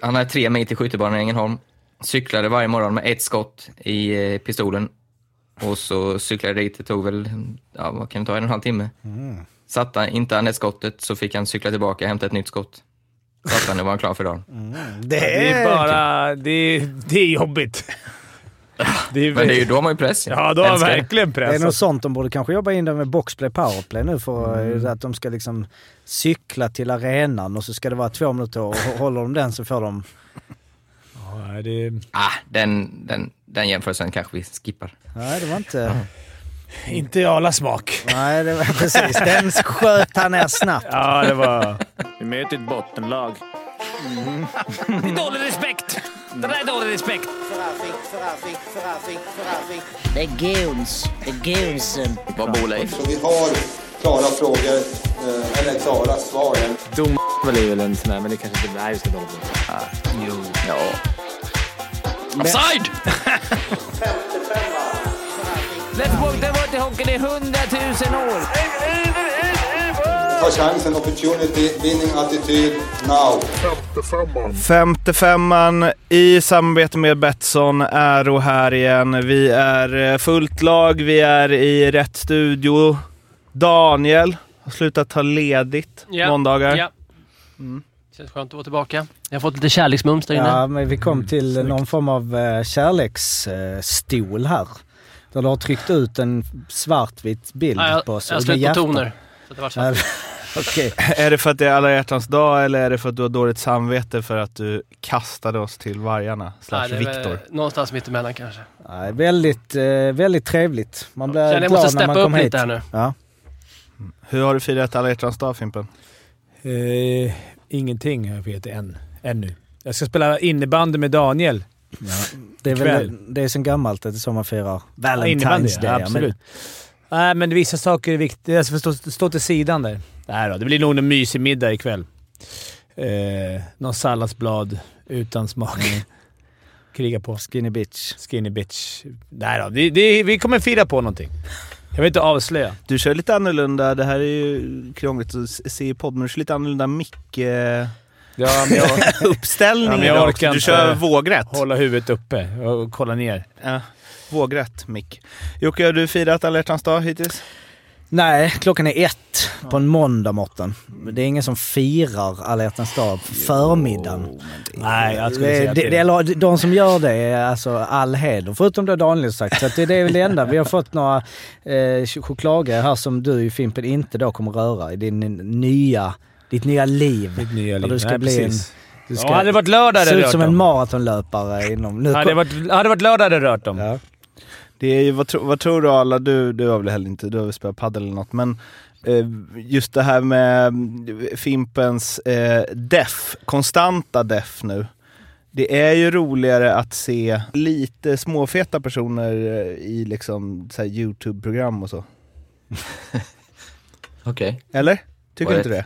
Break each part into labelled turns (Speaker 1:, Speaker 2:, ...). Speaker 1: Han är tre mil till skyttebanan i Ängelholm. Cyklade varje morgon med ett skott i eh, pistolen. Och så cyklade jag dit. Det tog väl, ja, vad kan det ta, en och en halv timme.
Speaker 2: Mm.
Speaker 1: Satte han inte han det skottet så fick han cykla tillbaka och hämta ett nytt skott. Satte han, nu var han klar för dagen.
Speaker 2: Mm. Det är bara... Det är, det är jobbigt. Det är,
Speaker 1: Men det är ju då har man ju press.
Speaker 2: Ja, då har
Speaker 1: Älskar det.
Speaker 2: verkligen
Speaker 3: Det är
Speaker 4: Alltså-
Speaker 3: något
Speaker 2: pressat.
Speaker 3: sånt de borde kanske jobba in där med boxplay powerplay nu för eh,
Speaker 4: Mm.
Speaker 3: att de ska liksom cykla till arenan och så ska det vara två minuter och håller de den så får de...
Speaker 2: Ja, det är
Speaker 1: Ah, den, den, den jämförelsen kanske vi skippar.
Speaker 3: Nej, det var inte...
Speaker 2: inte i alla smak.
Speaker 3: Nej, det var precis. Den sköt han ner snabbt.
Speaker 2: Ja, det var...
Speaker 5: Vi möter ett bottenlag.
Speaker 2: Dålig respekt! Det där är dålig respekt.
Speaker 6: The goons. um, The goonsen.
Speaker 5: Vad bor Leif?
Speaker 7: Så vi har klara frågor, eh, eller klara svar.
Speaker 5: Dom väl är väl en sån där, men det kanske inte... Nej, just det. Dom. Ah, jo. Ja.
Speaker 2: Offside!
Speaker 8: Let's walk, det har varit i hockeyn i hundratusen år.
Speaker 7: Ta chansen, opportunity, winning attityd, now.
Speaker 4: 55an i samarbete med Betsson är och här igen. Vi är eh, fullt lag, vi är i rätt studio. Daniel har slutat ta ledigt
Speaker 8: Ja,
Speaker 4: måndagar.
Speaker 8: Ja. Mm. Känns skönt att vara tillbaka. Jag har fått lite kärleksmums där inne.
Speaker 3: Mm. Ja, men vi
Speaker 4: Mm,
Speaker 3: kom till någon form av eh, kärleksstol här. Där du har tryckt ut en svartvit bild
Speaker 8: Ja, jag
Speaker 3: på
Speaker 8: jag
Speaker 3: oss.
Speaker 8: har
Speaker 3: och det är
Speaker 8: slut på
Speaker 3: hjärtan.
Speaker 8: toner. Så att det var så.
Speaker 3: Ja, Okej.
Speaker 4: Är det för att det är alla hjärtans dag eller är det för att du har dåligt samvete för att du kastade oss till vargarna? Slash
Speaker 8: Nej, det är väl
Speaker 4: Viktor.
Speaker 8: Någonstans mittemellan kanske.
Speaker 3: Nej, väldigt, eh, väldigt trevligt. Man blir
Speaker 8: Känner jag
Speaker 3: glad
Speaker 8: måste
Speaker 3: när man
Speaker 8: steppa upp
Speaker 3: kommer hit.
Speaker 8: lite här nu.
Speaker 3: Ja.
Speaker 4: Hur har du firat alla hjärtans dag Fimpen?
Speaker 2: Eh, ingenting har jag vet än. Ännu. Jag ska spela innebandy med Daniel.
Speaker 3: Det är,
Speaker 2: Kväll.
Speaker 3: väl, det är sen gammalt att det är så man firar
Speaker 2: innebandy,
Speaker 3: Valentine's
Speaker 2: ja,
Speaker 3: Day. ja,
Speaker 2: absolut. Nej, men vissa saker är viktiga. Jag ska stå, stå till sidan där. Nej då, det blir nog en mysig middag ikväll. Eh, någon salladsblad utan smak. Kriga på.
Speaker 3: Skinny bitch.
Speaker 2: Mm. Skinny bitch. Nej då, det, det, vi kommer fira på någonting. Jag vill inte avslöja.
Speaker 4: Du kör lite annorlunda, det här är ju krångligt att se i podd, men du kör lite annorlunda mick-uppställning
Speaker 2: Ja, men jag Ja, men jag orkar
Speaker 4: idag också. Du
Speaker 2: inte.
Speaker 4: kör vågrätt.
Speaker 2: håller huvudet uppe och kollar ner.
Speaker 4: Ja. Vågrätt mick. Jocke, har du firat alla hjärtans dag hittills?
Speaker 3: Nej, klockan är ett på en måndag, Mårten. Det är ingen som firar alla hjärtans dag på förmiddagen.
Speaker 2: Nej, jag skulle säga
Speaker 3: Det,
Speaker 2: att
Speaker 3: det, eller de som gör det är alltså all heder, förutom då Daniel sagt. Så att det, det är väl det enda. Vi har fått några eh, choklader här som du ju Fimpen inte då kommer röra i din nya, ditt nya liv.
Speaker 2: Mitt nya
Speaker 3: Ja,
Speaker 2: liv.
Speaker 3: du ska
Speaker 2: Nej,
Speaker 3: bli
Speaker 2: precis.
Speaker 3: Du
Speaker 2: Ja, hade det varit lördag hade
Speaker 3: se
Speaker 2: det
Speaker 3: ut
Speaker 2: rört
Speaker 3: som en
Speaker 2: dem.
Speaker 3: maratonlöpare inom... Nu,
Speaker 2: Hade det varit, hade det varit lördag hade det rört dem.
Speaker 3: ja.
Speaker 4: Det är ju, vad, tro, vad tror du alla, du, du har väl heller inte, du har väl spelat padel eller något, men eh, just det här med mm, Fimpens eh, deff, konstanta deff nu. Det är ju roligare att se lite småfeta personer eh, i liksom så här YouTube-program och så.
Speaker 1: Okej. Okay.
Speaker 4: Eller? Tycker
Speaker 1: Vad
Speaker 4: du
Speaker 1: är
Speaker 4: inte det?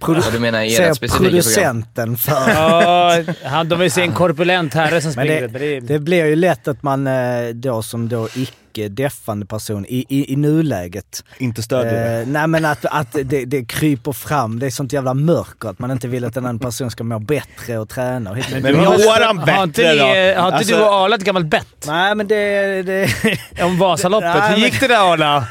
Speaker 1: Ja, du menar i era
Speaker 3: Ser
Speaker 1: specifika program?
Speaker 3: producenten för...
Speaker 2: Ja, han, de vill se en korpulent herre som
Speaker 3: Men
Speaker 2: springer.
Speaker 3: det,
Speaker 2: Men det,
Speaker 3: det blir ju lätt att man eh, då som då icke-deffande person i, i, i nuläget...
Speaker 4: Inte stödjer det?
Speaker 3: Eh, nej men att, att det, det kryper fram, det är sånt jävla mörker att man inte vill att en annan person ska må bättre och träna och hit.
Speaker 4: Men vi har han
Speaker 2: har inte,
Speaker 4: bättre
Speaker 2: ni,
Speaker 4: då!
Speaker 2: har inte
Speaker 4: Alltså,
Speaker 2: du och Arla ett gammalt bett
Speaker 3: Nej men det... det
Speaker 2: om Vasaloppet?
Speaker 3: Nej,
Speaker 2: Hur
Speaker 3: men-
Speaker 2: gick det där Arla?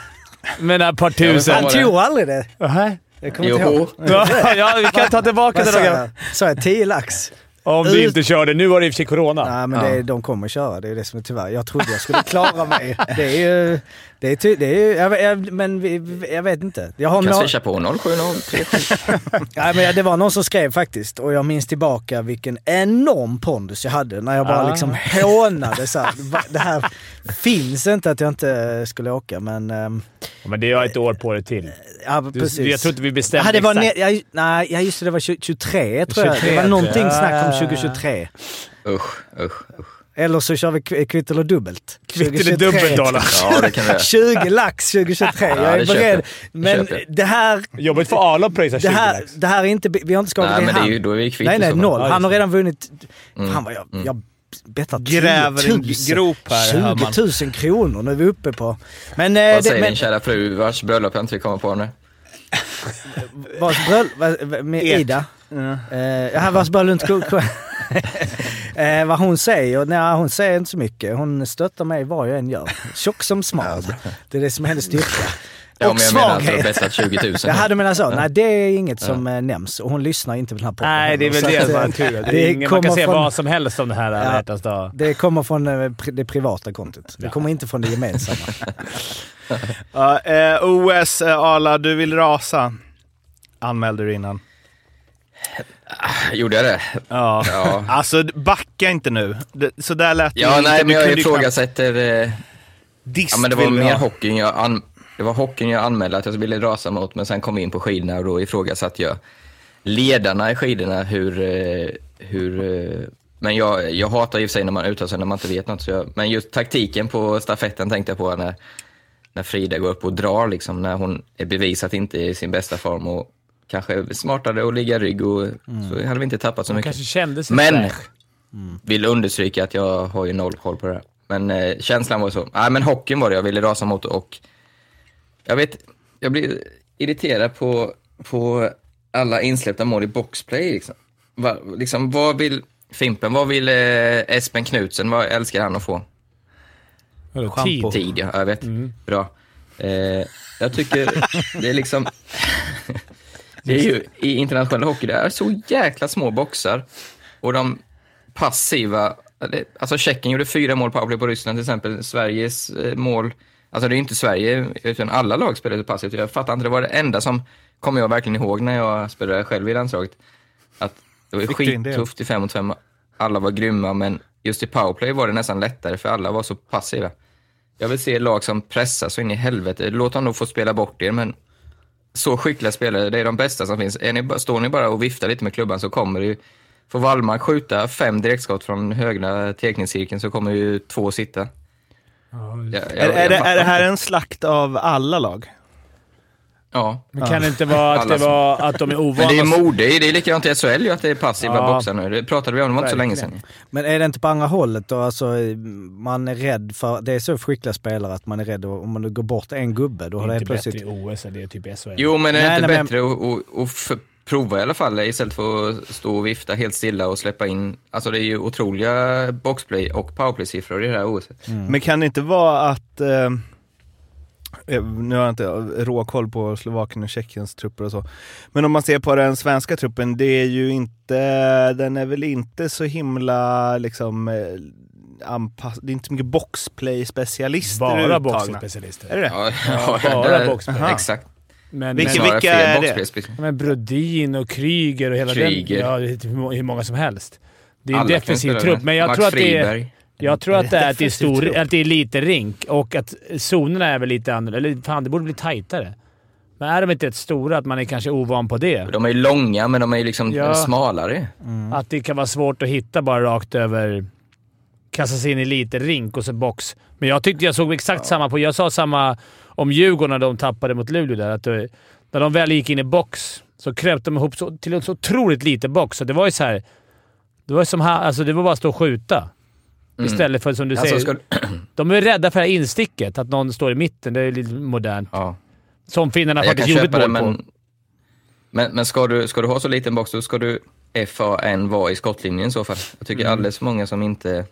Speaker 2: Med ett par tusen?
Speaker 3: han tog aldrig det.
Speaker 2: Nähä?
Speaker 3: Jag kommer inte ihåg.
Speaker 1: Jo.
Speaker 2: Ja, ja, vi kan ta tillbaka
Speaker 3: Vad
Speaker 2: det.
Speaker 3: sa
Speaker 2: då.
Speaker 3: jag? Sa jag 10 lax?
Speaker 2: Om du inte körde. Nu var det i och för sig corona.
Speaker 3: Nej men det, de kommer köra, det är det som är tyvärr. Jag trodde jag skulle klara mig. Det är ju... Det är, ty, det är ju jag, jag, men vi, vi- jag vet inte. Jag har
Speaker 1: Kan
Speaker 3: nå-
Speaker 1: swisha på 0703.
Speaker 3: Nej, men det var någon som skrev faktiskt och jag minns tillbaka vilken enorm pondus jag hade när jag bara
Speaker 2: Ah.
Speaker 3: liksom hånade så här, "Va, Det här finns inte att jag inte skulle åka men... ehm,
Speaker 2: Ja, Men det har ett år på det till.
Speaker 3: Ja,
Speaker 2: Du,
Speaker 3: precis.
Speaker 2: jag tror inte vi bestämde
Speaker 3: Ja, det var
Speaker 2: exakt.
Speaker 3: ne- ja, ju- nej, ja, just det. Det var tju- 23 tror jag. Det
Speaker 2: 23,
Speaker 3: var någonting
Speaker 2: ja.
Speaker 3: snack om 2023.
Speaker 1: Usch, usch, usch.
Speaker 3: Eller så kör vi kv- kvitt eller dubbelt.
Speaker 2: Kvitt eller dubbelt Arla.
Speaker 1: Ja, det kan vi göra.
Speaker 3: 20 lax 2023.
Speaker 1: Ja,
Speaker 3: jag är
Speaker 1: det köper
Speaker 3: beredd.
Speaker 1: jag. Det
Speaker 3: Men
Speaker 1: köper jag.
Speaker 3: det här...
Speaker 2: Jobbigt för Arla att pröjsa 20
Speaker 3: Det här,
Speaker 2: lax.
Speaker 3: det här är inte... Vi har inte skakat
Speaker 1: Nej, men det är
Speaker 3: hand.
Speaker 1: ju, då är vi kvitt
Speaker 3: Nej,
Speaker 1: i
Speaker 3: nej,
Speaker 1: så fall. Mm.
Speaker 3: noll.
Speaker 2: Ja,
Speaker 3: Han har
Speaker 2: just
Speaker 3: redan vunnit... Fan vad jag... jag bettar 10
Speaker 4: Gräver en
Speaker 3: 000.
Speaker 4: grop här, hör man.
Speaker 3: 20 000 kronor. Nu är vi uppe på... Men... eh,
Speaker 1: Vad säger
Speaker 3: men
Speaker 1: din kära fru vars bröllop jag inte fick komma på nu?
Speaker 3: vars bröll... vad- vad- Med
Speaker 4: Ert.
Speaker 3: Ida? Eh, han var bara runt kok- eh, Vad hon säger? Nej, hon säger inte så mycket. Hon stöttar mig vad jag än gör. Tjock som smal. Det är det som är hennes styrka.
Speaker 1: Ja,
Speaker 3: och
Speaker 1: men jag menar att du har
Speaker 3: svaghet.
Speaker 1: bettat 20 000.
Speaker 3: Jag hade menat så. Nej, det är inget som eh, nämns. Och hon lyssnar inte på den här podden.
Speaker 2: Nej, det är väl
Speaker 3: Så
Speaker 2: det
Speaker 3: att,
Speaker 2: som
Speaker 3: eh,
Speaker 2: är tur. Det
Speaker 3: det
Speaker 2: är ingen, man kan
Speaker 3: kommer
Speaker 2: säga
Speaker 3: från-
Speaker 2: vad som helst om det här alla
Speaker 3: Ja.
Speaker 2: hjärtans dag.
Speaker 3: Det kommer från eh, pri- det privata kontot. Det
Speaker 2: Ja.
Speaker 3: kommer inte från det gemensamma.
Speaker 4: Ja, eh, OS, eh, Arla, du vill rasa. Anmälde du innan.
Speaker 1: Gjorde jag det?
Speaker 4: Ja.
Speaker 1: Ja.
Speaker 4: Alltså, backa inte nu. Det- Så där lät det
Speaker 1: Ja,
Speaker 4: inte.
Speaker 1: nej,
Speaker 4: Du
Speaker 1: men jag
Speaker 4: kunde ju knappt-
Speaker 1: ifrågasätter... Eh,
Speaker 4: Dist
Speaker 1: ja, men det var
Speaker 4: vill du
Speaker 1: mer
Speaker 4: ha.
Speaker 1: hockeyn jag, an, det var hockeyn jag anmälde att jag ville rasa mot, men sen kom vi in på skidorna och då ifrågasatte jag ledarna i skidorna hur... eh, hur eh, men jag, jag hatar i och för sig när man uttalar sig när man inte vet något. Så jag, men just taktiken på stafetten tänkte jag på när, när Frida går upp och drar, liksom, när hon är bevisat inte i sin bästa form och kanske är smartare och ligga rygg och så hade vi inte tappat så mycket.
Speaker 2: kanske kände sig
Speaker 1: Men
Speaker 2: fräsch.
Speaker 1: vill understryka att jag har ju noll koll på det här. Men eh, känslan var så. Nej, men hockeyn var det jag ville rasa mot och jag vet, jag blir irriterad på, på alla insläppta mål i boxplay. Liksom. Va, liksom, vad vill Fimpen, vad vill eh, Espen Knutsen, vad älskar han att få?
Speaker 2: Vadå,
Speaker 4: Shampoo.
Speaker 2: tid?
Speaker 1: Tid, ja, jag vet. Bra. Eh, jag tycker det är liksom... det är ju, I internationell hockey, det är så jäkla små boxar. Och de passiva... eller, Alltså Tjeckien gjorde fyra mål powerplay på Ryssland till exempel. Sveriges eh, mål... Alltså det är ju inte Sverige, utan alla lag spelade passivt. Jag fattar inte, det var det enda som kommer jag verkligen ihåg när jag spelade själv i landslaget. Att det var ju
Speaker 4: Fick du in det?
Speaker 1: skittufft i fem mot fem. Alla var grymma, men just i powerplay var det nästan lättare för alla var så passiva. Jag vill se lag som pressar så in i helvete. Låt dem då få spela bort er, men så skickliga spelare, det är de bästa som finns. Är ni, ba- står ni bara och viftar lite med klubban så kommer det ju... Får Wallmark skjuta fem direktskott från högra teckningscirkeln så kommer ju två sitta. Jag, jag,
Speaker 4: Är, är,
Speaker 1: jag
Speaker 4: det,
Speaker 1: fattar
Speaker 4: är det här
Speaker 1: inte.
Speaker 4: en slakt av alla lag?
Speaker 1: Ja.
Speaker 2: Men kan det inte vara att, det
Speaker 1: Alla som-
Speaker 2: var att de är ovana?
Speaker 1: Men det är mode, det är likadant i SHL ju att det är passiva
Speaker 2: Ja.
Speaker 1: boxar nu. Det pratade vi om, det var inte så länge sedan.
Speaker 3: Men är det inte på andra hållet då? Alltså, eh, man är rädd för... Det är så skickliga spelare att man är rädd om man går bort en gubbe. Då har
Speaker 2: Det
Speaker 3: det
Speaker 2: är
Speaker 3: helt
Speaker 2: inte
Speaker 3: plötsligt...
Speaker 2: Typ bättre i OS än det är typ i SHL.
Speaker 1: Jo, men är det
Speaker 3: Nej,
Speaker 1: inte
Speaker 3: nej, men-
Speaker 1: bättre att att- att f- prova i alla fall istället för att stå och vifta helt stilla och släppa in? Alltså det är ju otroliga boxplay och powerplay-siffror i det här OS.
Speaker 4: Men kan det inte vara att... Eh, eh, nu har jag inte råkoll på Slovakien och Tjeckiens trupper och så. Men om man ser på den svenska truppen, det är ju inte... Den är väl inte så himla liksom... Eh, anpass, det är inte så mycket boxplay-specialister
Speaker 2: Bara
Speaker 4: uttagna.
Speaker 2: boxningsspecialister.
Speaker 4: Är det det?
Speaker 1: Ja,
Speaker 2: bara
Speaker 1: där-
Speaker 2: boxplay.
Speaker 1: Exakt.
Speaker 2: Men,
Speaker 1: Det är
Speaker 4: Vilka-
Speaker 1: snarare
Speaker 2: men,
Speaker 4: vilka
Speaker 1: fler
Speaker 4: är det?
Speaker 1: boxplay-spec-
Speaker 2: men Brodin och Kryger och hela
Speaker 1: Kryger.
Speaker 2: den... Ja, det är typ hur må- hur många som helst. Det är en
Speaker 1: Alla kan
Speaker 2: defensiv
Speaker 1: spela
Speaker 2: trupp,
Speaker 1: med.
Speaker 2: men jag
Speaker 1: Max
Speaker 2: tror att det är...
Speaker 1: Friberg.
Speaker 2: Jag tror att det är, att det är,
Speaker 4: Defensiv
Speaker 2: stor,
Speaker 4: trupp.
Speaker 2: att det är lite rink och att zonerna är väl lite annorlunda. Eller fan, det borde bli tajtare. Men är de inte rätt stora, att man är kanske ovan på det?
Speaker 1: De är ju långa, men de är ju liksom
Speaker 2: Ja.
Speaker 1: smalare. Mm.
Speaker 2: Att det kan vara svårt att hitta bara rakt över... Kasta sig in i lite rink och så box. Men jag tyckte jag såg exakt samma på... Jag sa samma om Djurgården när de tappade mot Luleå där. Att det, när de väl gick in i box så kröp de ihop så, till en så otroligt liten box. Så det var ju så här, Det var ju som här, alltså det var bara att stå och skjuta. Istället för som du
Speaker 1: Alltså,
Speaker 2: säger.
Speaker 1: ska...
Speaker 2: De är rädda för det här insticket, att någon står i mitten. Det är lite modernt.
Speaker 1: ja.
Speaker 2: Som finnarna
Speaker 1: Jag kan
Speaker 2: faktiskt gjorde ett
Speaker 1: köpa det,
Speaker 2: mål på.
Speaker 1: men, men, men ska, du, ska du ha så liten box, då ska du FAN vara i skottlinjen i så fall. Jag tycker
Speaker 2: Mm.
Speaker 1: alldeles för många som inte...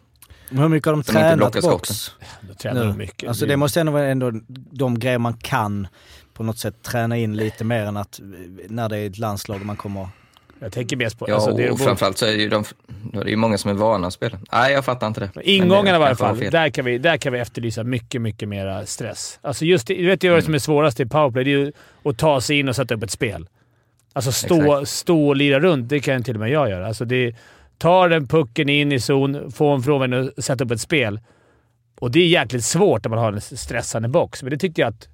Speaker 3: Men Hur mycket har de
Speaker 1: Som inte
Speaker 3: tränat
Speaker 1: blockar
Speaker 3: box?
Speaker 2: Då tränar de
Speaker 3: nu?
Speaker 2: mycket.
Speaker 3: Alltså det måste ändå vara ändå de grejer man kan på något sätt träna in lite mer än att eh, när det är ett landslag man kommer...
Speaker 2: Jag tänker mest på...
Speaker 1: Ja,
Speaker 2: alltså, det är
Speaker 1: och framförallt så är det ju de, det är ju många som är vana att spela. Nej, jag fattar inte det. Men det
Speaker 2: Ingångarna i varje
Speaker 1: kanske var
Speaker 2: fall.
Speaker 1: fel.
Speaker 2: Där kan, vi, där kan vi efterlysa mycket, mycket mera stress. Alltså just det, du vet ju vad som är svårast i powerplay. Det är ju att ta sig in och sätta upp ett spel. Alltså stå,
Speaker 1: Exakt.
Speaker 2: stå och lira runt, det kan till och med jag göra. Alltså det, ta den pucken in i zon, få en frånvänd och sätta upp ett spel. Och det är jäkligt svårt när man har en stressande box, men det tyckte jag att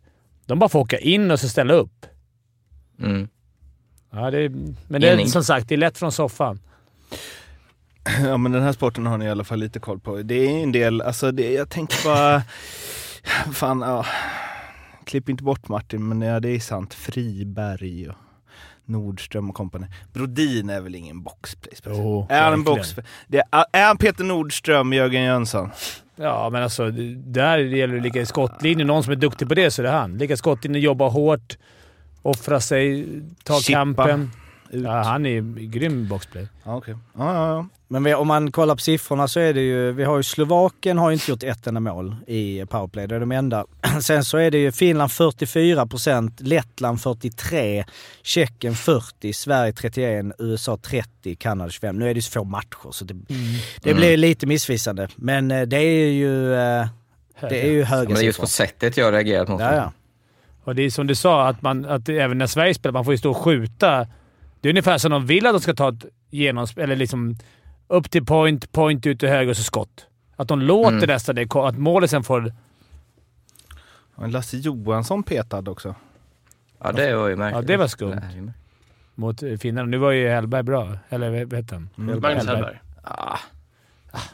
Speaker 2: de bara får åka in och så ställa upp.
Speaker 1: Mm.
Speaker 2: Ja, det, men det är,
Speaker 1: Enig.
Speaker 2: som sagt, det är lätt från soffan.
Speaker 4: Ja men den här sporten har ni i alla fall lite koll på. Det är ju en del, alltså det, jag tänker bara, fan ja. Klipp inte bort Martin, men ja, det är sant. Friberg och Nordström och kompani. Brodin är väl ingen boxplay?
Speaker 2: Jo,
Speaker 4: är han en
Speaker 2: verkligen.
Speaker 4: box? Det är, är han Peter Nordström, Jörgen Jönsson?
Speaker 2: Ja, men alltså det- där gäller det lika i skottlinjen. Någon som är duktig på det så är det han. Lika i skottlinjen, jobba hårt, offra sig, ta
Speaker 4: Chippa.
Speaker 2: kampen.
Speaker 4: ut?
Speaker 2: Ja, han är ju grym boxplay.
Speaker 4: Ja, okej. Ja, ja, ja.
Speaker 3: Men vi, om man kollar på siffrorna så är det ju, vi har ju Slovakien har ju inte gjort ett enda mål i powerplay, det är de enda. Sen så är det ju Finland 44 procent, Lettland 43, Tjeckien 40, Sverige 31, USA 30, Kanada 25. Nu är det ju så få matcher så
Speaker 2: Mm.
Speaker 3: det, det
Speaker 1: Mm.
Speaker 3: blir ju lite missvisande. Men eh, det är ju, eh, det är ju höga
Speaker 1: Men det är just
Speaker 3: siffror.
Speaker 1: på sättet jag har reagerat mot
Speaker 3: Ja,
Speaker 1: det.
Speaker 3: ja.
Speaker 2: Och det är som du sa, att, man, att även när Sverige spelar, man får ju stå och skjuta. Det är ungefär som de vill att de ska ta ett genoms... Eller liksom upp till point, point ut till höger och så skott. Att de låter
Speaker 1: Mm.
Speaker 2: nästan det. Att målet sen får...
Speaker 4: Men Lasse Johansson petad också.
Speaker 1: Ja, det var ju märkligt.
Speaker 2: Ja, det var skumt.
Speaker 1: är ju märkligt.
Speaker 2: Mot eh, finnarna. Nu var ju Hellberg bra. Eller vad hette han?
Speaker 8: Magnus Hellberg.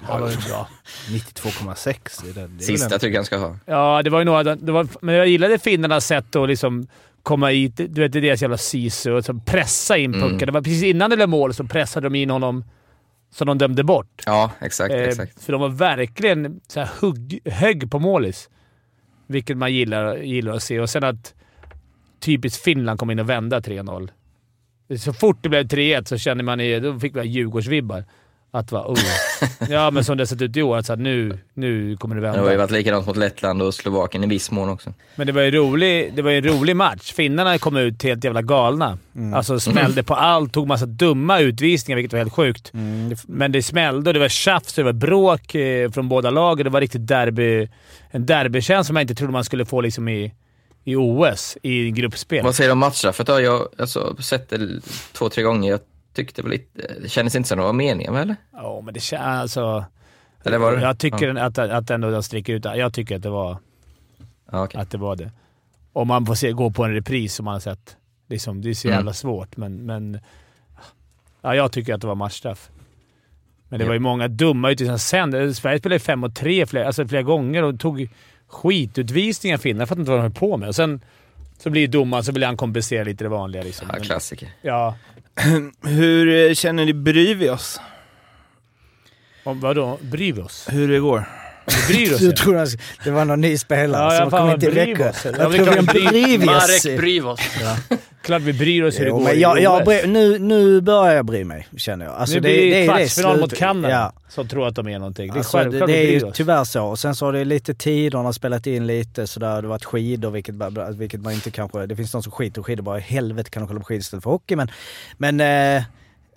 Speaker 2: Han var ju bra.
Speaker 4: 92,6. Det, är det, det är väl
Speaker 1: Sista
Speaker 4: en-
Speaker 1: tycker jag han ska ha.
Speaker 2: Ja, det var ju några... Det var, men jag gillade finnarnas sätt att liksom komma hit. Du vet, det är deras jävla sisu. Och så pressa in
Speaker 1: Mm.
Speaker 2: pucken. Det var precis innan det blev mål så pressade de in honom, som de dömde bort.
Speaker 1: Ja, exakt.
Speaker 2: Eh,
Speaker 1: exakt.
Speaker 2: För de var verkligen så här hugg, högg på målis. Vilket man gillar, gillar att se. Och sen att typiskt Finland kom in och vände 3-0. Så fort det blev 3-1 så kände man ju... Då fick vi Djurgårdsvibbar. Att va, oh. Ja, men som det har sett ut i år. Att så här, nu, nu kommer det
Speaker 1: Men Det har ju
Speaker 2: vända.
Speaker 1: varit likadant mot Lettland och Slovakien i viss mån också.
Speaker 2: Men det var ju rolig, det var ju en rolig match. Finnarna kom ut helt jävla galna. Alltså smällde på allt, tog massa dumma utvisningar, vilket var helt sjukt. Men det smällde och det var tjafs och det var bråk eh, från båda lagen. Det var riktigt derby, en derbykänsla som jag inte trodde man skulle få liksom i, i OS, i gruppspel.
Speaker 1: Vad säger du om matchstraffet då? Jag alltså, har sett det två, tre gånger. Jag tyckte väl lite... Det kändes inte som det var meningen, eller?
Speaker 2: Ja, men det känns... Alltså,
Speaker 1: Eller var det?
Speaker 2: Jag tycker
Speaker 1: Ja.
Speaker 2: att, att ändå den sticker ut. Jag tycker att det var...
Speaker 1: Ja, okej.
Speaker 2: att det var det. Om man får se, gå på en repris som man har sett. Liksom, det är så jävla
Speaker 1: Mm.
Speaker 2: svårt, men... men ja, jag tycker att det var matchstraff. Men det
Speaker 1: Ja.
Speaker 2: var ju många dumma utvisningar sen. Sverige spelade 5 och 3 flera, alltså flera gånger och tog skitutvisningar finnar. Jag fattar inte vad de höll på med. Och sen så blir domaren så vill han kompensera lite det vanliga. Liksom.
Speaker 1: Ja,
Speaker 2: Men-
Speaker 1: klassiker.
Speaker 2: ja.
Speaker 4: Hur eh, känner ni? Bryr vi oss?
Speaker 2: Om, vadå? Bryr vi oss?
Speaker 4: Hur det går?
Speaker 2: Vi bryr oss
Speaker 3: Du
Speaker 2: ju.
Speaker 3: trodde att det var någon ny
Speaker 2: Ja,
Speaker 3: spelare
Speaker 2: ja,
Speaker 3: som
Speaker 2: fan
Speaker 3: kom
Speaker 2: vad
Speaker 3: inte i
Speaker 2: Brivos.
Speaker 3: veckan.
Speaker 2: Ja,
Speaker 3: Jag
Speaker 2: vi
Speaker 3: tror
Speaker 2: kan
Speaker 3: vi en
Speaker 2: bry-
Speaker 3: Brivos.
Speaker 8: Marek Brivos.
Speaker 2: Klart vi bryr oss hur det
Speaker 3: Jo,
Speaker 2: går
Speaker 3: men
Speaker 2: i
Speaker 3: jag, jag,
Speaker 2: OS.
Speaker 3: bry- nu, nu börjar jag bry mig, känner jag. Alltså,
Speaker 2: nu blir det,
Speaker 3: är
Speaker 2: kvartsfinal mot
Speaker 3: slut-
Speaker 2: Kanada
Speaker 3: Ja.
Speaker 2: som tror att de är någonting. Det är
Speaker 3: Alltså, det,
Speaker 2: självklart
Speaker 3: det
Speaker 2: vi
Speaker 3: är
Speaker 2: bryr
Speaker 3: ju
Speaker 2: oss.
Speaker 3: tyvärr så. Och sen så har det lite tiderna spelat in lite sådär. Det har varit skidor, vilket, bara- vilket man inte kanske... Det finns de som skiter i skidor bara. i Helvete kan de kolla på skidor istället för hockey. Men, men eh,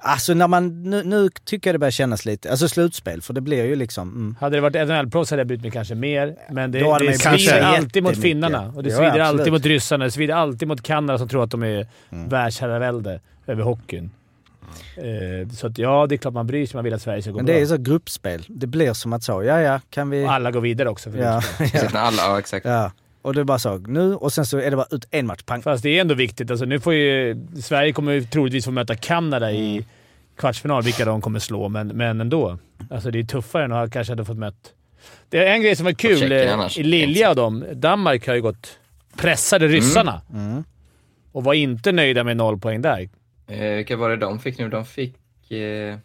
Speaker 3: alltså när man... Nu, nu tycker jag det börjar kännas lite... Alltså slutspel, för det blir ju liksom... Mm.
Speaker 2: Hade det varit NHL-proffs hade jag brytt mig kanske mer, men det,
Speaker 3: Då hade
Speaker 2: det
Speaker 3: man ju brytt
Speaker 2: svider
Speaker 3: sig
Speaker 2: alltid mot
Speaker 3: jättemycket.
Speaker 2: finnarna. Och det
Speaker 3: Ja,
Speaker 2: svider
Speaker 3: absolut. Mm.
Speaker 2: alltid mot ryssarna. Det svider alltid mot Kanada som tror att de är världsherravälde över hockeyn. Eh, så att, ja, det är klart man bryr sig. Man vill att Sverige ska gå
Speaker 3: Men
Speaker 2: bra.
Speaker 3: det är ju så gruppspel. Det blir som att så, ja ja, kan vi...
Speaker 2: Och alla går vidare också. För
Speaker 3: Ja, ja,
Speaker 1: Precis när alla... Ja, exakt.
Speaker 3: ja. Och det är bara så, nu och sen så är det bara ut en match, pang.
Speaker 2: Fast det är ändå viktigt. Alltså, nu får ju, Sverige kommer ju troligtvis få möta Kanada
Speaker 3: Mm.
Speaker 2: i kvartsfinal, vilka de kommer slå, men, men ändå. Alltså, det är tuffare än att kanske hade fått mött... Det är en grej som var kul
Speaker 1: Tjeckien
Speaker 2: eh,
Speaker 1: annars.
Speaker 2: i Lilja och dem. Danmark har ju gått... Pressade
Speaker 3: Mm.
Speaker 2: ryssarna och var inte nöjda med noll poäng där.
Speaker 1: Eh, vilka var det de fick nu? De fick... Eh,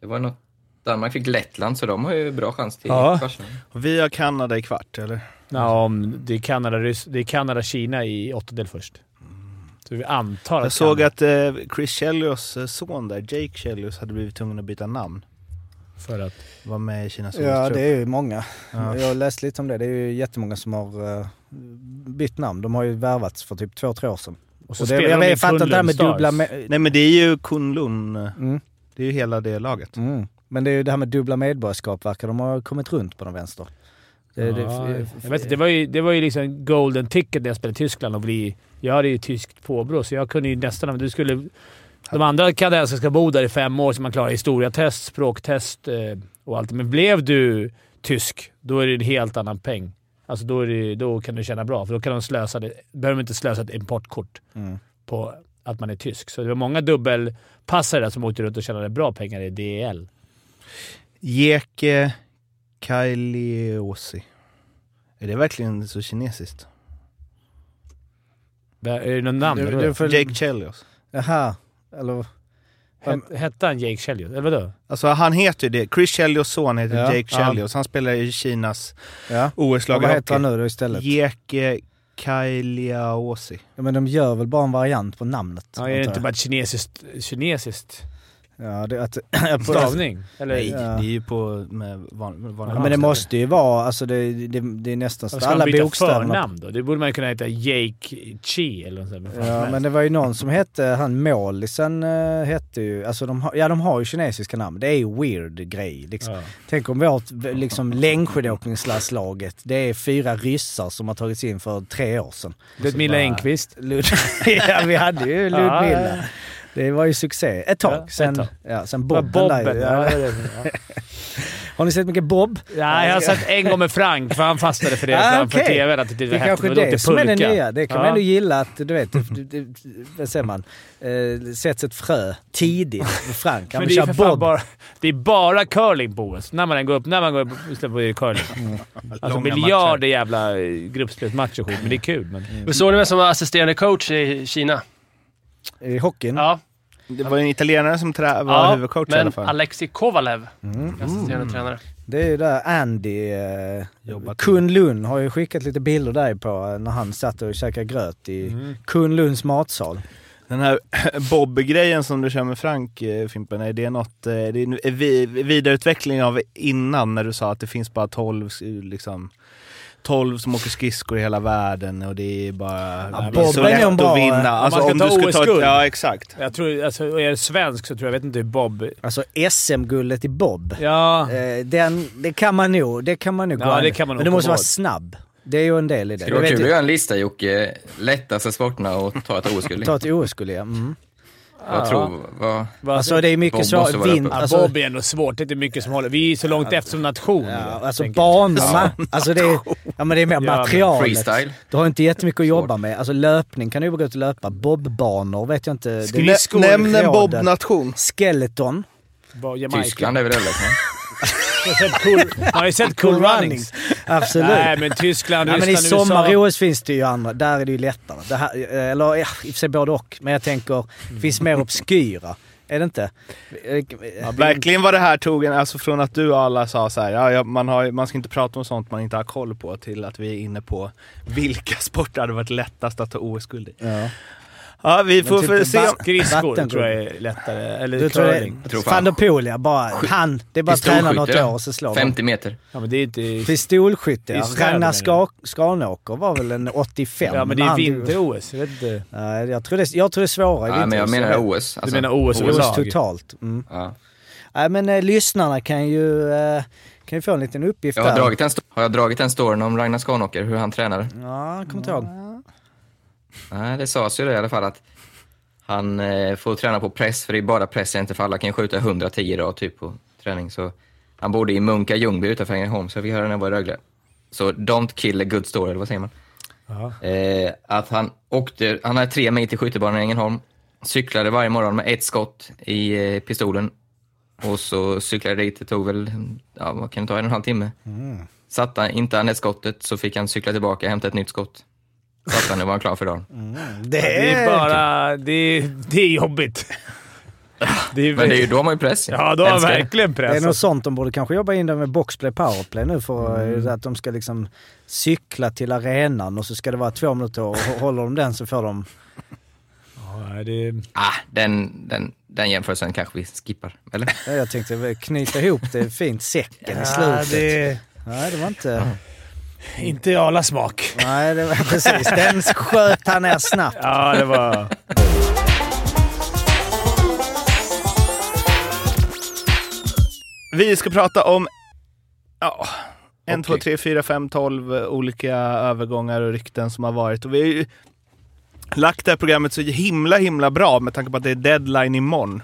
Speaker 1: det var något... Danmark fick Lettland, så de har ju bra chans till
Speaker 2: Ja.
Speaker 1: kvartsfinal.
Speaker 4: Vi har Kanada i kvart, eller?
Speaker 2: Ja,
Speaker 3: Mm.
Speaker 2: om det är Kanada, Ryss- det är Kanada-Kina i åttondel först. Så vi antar att
Speaker 4: Jag såg
Speaker 2: Kanada-
Speaker 4: att eh, Chris Chelios eh, son där, Jake Chelios, hade blivit tvungen att byta namn.
Speaker 2: För att...
Speaker 4: Var med i Kinas
Speaker 3: Ja,
Speaker 2: typ.
Speaker 3: det
Speaker 4: ungdomstrupp.
Speaker 3: är ju många.
Speaker 4: Ja.
Speaker 3: Jag har läst lite om det. Det är ju jättemånga som har eh, bytt namn. De har ju värvats för typ två, tre år sedan.
Speaker 2: Och så
Speaker 3: Och det,
Speaker 2: spelar
Speaker 3: jag
Speaker 2: de i
Speaker 3: vet- fattar inte det här med
Speaker 2: Kunlun
Speaker 3: dubbla...
Speaker 2: Stars.
Speaker 3: Med,
Speaker 4: Nej men det är ju Kunlun. eh,
Speaker 3: Mm.
Speaker 4: Det är ju hela det laget.
Speaker 3: mm. Men det är ju det här med dubbla medborgarskap verkar de ha kommit runt på den vänster. Det, det,
Speaker 2: Ja, jag vet inte, det var ju, det var ju liksom golden ticket när jag spelade i Tyskland och bli... Jag hade ju tyskt påbrå, så jag kunde ju nästan... Du skulle, de andra kanadensiska ska bo där i fem år så man klarar historiatest, språktest eh, och allt. Men blev du tysk, då är det en helt annan peng. Alltså då, är det, då kan du tjäna bra, för då kan de slösa det, behöver de inte slösa ett importkort på att man är tysk. Så det var många dubbelpassare där som åkte runt och tjänade bra pengar i DEL.
Speaker 4: Jeke Kailiosi. Är det verkligen så kinesiskt?
Speaker 2: Är det något namn?
Speaker 3: Du-
Speaker 2: eller
Speaker 3: du
Speaker 2: vadå?
Speaker 3: För-
Speaker 4: Jake Chelios.
Speaker 3: Jaha. Eller...
Speaker 2: Het- Hette han Jake Chelios? Eller vadå?
Speaker 4: Alltså han heter ju det. Chris Chelios son heter
Speaker 3: Ja.
Speaker 4: Jake Chelios. Han spelar i Kinas
Speaker 3: Ja. Och
Speaker 4: OS-lag i
Speaker 3: vad heter han
Speaker 4: hockey.
Speaker 3: nu då istället?
Speaker 4: Jeke Kailiaosi.
Speaker 3: Ja, men de gör väl bara en variant på namnet?
Speaker 2: Ja, är det
Speaker 3: antar
Speaker 2: inte
Speaker 3: jag.
Speaker 2: bara ett kinesiskt, kinesiskt
Speaker 3: Ja, det, att,
Speaker 2: stavning? Eller?
Speaker 4: Nej,
Speaker 3: ja.
Speaker 4: det är ju på med van, med vanliga
Speaker 3: ja, men det måste ju vara, alltså det, det, det är nästan så
Speaker 2: Varför ska alla
Speaker 3: alla
Speaker 2: man byta
Speaker 3: bokstäverna.
Speaker 2: förnamn då? Det borde man ju kunna heta Jake Chi eller något sånt. där.
Speaker 3: Ja, men det var ju någon som hette, han målisen eh, hette ju, alltså de, har- ja de har ju kinesiska namn. Det är ju weird grej liksom.
Speaker 2: Ja.
Speaker 3: Tänk om vårt liksom, längdskidåkningslandslaget, det är fyra ryssar som har tagits in för tre år sedan.
Speaker 2: Ludmilla Engqvist.
Speaker 3: Lud- ja, vi hade ju Ludmilla.
Speaker 2: Ja, ja.
Speaker 3: Det var ju succé. Ett tag.
Speaker 2: Ja, ett
Speaker 3: sen
Speaker 2: tag.
Speaker 3: Ja, sen
Speaker 2: Ja,
Speaker 3: Bobben, där.
Speaker 2: Bobben.
Speaker 3: Ja.
Speaker 2: Ja, det är det. Ja.
Speaker 3: Har ni sett mycket Bob?
Speaker 2: Nej, jag har sett en gång med Frank, för han fastnade för det
Speaker 3: Ah,
Speaker 2: framför
Speaker 3: okej.
Speaker 2: tvn. Att det, det,
Speaker 3: Det
Speaker 2: det
Speaker 3: är
Speaker 2: kanske
Speaker 3: kanske
Speaker 2: var
Speaker 3: det,
Speaker 2: det
Speaker 3: som är det nya. Det kan man
Speaker 2: Ja.
Speaker 3: ändå gilla att, du vet, det, det, vad säger man? Eh, sätts ett frö tidigt för Frank. Han
Speaker 2: Men
Speaker 3: vill
Speaker 2: det är,
Speaker 3: köra
Speaker 2: för fan
Speaker 3: Bob.
Speaker 2: bara, det är bara curling på OS. När man än går upp, när man går upp släpper det curling.
Speaker 3: Mm.
Speaker 2: Alltså
Speaker 4: Långa
Speaker 2: miljarder jävla eh, gruppspelsmatcher och skit, men det är kul. Men...
Speaker 3: Mm.
Speaker 8: Men såg ni vem som var assisterande coach i Kina?
Speaker 3: I hockeyn.
Speaker 8: Ja,
Speaker 4: Det var ju en italienare som trä, var
Speaker 8: ja
Speaker 4: huvudcoach i alla
Speaker 8: men
Speaker 4: fall.
Speaker 8: Alexi Kovalev,
Speaker 3: Mm.
Speaker 8: assisterande tränare.
Speaker 3: Det är ju där Andy... Eh,
Speaker 4: Jobbat.
Speaker 3: Kunlun har ju skickat lite bilder därpå eh, när han satt och käkade gröt i
Speaker 2: Mm.
Speaker 3: Kunluns matsal.
Speaker 4: Den här Bob-grejen som du kör med Frank, eh, Fimpen, är det något, eh, det är nu- är vi- vidareutveckling av innan när du sa att det finns bara 12, s- liksom, 12 som åker skridskor i hela världen och det är bara
Speaker 3: Ja,
Speaker 4: det är så
Speaker 3: Bob är
Speaker 4: lätt
Speaker 3: en
Speaker 4: att
Speaker 3: bra- om
Speaker 4: vinna. Alltså,
Speaker 2: man ska ta
Speaker 4: skulle ett-
Speaker 2: OS-guld.
Speaker 4: Ja, exakt.
Speaker 2: Jag tror, alltså, är jag svensk så tror jag, jag vet inte hur Bob...
Speaker 3: Alltså SM-guldet i Bob.
Speaker 2: Ja,
Speaker 3: Eh, Den, det kan man nog, det kan man nog
Speaker 2: Ja,
Speaker 3: gå an.
Speaker 2: det kan man nog
Speaker 3: Men du
Speaker 2: komma
Speaker 3: måste vara
Speaker 2: åt.
Speaker 3: snabb. Det är ju en del i det.
Speaker 1: Det var
Speaker 3: Du vet
Speaker 1: kul
Speaker 3: ju-
Speaker 1: att göra en lista Jocke, lättaste sporterna och ta ett OS-guld i.
Speaker 3: Ta ett OS skulle jag. Mm.
Speaker 1: Vad tror vad,
Speaker 2: vad-
Speaker 3: Alltså det är mycket
Speaker 1: Bob måste
Speaker 3: så
Speaker 1: vara
Speaker 3: vind,
Speaker 1: uppe.
Speaker 2: Ja,
Speaker 3: alltså,
Speaker 2: Bob är ändå svårt. Det är inte mycket som håller. Vi är så långt efter som nation.
Speaker 3: ja, alltså
Speaker 2: tänker jag.
Speaker 3: banorna. Alltså det är, ja, men det är mer
Speaker 2: men
Speaker 3: materialet.
Speaker 1: freestyle.
Speaker 3: Du har inte jättemycket att jobba med. Alltså löpning kan du bara gå ut och löpa. Bobbanor vet jag inte. Det-
Speaker 4: Nä- Nämn en
Speaker 3: Roden.
Speaker 4: Bob-nation.
Speaker 3: Skeleton.
Speaker 2: Ba- Jamaica.
Speaker 1: Tyskland är väl det liksom?
Speaker 2: Jag har sett cool, man har ju sett cool runnings.
Speaker 3: Absolut.
Speaker 2: Nej, men Tyskland,
Speaker 3: Ja, men i
Speaker 2: Ryssland, USA.
Speaker 3: sommar-OS finns det ju andra. Där är det ju lättare. Det här, eh, eller ja, i och för sig både och. Men jag tänker,
Speaker 2: Mm.
Speaker 3: det finns mer obskyra. Är det inte? Eh,
Speaker 4: Verkligen vad det här tog en, alltså från att du och alla sa så här, ja, ja, man, har, man ska inte prata om sånt man inte har koll på, till att vi är inne på vilka sporter hade varit lättast att ta OS-guld i.
Speaker 3: Ja.
Speaker 4: Ja, vi får
Speaker 3: typ
Speaker 4: för se om...
Speaker 3: back-
Speaker 2: Skridskor
Speaker 3: Vatten-
Speaker 2: tror jag är lättare. Eller
Speaker 3: Du tror
Speaker 2: curling.
Speaker 3: det?
Speaker 1: Tror fan.
Speaker 3: Van der Poel ja, bara han. Det är bara att träna något
Speaker 1: Pistolskytte,
Speaker 3: år och så slår man.
Speaker 1: 50 meter.
Speaker 2: Ja, men det är inte...
Speaker 3: Pistolskytte
Speaker 2: I
Speaker 3: ja.
Speaker 2: städer,
Speaker 3: Ragnar
Speaker 2: menar
Speaker 3: Ska- Skanåker var väl en 85?
Speaker 2: Ja, men det
Speaker 3: Han-
Speaker 2: är vinter-OS. Jag vet inte.
Speaker 3: Nej, jag tror det, jag tror det är svårare i
Speaker 1: Nej, men jag
Speaker 3: vinter.
Speaker 1: menar OS.
Speaker 2: Du menar OS
Speaker 3: OS
Speaker 2: överlag?
Speaker 3: totalt. Mm.
Speaker 1: Ja.
Speaker 3: Nej, men eh, lyssnarna kan ju, eh, kan ju få en liten uppgift
Speaker 1: Jag har,
Speaker 3: där.
Speaker 1: dragit en, sto- har jag dragit en storyn om Ragnar Skanåker, hur han tränade?
Speaker 3: Ja, jag kommer inte ihåg.
Speaker 1: Nej, det sades ju det i alla fall att han eh, får träna på press, för det är bara press inte för alla kan ju skjuta 110 idag typ på träning. Så han bodde i Munka Ljungby utanför Ängelholm, så jag fick höra när jag var i Rögle. Så don't kill a good story, eller vad säger man? Eh, att han åkte, han hade tre mil till skyttebanan i Ängelholm, cyklade varje morgon med ett skott i eh, pistolen och så cyklade dit, det tog väl, ja vad kan det ta, en och en halv timme. Satte han inte han ett skottet så fick han cykla tillbaka och hämta ett nytt skott. Satte han, nu var han klar för dagen.
Speaker 2: Det är bara... Det är, det är jobbigt. Det är,
Speaker 1: Men det är ju då man ju press.
Speaker 2: Ja, då har jag
Speaker 1: Älskar det.
Speaker 2: verkligen
Speaker 3: Det är
Speaker 2: press.
Speaker 3: något sånt de borde kanske jobba in där med boxplay powerplay nu för eh, att de ska liksom cykla till arenan och så ska det vara två minuter och håller de den så får de...
Speaker 2: Ja, det är...
Speaker 1: Ah, den, den, den jämförelsen kanske vi skippar, eller?
Speaker 3: Ja, Jag tänkte väl knyta ihop det fint, säcken i slutet.
Speaker 2: det
Speaker 3: Nej, det var inte...
Speaker 2: inte i alla smak.
Speaker 3: Nej, det var precis. Den sköt han ner snabbt.
Speaker 2: Ja, det var...
Speaker 4: Vi ska prata om ja, en,
Speaker 1: Hockey.
Speaker 4: två, tre, fyra, fem, tolv olika övergångar och rykten som har varit. Och vi har ju lagt det här programmet så himla, himla bra med tanke på att det är deadline imorgon.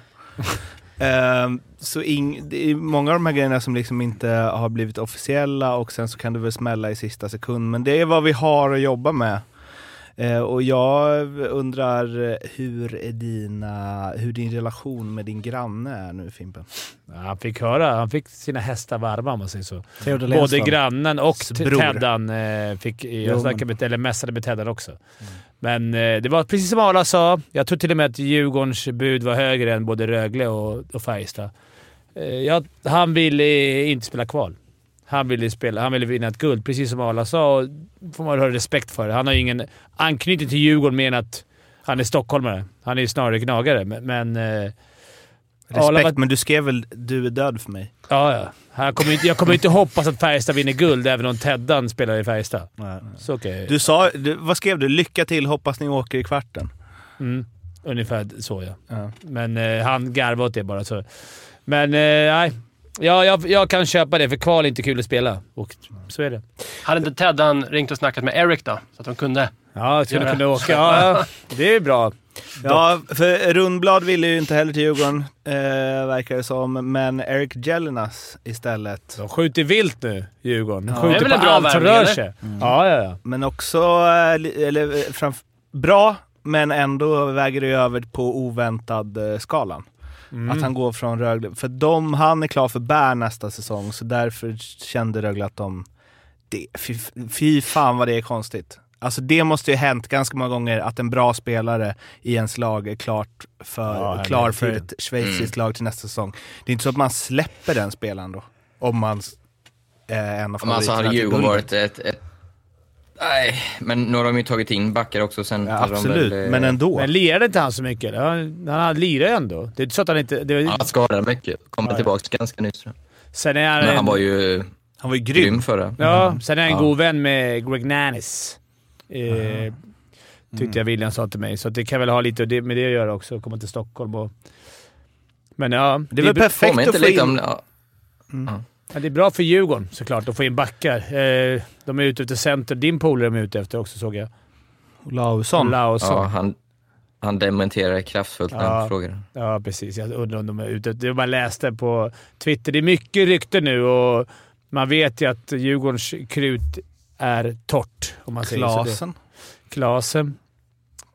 Speaker 4: Ehm, så ing, det är många av de här grejerna som liksom inte har blivit officiella och sen så kan det väl smälla i sista sekund. Men det är vad vi har att jobba med. Eh, och jag undrar eh, hur, är dina, hur din relation med din granne är nu Fimpen?
Speaker 2: Ja, Han fick höra. Han fick sina hästar varma om man säger så.
Speaker 3: Theodor
Speaker 2: Både
Speaker 3: Lennström.
Speaker 2: grannen och t-
Speaker 4: bror.
Speaker 2: Teddan eh, fick... Jag
Speaker 3: men-
Speaker 2: snackade med, eller mässade med Teddan också.
Speaker 4: Mm.
Speaker 2: Men eh, det var precis som alla sa. Jag tror till och med att Djurgårdens bud var högre än både Rögle och, och Färjestad. Eh, jag, han ville inte spela kval. Han ville ju spela. Han ville vinna ett guld, precis som Arla sa. Och får man ha respekt för. Han har ju ingen anknytning till Djurgården mer än att han är stockholmare. Han är ju snarare gnagare, men... men eh, Arla
Speaker 4: Respekt,
Speaker 2: var-
Speaker 4: men du skrev väl “du är död” för mig?
Speaker 2: Ja, ja. Han kommer ju inte, jag kommer ju inte hoppas att Färjestad vinner guld, även om Teddan spelar i Färjestad. Så okej.
Speaker 4: Du sa, du, vad skrev du? “Lycka till, hoppas ni åker i kvarten”.
Speaker 2: Mm, ungefär så, ja.
Speaker 4: Ja.
Speaker 2: Men eh, han garvade åt det bara. Så. Men eh, nej, ja, jag, jag kan köpa det, för kval är inte kul att spela. Och så är det.
Speaker 8: Hade inte Teddan ringt och snackat med Eric då? Så att de kunde.
Speaker 2: Ja, jag skulle
Speaker 8: Ja.
Speaker 2: kunna åka. Ja, ja. det är bra.
Speaker 4: Ja, för Rundblad ville ju inte heller till Djurgården, eh, verkar det som. Men Eric Jellinas istället.
Speaker 2: De skjuter vilt nu, Djurgården. De
Speaker 4: Ja.
Speaker 8: Det är
Speaker 2: skjuter på
Speaker 8: väl en bra
Speaker 2: allt som
Speaker 8: värvning,
Speaker 2: rör
Speaker 8: eller?
Speaker 2: sig. Ja, ja, ja.
Speaker 4: Men också, eh, li- eller eh, framf- bra, men ändå väger det över på oväntad eh, skalan.
Speaker 2: Mm.
Speaker 4: Att han går från Rögle. För de, han är klar för Bär nästa säsong, så därför kände Rögle att de... Det, fy, fy fan vad det är konstigt. Alltså det måste ju ha hänt ganska många gånger att en bra spelare i ens lag är klart för,
Speaker 2: Ja, hela
Speaker 4: klar för
Speaker 2: tiden.
Speaker 4: ett schweiziskt lag till nästa säsong. Det är inte så att man släpper den spelaren då, om man eh, är en av
Speaker 1: Men alltså
Speaker 4: favoriterna
Speaker 1: hade
Speaker 4: till
Speaker 1: Djurgården varit
Speaker 4: guldet.
Speaker 1: ett, ett... Nej, men nu har de ju tagit in backar också. Sen
Speaker 4: Ja,
Speaker 1: hade
Speaker 4: absolut,
Speaker 1: de väl, eh,
Speaker 4: men ändå.
Speaker 2: Men lirade inte han så mycket? eller? Han, han lirar ju ändå. Det är inte så att han inte... Det,
Speaker 1: Han skadade mycket. Kommer
Speaker 2: Ja, ja.
Speaker 1: tillbaka ganska nyss. tror
Speaker 2: Sen är han,
Speaker 1: jag. Men
Speaker 2: en-
Speaker 1: han var ju
Speaker 4: han var ju grym.
Speaker 1: grym förra.
Speaker 2: Ja, Mm. sen är han
Speaker 1: Ja.
Speaker 2: god vän med Greg Nannis. Eh, tyckte
Speaker 4: Mm.
Speaker 2: jag William sa till mig, så att det kan väl ha lite det- med det att göra också. Komma till Stockholm och... Men ja,
Speaker 4: Det är väl
Speaker 2: bra-
Speaker 4: perfekt
Speaker 1: Påminner
Speaker 4: att
Speaker 1: inte
Speaker 4: få
Speaker 1: lite
Speaker 4: in...
Speaker 1: om... Ja,
Speaker 2: ja, det är bra för Djurgården såklart att få in backar. Eh, de är ute efter center. Din polare är de ute efter också såg jag.
Speaker 4: Olausson.
Speaker 2: Lausson.
Speaker 1: ja,
Speaker 2: Ja.
Speaker 1: han, han dementerar kraftfullt när
Speaker 2: Ja.
Speaker 1: han frågar.
Speaker 2: precis. Jag undrar om de är ute efter... Jag bara läste på Twitter. Det är mycket rykte nu och man vet ju att Djurgårdens krut är torrt, om
Speaker 4: Alltså,
Speaker 2: man säger så. alltså Det-
Speaker 4: Klasen.
Speaker 2: Klasen.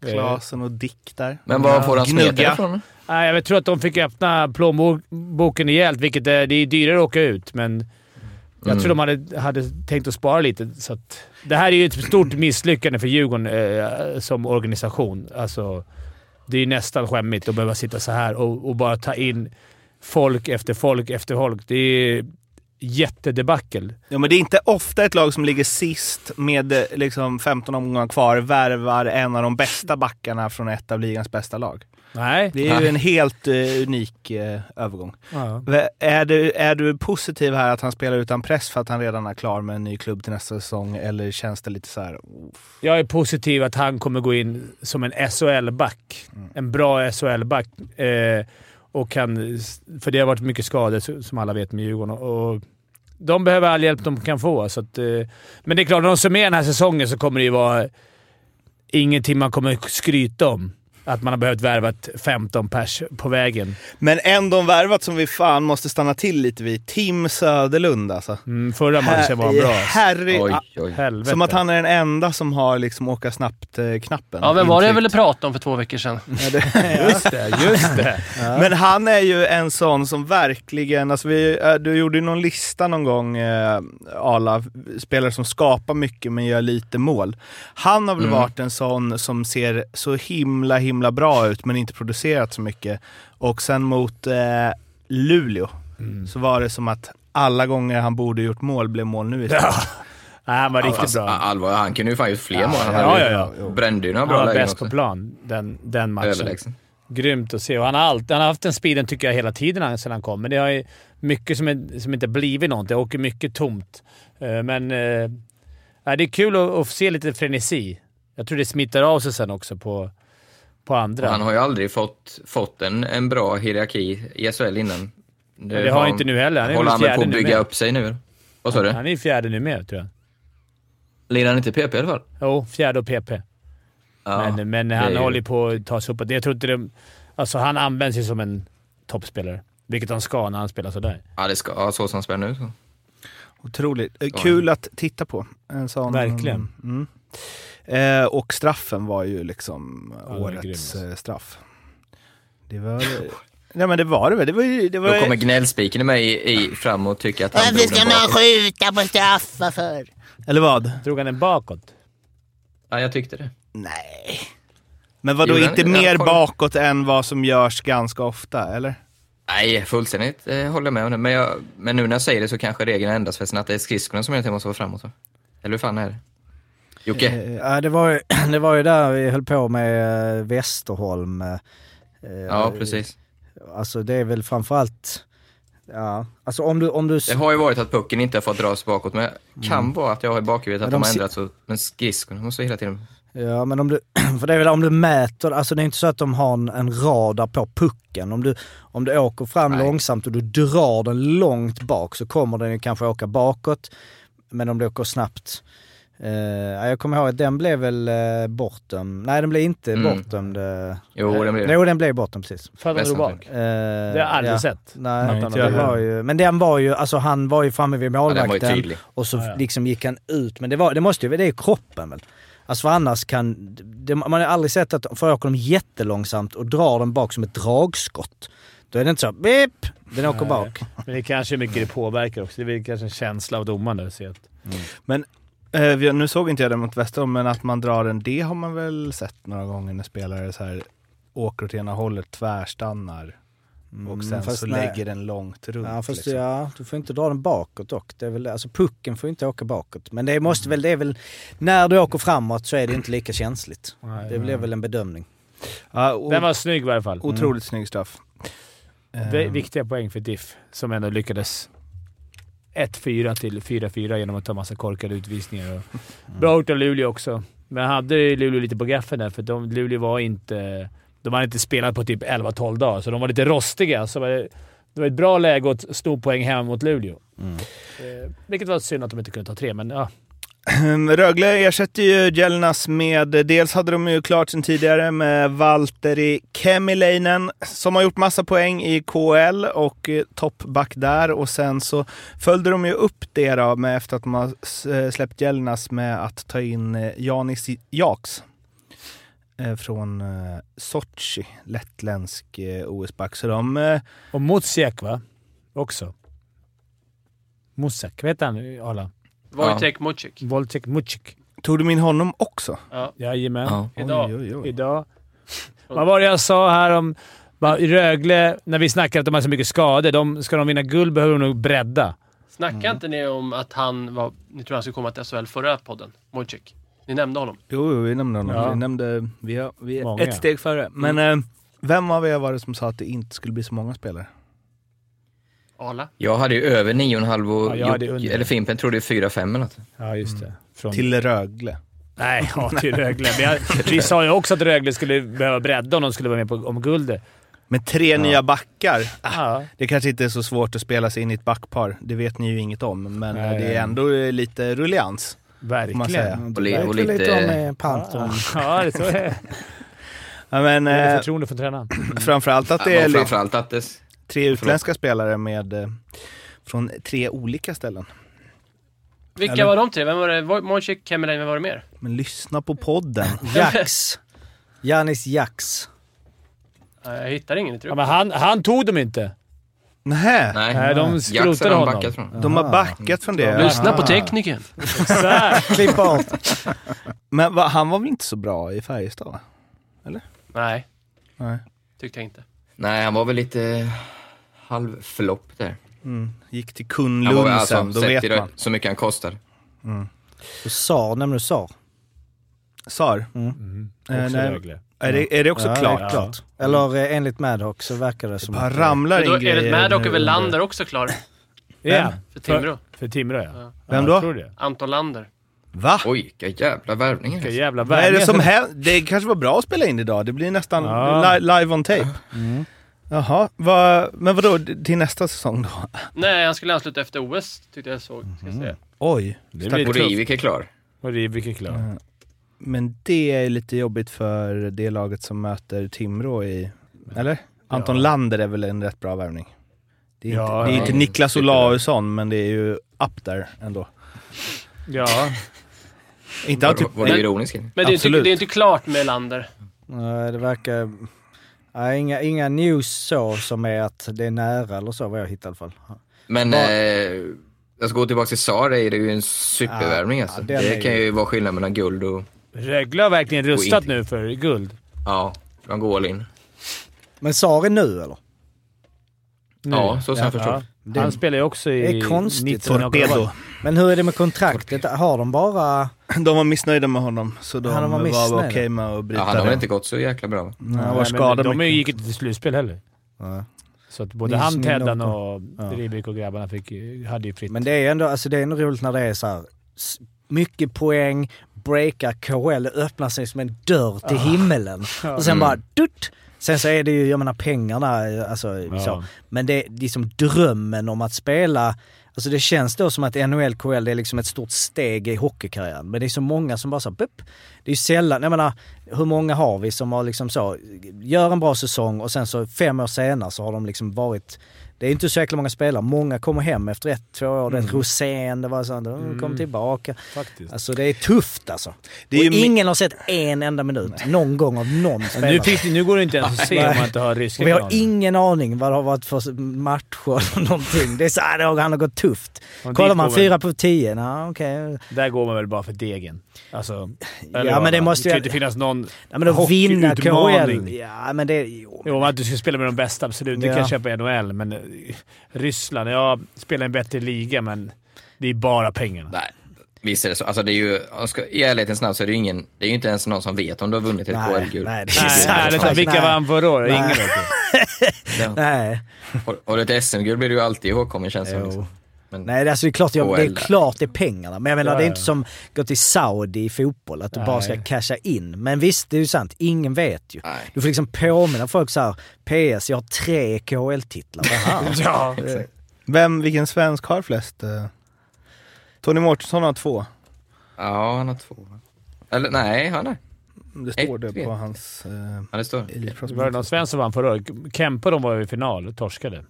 Speaker 2: Eh,
Speaker 4: Klasen och Dick där.
Speaker 1: Men var
Speaker 2: Ja.
Speaker 1: får han smeten
Speaker 4: Gnugga.
Speaker 1: ifrån?
Speaker 2: Nej, jag tror att de fick öppna plånboken rejält, vilket är, det är dyrare att åka ut, men jag
Speaker 1: Mm.
Speaker 2: tror de hade, hade tänkt att spara lite. Så att, det här är ju ett stort misslyckande för Djurgården eh, som organisation. Alltså, det är ju nästan skämmigt att behöva sitta så här och, och bara ta in folk efter folk efter folk. Det är jättedebackel.
Speaker 4: Ja, men det är inte ofta ett lag som ligger sist med eh, liksom 15 omgångar kvar värvar en av de bästa backarna från ett av ligans bästa lag.
Speaker 2: Nej.
Speaker 4: Det är ju en helt eh, unik eh, övergång.
Speaker 2: Ja.
Speaker 4: V- Är du, är du positiv här att han spelar utan press för att han redan är klar med en ny klubb till nästa säsong, eller känns det lite så här...
Speaker 2: Jag är positiv att han kommer gå in som en SHL-back. En bra SHL-back. Eh, och kan, för det har varit mycket skador, så- som alla vet, med Djurgården. Och, och de behöver all hjälp de kan få. Så att, eh, men det är klart, när de summerar den här säsongen så kommer det ju vara ingenting man kommer skryta om. Att man har behövt värva ett 15 pers på vägen.
Speaker 4: Men en de värvat som vi fan måste stanna till lite vid, Tim Söderlund alltså.
Speaker 2: Mm, förra matchen var han bra.
Speaker 4: Harry,
Speaker 1: Oj, oj.
Speaker 2: Helvete.
Speaker 4: Som att han är den enda som har liksom åka snabbt-knappen.
Speaker 8: Ja, vem var det jag ville prata om för två veckor sedan?
Speaker 3: Mm.
Speaker 2: Just det, just det.
Speaker 4: Men han är ju en sån som verkligen, alltså vi, eh, du gjorde ju någon lista någon gång, eh, Arla, spelare som skapar mycket men gör lite mål. Han har väl varit en sån som ser så himla, himla bra ut men inte producerat så mycket. Och sen mot eh, Luleå så var det som att alla gånger han borde gjort mål blev mål nu istället.
Speaker 2: Nej, han var riktigt
Speaker 1: Alltså,
Speaker 2: bra.
Speaker 1: allvar, han kunde ju fan gjort fler mål. Han
Speaker 2: ja,
Speaker 1: hade ju-
Speaker 2: ja,
Speaker 1: brände ju några
Speaker 2: Han
Speaker 1: bra
Speaker 2: var
Speaker 1: lägen
Speaker 2: bäst på
Speaker 1: också.
Speaker 2: plan den, den matchen.
Speaker 1: Överlägsen.
Speaker 2: Grymt att se. Och han, har alltid, han har haft den speeden tycker jag hela tiden han- sedan han kom, men det har ju mycket som, är, som inte blivit något. Det åker mycket tomt. Eh, Men eh, nej, det är kul att, att se lite frenesi. Jag tror det smittar av sig sen också på, på andra.
Speaker 1: Han har ju aldrig fått, fått en, en bra hierarki i SHL innan.
Speaker 2: Men det har han inte nu heller. Han är
Speaker 1: Håller
Speaker 2: väl
Speaker 1: han väl på
Speaker 2: fjärde
Speaker 1: att
Speaker 2: nu
Speaker 1: bygga
Speaker 2: med.
Speaker 1: upp sig nu? eller? Vad sa du?
Speaker 2: Han är ju fjärde nu med, tror jag.
Speaker 1: Lirar han inte PP i alla fall?
Speaker 2: Jo, fjärde och PP.
Speaker 1: Ja,
Speaker 2: men men
Speaker 1: det är
Speaker 2: han
Speaker 1: ju-
Speaker 2: håller på att ta sig uppåt. Jag tror inte det, alltså, han används ju som en toppspelare, vilket han ska när han spelar sådär.
Speaker 1: Ja, det ska, ja, så som han spelar nu. Så.
Speaker 4: Otroligt. Eh,
Speaker 1: Ja.
Speaker 4: Kul att titta på. En sån,
Speaker 2: Verkligen.
Speaker 4: Mm. Eh, och straffen var ju liksom
Speaker 2: var grym,
Speaker 4: årets
Speaker 2: alltså.
Speaker 4: eh, straff. Det var... eh, Nej men det var det väl. Det var ju... Det var
Speaker 1: Då
Speaker 4: ju-
Speaker 1: kommer gnällspiken i mig i, fram och tycker att han
Speaker 6: Varför
Speaker 1: drog
Speaker 6: ska
Speaker 1: den
Speaker 6: man
Speaker 1: bakåt.
Speaker 6: skjuta på straffar för?
Speaker 4: Eller vad?
Speaker 2: Drog han den bakåt?
Speaker 1: Ja, jag tyckte det.
Speaker 4: Nej. Men vadå,
Speaker 1: Jo, den-
Speaker 4: inte
Speaker 1: den
Speaker 4: mer
Speaker 1: kom-
Speaker 4: bakåt än vad som görs ganska ofta, eller?
Speaker 1: Nej, fullständigt eh, håller jag med om det. Men, jag, men nu när jag säger det så kanske regeln ändras förresten att det är skridskorna som hela tiden måste vara framåt va? Eller hur fan är det? Jocke?
Speaker 3: Eh, Ja, det var ju, det var ju där vi höll på med eh, Västerholm. eh,
Speaker 1: ja,
Speaker 3: eh,
Speaker 1: precis.
Speaker 3: Alltså det är väl framförallt, ja, alltså om du, om du,
Speaker 1: Det har ju varit att pucken inte har fått dras bakåt, men det kan vara att jag har i bakhuvudet att
Speaker 3: Men
Speaker 1: de,
Speaker 3: de
Speaker 1: har
Speaker 3: si-
Speaker 1: ändrats. och- Men skridskorna måste hela tiden...
Speaker 3: ja men om du, för det är väl om du mäter, alltså det är inte så att de har en, en radar på pucken. Om du, om du åker fram
Speaker 1: Nej.
Speaker 3: långsamt och du drar den långt bak så kommer den ju kanske åka bakåt. Men om du åker snabbt, eh, ja, jag kommer ihåg att den blev väl eh, bortdömd, nej den blev inte
Speaker 1: Mm.
Speaker 3: bortdömd. eh.
Speaker 1: Jo, den blir det.
Speaker 3: Jo den blev bortdömd precis.
Speaker 2: För att de drog bak.
Speaker 1: Västernfront.
Speaker 3: Eh,
Speaker 2: Det har jag aldrig
Speaker 3: ja.
Speaker 2: sett.
Speaker 3: Nej,
Speaker 4: Nej,
Speaker 3: utan
Speaker 4: inte
Speaker 3: det
Speaker 4: jag heller.
Speaker 3: var ju, men den var ju, alltså han var ju framme vid
Speaker 1: Ja, den var ju
Speaker 3: målvakten
Speaker 1: tydlig.
Speaker 3: och så
Speaker 2: Ja, ja.
Speaker 3: liksom gick han ut. Men det, var, det måste ju, det är ju kroppen väl? Alltså för annars kan, det, man har aldrig sett att, för åker de jättelångsamt och drar den bak som ett dragskott. Då är det inte så, beep, den åker
Speaker 2: Nej.
Speaker 3: bak.
Speaker 2: Men det kanske är mycket det påverkar också. Det är väl kanske en känsla av domaren där. att se att-
Speaker 4: Eh, vi- nu såg inte jag det mot Västerholm, men att man drar den, det har man väl sett några gånger när spelare så här åker åt ena hållet, tvärstannar och sen
Speaker 3: Mm, fast
Speaker 4: så
Speaker 3: nej.
Speaker 4: lägger den långt runt.
Speaker 3: Ja, fast
Speaker 4: liksom.
Speaker 3: ja, du får inte dra den bakåt dock. Det är väl, alltså pucken får inte åka bakåt. Men det
Speaker 4: Mm.
Speaker 3: måste väl, det är väl, när du åker framåt så är det inte lika känsligt. det blir väl en bedömning.
Speaker 4: Ja, o-
Speaker 2: Den var snygg i alla fall.
Speaker 4: Otroligt snygg straff.
Speaker 2: Det är
Speaker 4: Eh,
Speaker 2: viktiga poäng för Diff, som ändå lyckades 1-4 till 4-4 genom att ta massa korkade utvisningar. Och bra gjort av Luleå också, men hade ju Luleå lite på gaffeln där, för de, Luleå var inte... De hade inte spelat på typ 11-12 dagar, så de var lite rostiga. Så var det, det var ett bra läge att sno poäng hem mot Luleå. Eh, vilket var synd att de inte kunde ta tre, men ja.
Speaker 4: Rögle ersätter ju Gelnas med, dels hade de ju klart sen tidigare med Valtteri Kemileinen som har gjort massa poäng i KL och eh, toppback där och sen så följde de ju upp det då med efter att de har s- eh, släppt Gelnas med att ta in eh, Janis Jaks eh, från eh, Sochi, lettländsk eh, OS-back. Så de eh,
Speaker 2: Och Motziak va? Också. Motziak. Vad heter han? Arla?
Speaker 8: Wojtek Mucic.
Speaker 2: Volcek Mutschik.
Speaker 4: tog de in honom också.
Speaker 8: Ja,
Speaker 2: Jajamän.
Speaker 1: Ja.
Speaker 8: idag.
Speaker 4: Oj, oj, oj.
Speaker 2: idag. Vad var det jag sa här om bara, i Rögle, när vi snackade att de har så mycket skador. De, ska de vinna guld behöver de nog bredda.
Speaker 8: Snackade inte ni om att han var... Ni tror han skulle komma till SHL förra podden? Mucic. Ni nämnde honom.
Speaker 4: Jo, jo, vi nämnde honom.
Speaker 2: Ja.
Speaker 4: Vi nämnde, vi, har, vi är
Speaker 2: Många.
Speaker 4: ett steg före. Men eh, vem av er var det som sa att det inte skulle bli så många spelare?
Speaker 8: Arla.
Speaker 1: Jag hade ju över 9,5
Speaker 2: Ja,
Speaker 1: och
Speaker 2: jag hade
Speaker 1: Jocke-
Speaker 2: under.
Speaker 1: eller Fimpen trodde ju 4-5 eller något.
Speaker 2: Ja, just det. Mm. Från,
Speaker 4: Till Rögle.
Speaker 2: Nej, ja, till Rögle. Men jag, vi sa ju också att Rögle skulle behöva bredda om de skulle vara med på, om guldet.
Speaker 4: Med tre nya backar.
Speaker 2: Ja.
Speaker 4: Det kanske inte är så svårt att spela sig in i ett backpar. Det vet ni ju inget om, men eh,
Speaker 2: Nej,
Speaker 4: det
Speaker 2: nej.
Speaker 4: är ändå eh, lite rullians. Får man
Speaker 2: Verkligen.
Speaker 4: säga. Ah.
Speaker 1: Och, li- och
Speaker 3: lite,
Speaker 1: lite...
Speaker 3: om eh, Panton.
Speaker 2: Ja, det tror jag.
Speaker 4: Ja, men,
Speaker 2: Jag har
Speaker 4: eh,
Speaker 2: förtroende för tränaren.
Speaker 4: framförallt att det
Speaker 1: Ja,
Speaker 4: är
Speaker 1: men
Speaker 4: li-
Speaker 1: framförallt att det...
Speaker 4: tre utländska spelare med, eh, från tre olika ställen.
Speaker 8: Vilka
Speaker 4: Eller-
Speaker 8: var de tre? Vem var det? Woj- Mucic, Kemmerlein, vem var det mer?
Speaker 4: Men lyssna på podden.
Speaker 3: Jax. Janis Jax.
Speaker 8: Nej, Jag hittar ingen i
Speaker 2: Ja,
Speaker 8: truppen.
Speaker 2: men han, han tog dem inte.
Speaker 4: Nähä,
Speaker 1: Nej,
Speaker 2: Nej, de
Speaker 1: Jax
Speaker 2: skrotade
Speaker 1: hade
Speaker 2: honom.
Speaker 1: backat från.
Speaker 4: de
Speaker 3: Ah.
Speaker 4: har backat från det.
Speaker 8: Lyssna på
Speaker 4: Ah.
Speaker 8: tekniken.
Speaker 2: Exakt.
Speaker 3: Klipp bort.
Speaker 4: Men va, han var väl inte så bra i Färjestad? va?
Speaker 8: Nej,
Speaker 4: Nej.
Speaker 8: tyckte jag inte.
Speaker 1: Nej, han var väl lite halvflopp där.
Speaker 4: Mm. Gick till
Speaker 1: Han var
Speaker 4: Kunlund
Speaker 1: väl alltså,
Speaker 4: sen, då
Speaker 1: sett till
Speaker 4: vet
Speaker 1: det-
Speaker 4: man.
Speaker 1: så mycket han kostar.
Speaker 3: Du Sar, nämner du Sar?
Speaker 4: SAR, Eh,
Speaker 2: Också
Speaker 4: nej.
Speaker 2: Rögle.
Speaker 4: är, det, är det också
Speaker 3: Ja, det är
Speaker 4: klart?
Speaker 3: klart. Eller eh, enligt Madhawk så verkar det som
Speaker 4: Bara
Speaker 3: att- eh,
Speaker 4: ramlar
Speaker 8: Men då
Speaker 4: in
Speaker 8: är det
Speaker 4: grejer
Speaker 8: Maddock
Speaker 4: nu
Speaker 8: och
Speaker 4: under-
Speaker 8: Lander också klar
Speaker 2: Ja,
Speaker 8: för Timrå.
Speaker 2: för Timrå ja.
Speaker 4: Vem
Speaker 2: Ja,
Speaker 4: då?
Speaker 2: jag Tror det.
Speaker 8: Anton Lander.
Speaker 4: Va?
Speaker 1: Oj, vilka jävla värvningar. alltså.
Speaker 2: Vilka jävla
Speaker 4: Vad är det
Speaker 2: värvningar
Speaker 4: som händer? Det kanske var bra att spela in idag. Det blir nästan
Speaker 2: Ja.
Speaker 4: li- live on tape. Jaha, va, men vadå till nästa säsong då?
Speaker 8: Nej, han skulle ansluta efter OS, tyckte jag såg. Ska jag säga.
Speaker 4: Oj.
Speaker 2: Det
Speaker 4: Tack
Speaker 2: blir
Speaker 1: Och
Speaker 4: vare-
Speaker 2: tufft.
Speaker 1: Rivik är klar.
Speaker 2: Och Rivik är klar.
Speaker 4: Mm. Men det är lite jobbigt för det laget som möter Timrå i... Eller? Anton Lander är väl en rätt bra värvning? Det är inte,
Speaker 2: Ja,
Speaker 4: det är
Speaker 2: ja.
Speaker 4: inte Niklas Olausson, men det är ju up there ändå.
Speaker 2: Ja.
Speaker 4: Inte att
Speaker 1: var, var du
Speaker 4: typ...
Speaker 1: ironisk?
Speaker 8: Men det är, inte,
Speaker 4: Absolut.
Speaker 8: det är inte klart med Lander.
Speaker 3: Nej, det verkar... Nej, inga, inga news så som är att det är nära eller så vad jag hittar i alla fall.
Speaker 1: Men
Speaker 3: Ja.
Speaker 1: eh, jag ska gå tillbaka till Sar, det är ju en supervärvning alltså.
Speaker 3: Ja, den är
Speaker 1: det
Speaker 3: ju-
Speaker 1: kan ju vara skillnad mellan guld och...
Speaker 2: Rögle har verkligen
Speaker 1: Och
Speaker 2: rustat
Speaker 1: inte-
Speaker 2: nu för guld.
Speaker 1: Ja, de går all in.
Speaker 3: Men Sar är nu eller?
Speaker 2: nu.
Speaker 1: Ja, så som jag förstår.
Speaker 3: Det-
Speaker 2: Han spelar ju också i...
Speaker 3: Det är konstigt.
Speaker 2: 19 och-
Speaker 4: Torpedo.
Speaker 3: Men hur är det med kontraktet? Har de bara...
Speaker 4: De var missnöjda med honom, så de,
Speaker 3: Ja, de var
Speaker 4: var, var
Speaker 3: missnöjda.
Speaker 4: okej med att bryta
Speaker 1: Ja, han har väl
Speaker 4: det.
Speaker 1: inte gått så jäkla bra.
Speaker 4: Nej, han
Speaker 2: Nej,
Speaker 4: var
Speaker 2: men
Speaker 4: skadad
Speaker 2: De
Speaker 4: mycket.
Speaker 2: gick inte till slutspel heller. Så att både
Speaker 3: Nils
Speaker 2: han,
Speaker 3: Nilsson
Speaker 2: Teddan
Speaker 3: och-
Speaker 2: och Ribik och grabbarna fick, hade ju fritt.
Speaker 3: Men det är ändå, alltså det är ändå roligt när det är så här, s- mycket poäng, breakar KHL, öppnar sig som en dörr till himmelen. Och sen
Speaker 1: Mm.
Speaker 3: bara dutt! Sen så är det ju, jag menar pengarna, alltså
Speaker 2: Ja.
Speaker 3: så. Men det är liksom drömmen om att spela, alltså det känns då som att NHL, KHL, det är liksom ett stort steg i hockeykarriären. Men det är så många som bara så här, bup. Det är ju sällan, jag menar, hur många har vi som har liksom så, gör en bra säsong och sen så fem år senare så har de liksom varit det är inte så jäkla många spelare. Många kommer hem efter ett, två år. Det är Rosén, det var sånt. De kom tillbaka.
Speaker 2: Faktiskt.
Speaker 3: Alltså det är tufft alltså.
Speaker 4: Det är ju
Speaker 3: och
Speaker 4: mi-
Speaker 3: ingen har sett en enda minut någon gång av någon spelare.
Speaker 2: nu, fick, nu går det inte ens att se om man inte har ryska
Speaker 3: och vi har
Speaker 2: kanaler.
Speaker 3: ingen aning vad det har varit för matcher eller någonting. Det är så här, det har- han har gått tufft.
Speaker 2: Men
Speaker 3: Kollar
Speaker 2: dit
Speaker 3: man
Speaker 2: går väl-
Speaker 3: fyra på tio, nah, okej.
Speaker 2: Där går man väl bara för degen. Alltså,
Speaker 3: Ja,
Speaker 2: eller vad?
Speaker 3: men det måste
Speaker 2: kan
Speaker 3: ju-
Speaker 2: inte finnas någon...
Speaker 3: Ja, men att vinna KHL.
Speaker 2: Hockeyutmaning.
Speaker 3: Ja, men det... Jo.
Speaker 2: Jo, att du ska spela med de bästa, absolut. Det
Speaker 3: Ja.
Speaker 2: kan jag köpa i NHL, men eh, Ryssland, ja, spelar en bättre liga, men det är bara pengarna.
Speaker 1: Nej, visst är det så. Alltså, det är ju, om ska, I ärlighetens namn så är det ju ingen, det är ju inte ens någon som vet om du har vunnit ett
Speaker 3: Nej,
Speaker 1: KHL-guld.
Speaker 3: nej, det är
Speaker 2: Nej,
Speaker 3: sant.
Speaker 2: ärligt
Speaker 1: Alltså,
Speaker 2: talat, vilka
Speaker 3: Nej.
Speaker 2: vann förra året?
Speaker 3: Nej.
Speaker 2: Ingen vet ju.
Speaker 3: Nej.
Speaker 1: Har, har du ett SM-guld blir du ju alltid ihågkommen känns det som.
Speaker 3: Jo.
Speaker 1: liksom. Men,
Speaker 3: Nej, alltså det är klart, jag, det är
Speaker 1: KHL.
Speaker 3: klart det är pengarna. Men jag menar,
Speaker 2: Ja,
Speaker 3: det är
Speaker 2: ja.
Speaker 3: inte som gå till Saudi i fotboll, att du bara ska
Speaker 2: Nej.
Speaker 3: casha in. Men visst, det är ju sant. Ingen vet ju.
Speaker 1: Nej.
Speaker 3: Du får liksom påminna folk så här, PS, jag har tre KHL-titlar. Vad här?
Speaker 2: Ja.
Speaker 4: Vem, vilken svensk har flest? eh? Tony Mårtensson har två.
Speaker 1: Ja, han har två. va? Eller nej, han är.
Speaker 4: Det står
Speaker 1: Ett
Speaker 4: det
Speaker 1: vet
Speaker 4: på
Speaker 1: jag.
Speaker 4: hans... Eh,
Speaker 1: Ja, det står.
Speaker 4: Elite Prospect.
Speaker 2: Var det någon svensk som vann förra året? Kempe de var ju i final och torskade.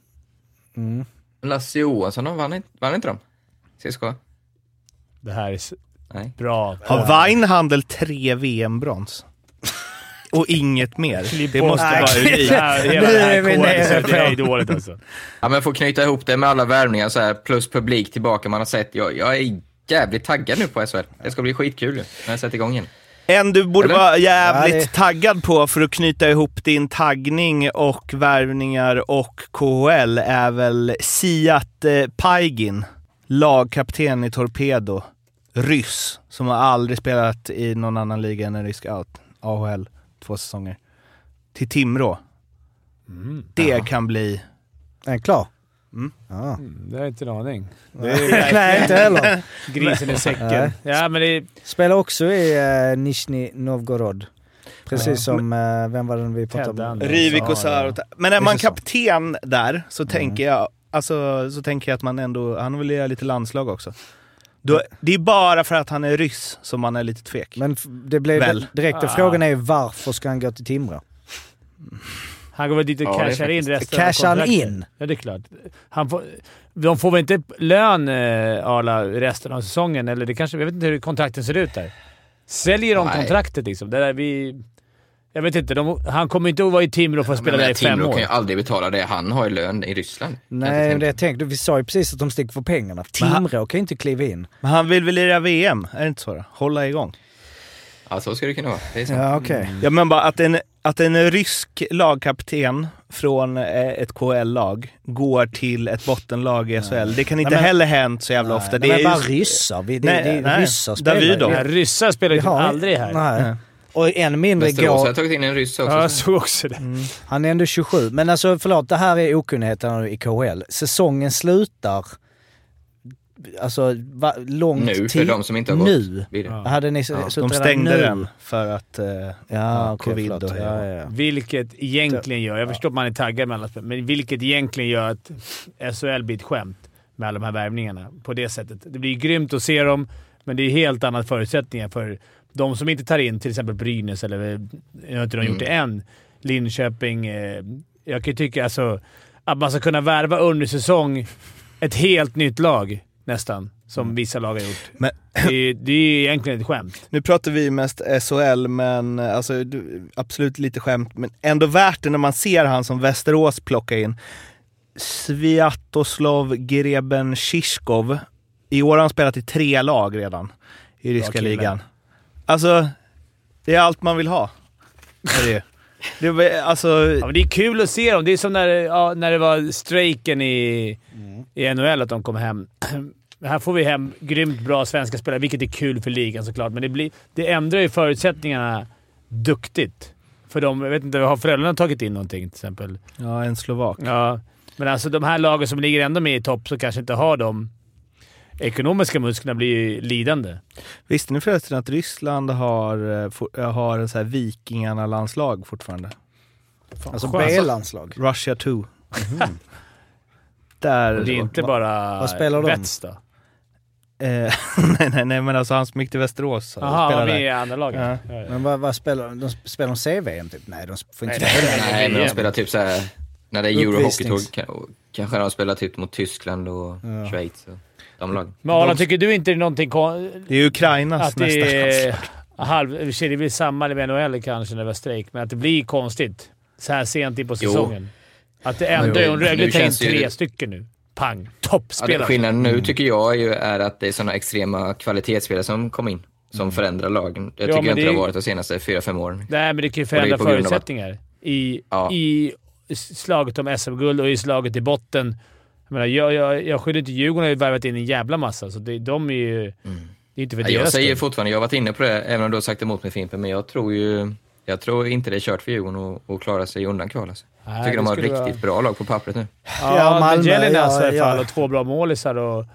Speaker 1: Lasse Johansson, han vann, inte- vann inte de? CSKA?
Speaker 2: Det här är s-
Speaker 1: Nej.
Speaker 2: bra.
Speaker 4: Har Weinhandel tre VM-brons? Och inget mer?
Speaker 2: Klipp
Speaker 4: Det
Speaker 2: bort
Speaker 4: måste
Speaker 2: det
Speaker 4: vara
Speaker 2: här.
Speaker 4: unikt.
Speaker 2: Det här- Hela
Speaker 3: Nu
Speaker 2: det här
Speaker 3: är vi
Speaker 2: KHL,
Speaker 3: nere
Speaker 2: så det är dåligt alltså.
Speaker 1: Ja, men får knyta ihop det med alla värvningar så här, plus publik tillbaka man har sett. Jag, jag är jävligt taggad nu på SHL. Det ska bli skitkul ju, när jag sätter igång igen.
Speaker 4: En du borde
Speaker 1: Eller?
Speaker 4: vara
Speaker 3: Ja,
Speaker 4: jävligt
Speaker 3: det-
Speaker 4: taggad på för att knyta ihop din taggning och värvningar och KHL är väl Siat eh, Paigin, lagkapten i Torpedo. Ryss, som har aldrig spelat i någon annan liga än en rysk out. AHL, två säsonger. Till Timrå.
Speaker 2: Mm.
Speaker 4: Det kan bli...
Speaker 3: Är den klar?
Speaker 4: Mm.
Speaker 3: Ja.
Speaker 2: Det är inte en aning.
Speaker 3: Nej, inte heller.
Speaker 2: Grisen i säcken.
Speaker 3: Nej.
Speaker 2: Ja, men det,
Speaker 3: Spelar också i eh, Nizhny Novgorod. Precis
Speaker 4: Ja.
Speaker 3: som, eh, vem var det vi pratade om?
Speaker 2: Teddan.
Speaker 4: Rivik
Speaker 3: Ja,
Speaker 4: och Sarot. Men är
Speaker 3: Visst
Speaker 4: man
Speaker 3: är så. Mm.
Speaker 4: kapten där så tänker jag alltså, så tänker jag att man ändå, han vill göra lite landslag också. Då, det är bara för att han är ryss som man är lite tvek.
Speaker 3: Men f- det blev
Speaker 4: Väl.
Speaker 3: direkt, och
Speaker 2: Ah.
Speaker 3: frågan är ju varför ska han gå till Timrå?
Speaker 2: han går väl dit och
Speaker 1: Ja, det är
Speaker 2: cashar in
Speaker 1: faktiskt-
Speaker 2: resten
Speaker 3: Cashar han
Speaker 2: kontraktet.
Speaker 3: in?
Speaker 2: Ja, det är klart. Han får, de får väl inte lön, eh, Arla, resten av säsongen? Eller det kanske, jag vet inte hur kontrakten ser ut där. Säljer de
Speaker 1: Nej.
Speaker 2: kontraktet liksom? Det där vi, jag vet inte. De, han kommer inte att vara i Timrå för att spela
Speaker 1: Men
Speaker 2: där i fem
Speaker 1: Timrå
Speaker 2: år.
Speaker 1: kan ju aldrig betala det. Han har ju lön i Ryssland. Kan jag
Speaker 3: Nej,
Speaker 1: inte
Speaker 3: men det
Speaker 1: tänka.
Speaker 3: jag tänkte, vi sa ju precis att de sticker för pengarna.
Speaker 4: han-
Speaker 3: Timrå kan ju inte kliva in.
Speaker 4: Men han vill väl lira VM? Är det inte så? Då? Hålla igång.
Speaker 1: Ja, så skulle det kunna vara. Det är sant.
Speaker 3: Ja, okej.
Speaker 4: Ja, men bara att en, att en rysk lagkapten från eh, ett KL-lag går till ett bottenlag i SHL, det kan inte
Speaker 3: Nej, men-
Speaker 4: heller hänt så jävla
Speaker 3: Nej,
Speaker 4: ofta.
Speaker 3: nej,
Speaker 4: Det
Speaker 3: men bara
Speaker 4: ju-
Speaker 3: ryssar. Vi, det,
Speaker 4: Nej,
Speaker 3: det,
Speaker 4: nej.
Speaker 3: Ryssar spelar
Speaker 4: Davidov.
Speaker 2: Ja,
Speaker 3: ju.
Speaker 2: ryssar spelar ju
Speaker 3: Vi
Speaker 2: typ
Speaker 3: har-
Speaker 2: aldrig här.
Speaker 3: Nej. Och än mindre
Speaker 1: Västerås
Speaker 3: går...
Speaker 1: har tagit in en ryss också.
Speaker 2: Ja, jag såg också det.
Speaker 3: Han är ändå 27. Men alltså förlåt, det här är okunnigheten nu i KHL. Säsongen slutar... Alltså va, långt
Speaker 1: Nu, för
Speaker 3: tid-
Speaker 1: de som inte har gått
Speaker 3: Nu?
Speaker 1: vidare.
Speaker 3: Hade ni
Speaker 4: Ja,
Speaker 3: ja,
Speaker 4: de stängde den för att... Eh,
Speaker 3: Ja, okej,
Speaker 4: covid
Speaker 3: förlåt.
Speaker 4: och-
Speaker 3: ja, ja, ja.
Speaker 2: Vilket egentligen gör, jag förstår att man är taggad med alla spel, men vilket egentligen gör att SHL blir ett skämt med alla de här värvningarna på det sättet. Det blir grymt att se dem, men det är helt andra förutsättningar för de som inte tar in till exempel Brynäs, eller eh, jag har inte de gjort det än, Linköping. Eh, jag kan ju tycka alltså, att man ska kunna värva under säsong ett helt nytt lag nästan, som vissa lag har gjort.
Speaker 4: Men-
Speaker 2: Det, är- det är egentligen ett skämt.
Speaker 4: Nu pratar vi mest SHL, men eh, alltså, du- absolut lite skämt, men ändå värt det när man ser han som Västerås plockar in. Sviatoslav Greben Shishkov. I år har han spelat i tre lag redan i ryska
Speaker 2: kille.
Speaker 4: ligan. Alltså, det är allt man vill ha. Är det ju. Det var, alltså,
Speaker 2: Ja, men det är kul att se dem. Det är som när, ja, när det var strejken i, i NHL, att de kom hem. Här får vi hem grymt bra svenska spelare, vilket är kul för ligan såklart, men det, blir, det ändrar ju förutsättningarna duktigt. För de, jag vet inte, har Frölunda tagit in någonting till exempel?
Speaker 4: ja, en slovak.
Speaker 2: Ja, men alltså de här lagen som ligger ändå med i topp, som kanske inte har de ekonomiska musklerna, blir ju lidande.
Speaker 4: Visste ni förresten att Ryssland har, eh, for, har en så här vikingarna-landslag fortfarande?
Speaker 3: Alltså
Speaker 2: skönt.
Speaker 3: B-landslag.
Speaker 4: Russia 2.
Speaker 3: Mhm.
Speaker 4: Där...
Speaker 2: Och det är inte bara
Speaker 3: vad spelar de?
Speaker 2: Vets då?
Speaker 4: Eh, nej, nej, nej, men alltså han som gick till Västerås.
Speaker 2: Jaha,
Speaker 4: spelade
Speaker 2: vad vi
Speaker 4: där.
Speaker 2: är i andra laget.
Speaker 4: Ja.
Speaker 2: Ja, ja.
Speaker 3: Men vad, vad spelar de? De spelar de CVM typ? Nej, de får inte spela det.
Speaker 1: Nej, men de spelar typ så här... När det är Euro
Speaker 3: Uppvisnings.
Speaker 1: kanske de har spelat typ mot Tyskland och Schweiz och de lagen.
Speaker 2: Men Arlan, tycker du inte det är någonting kon-
Speaker 4: Det är Ukrainas
Speaker 2: att det
Speaker 4: nästa
Speaker 2: är halv... i och för sig, Det blir samma med NHL kanske när det var strejk, men att det blir konstigt så här sent in på
Speaker 1: Jo.
Speaker 2: säsongen. Att det ändå är... Om
Speaker 1: nu
Speaker 2: Rögle tar in
Speaker 1: känns ju
Speaker 2: tre
Speaker 1: det-
Speaker 2: stycken nu. Pang!
Speaker 1: Ja, det,
Speaker 2: Toppspelare!
Speaker 1: skillnaden
Speaker 4: Mm.
Speaker 1: nu tycker jag ju är att det är sådana extrema kvalitetsspelare som kom in. Som
Speaker 4: Mm.
Speaker 1: förändrar lagen. Det tycker
Speaker 2: Ja, men
Speaker 1: jag inte
Speaker 2: det är-
Speaker 1: det har varit de senaste fyra fem åren.
Speaker 2: Nej, men det kan ju
Speaker 1: är
Speaker 2: förändra
Speaker 1: på grund av att-
Speaker 2: förutsättningar. I,
Speaker 1: Ja.
Speaker 2: I slaget om SM-guld och i slaget i botten. Jag, menar, jag, jag, jag skyller inte Djurgården, har ju värvat in en jävla massa, så det, de är ju... Det är inte för
Speaker 1: Mm. Ja,
Speaker 2: deras
Speaker 1: Jag säger
Speaker 2: skull.
Speaker 1: fortfarande, jag har varit inne på det, även om du har sagt emot mig Fimpen, men jag tror ju... Jag tror inte det är kört för Djurgården att- att klara sig undan kval. Alltså.
Speaker 2: Nej,
Speaker 1: Jag tycker
Speaker 2: det
Speaker 1: de har ett
Speaker 2: skulle
Speaker 1: riktigt bra lag på pappret nu.
Speaker 2: Ja,
Speaker 3: Ja,
Speaker 2: men
Speaker 3: Malmö,
Speaker 2: Jelinas
Speaker 3: ja,
Speaker 2: i alla fall
Speaker 3: ja.
Speaker 2: och två bra målisar och,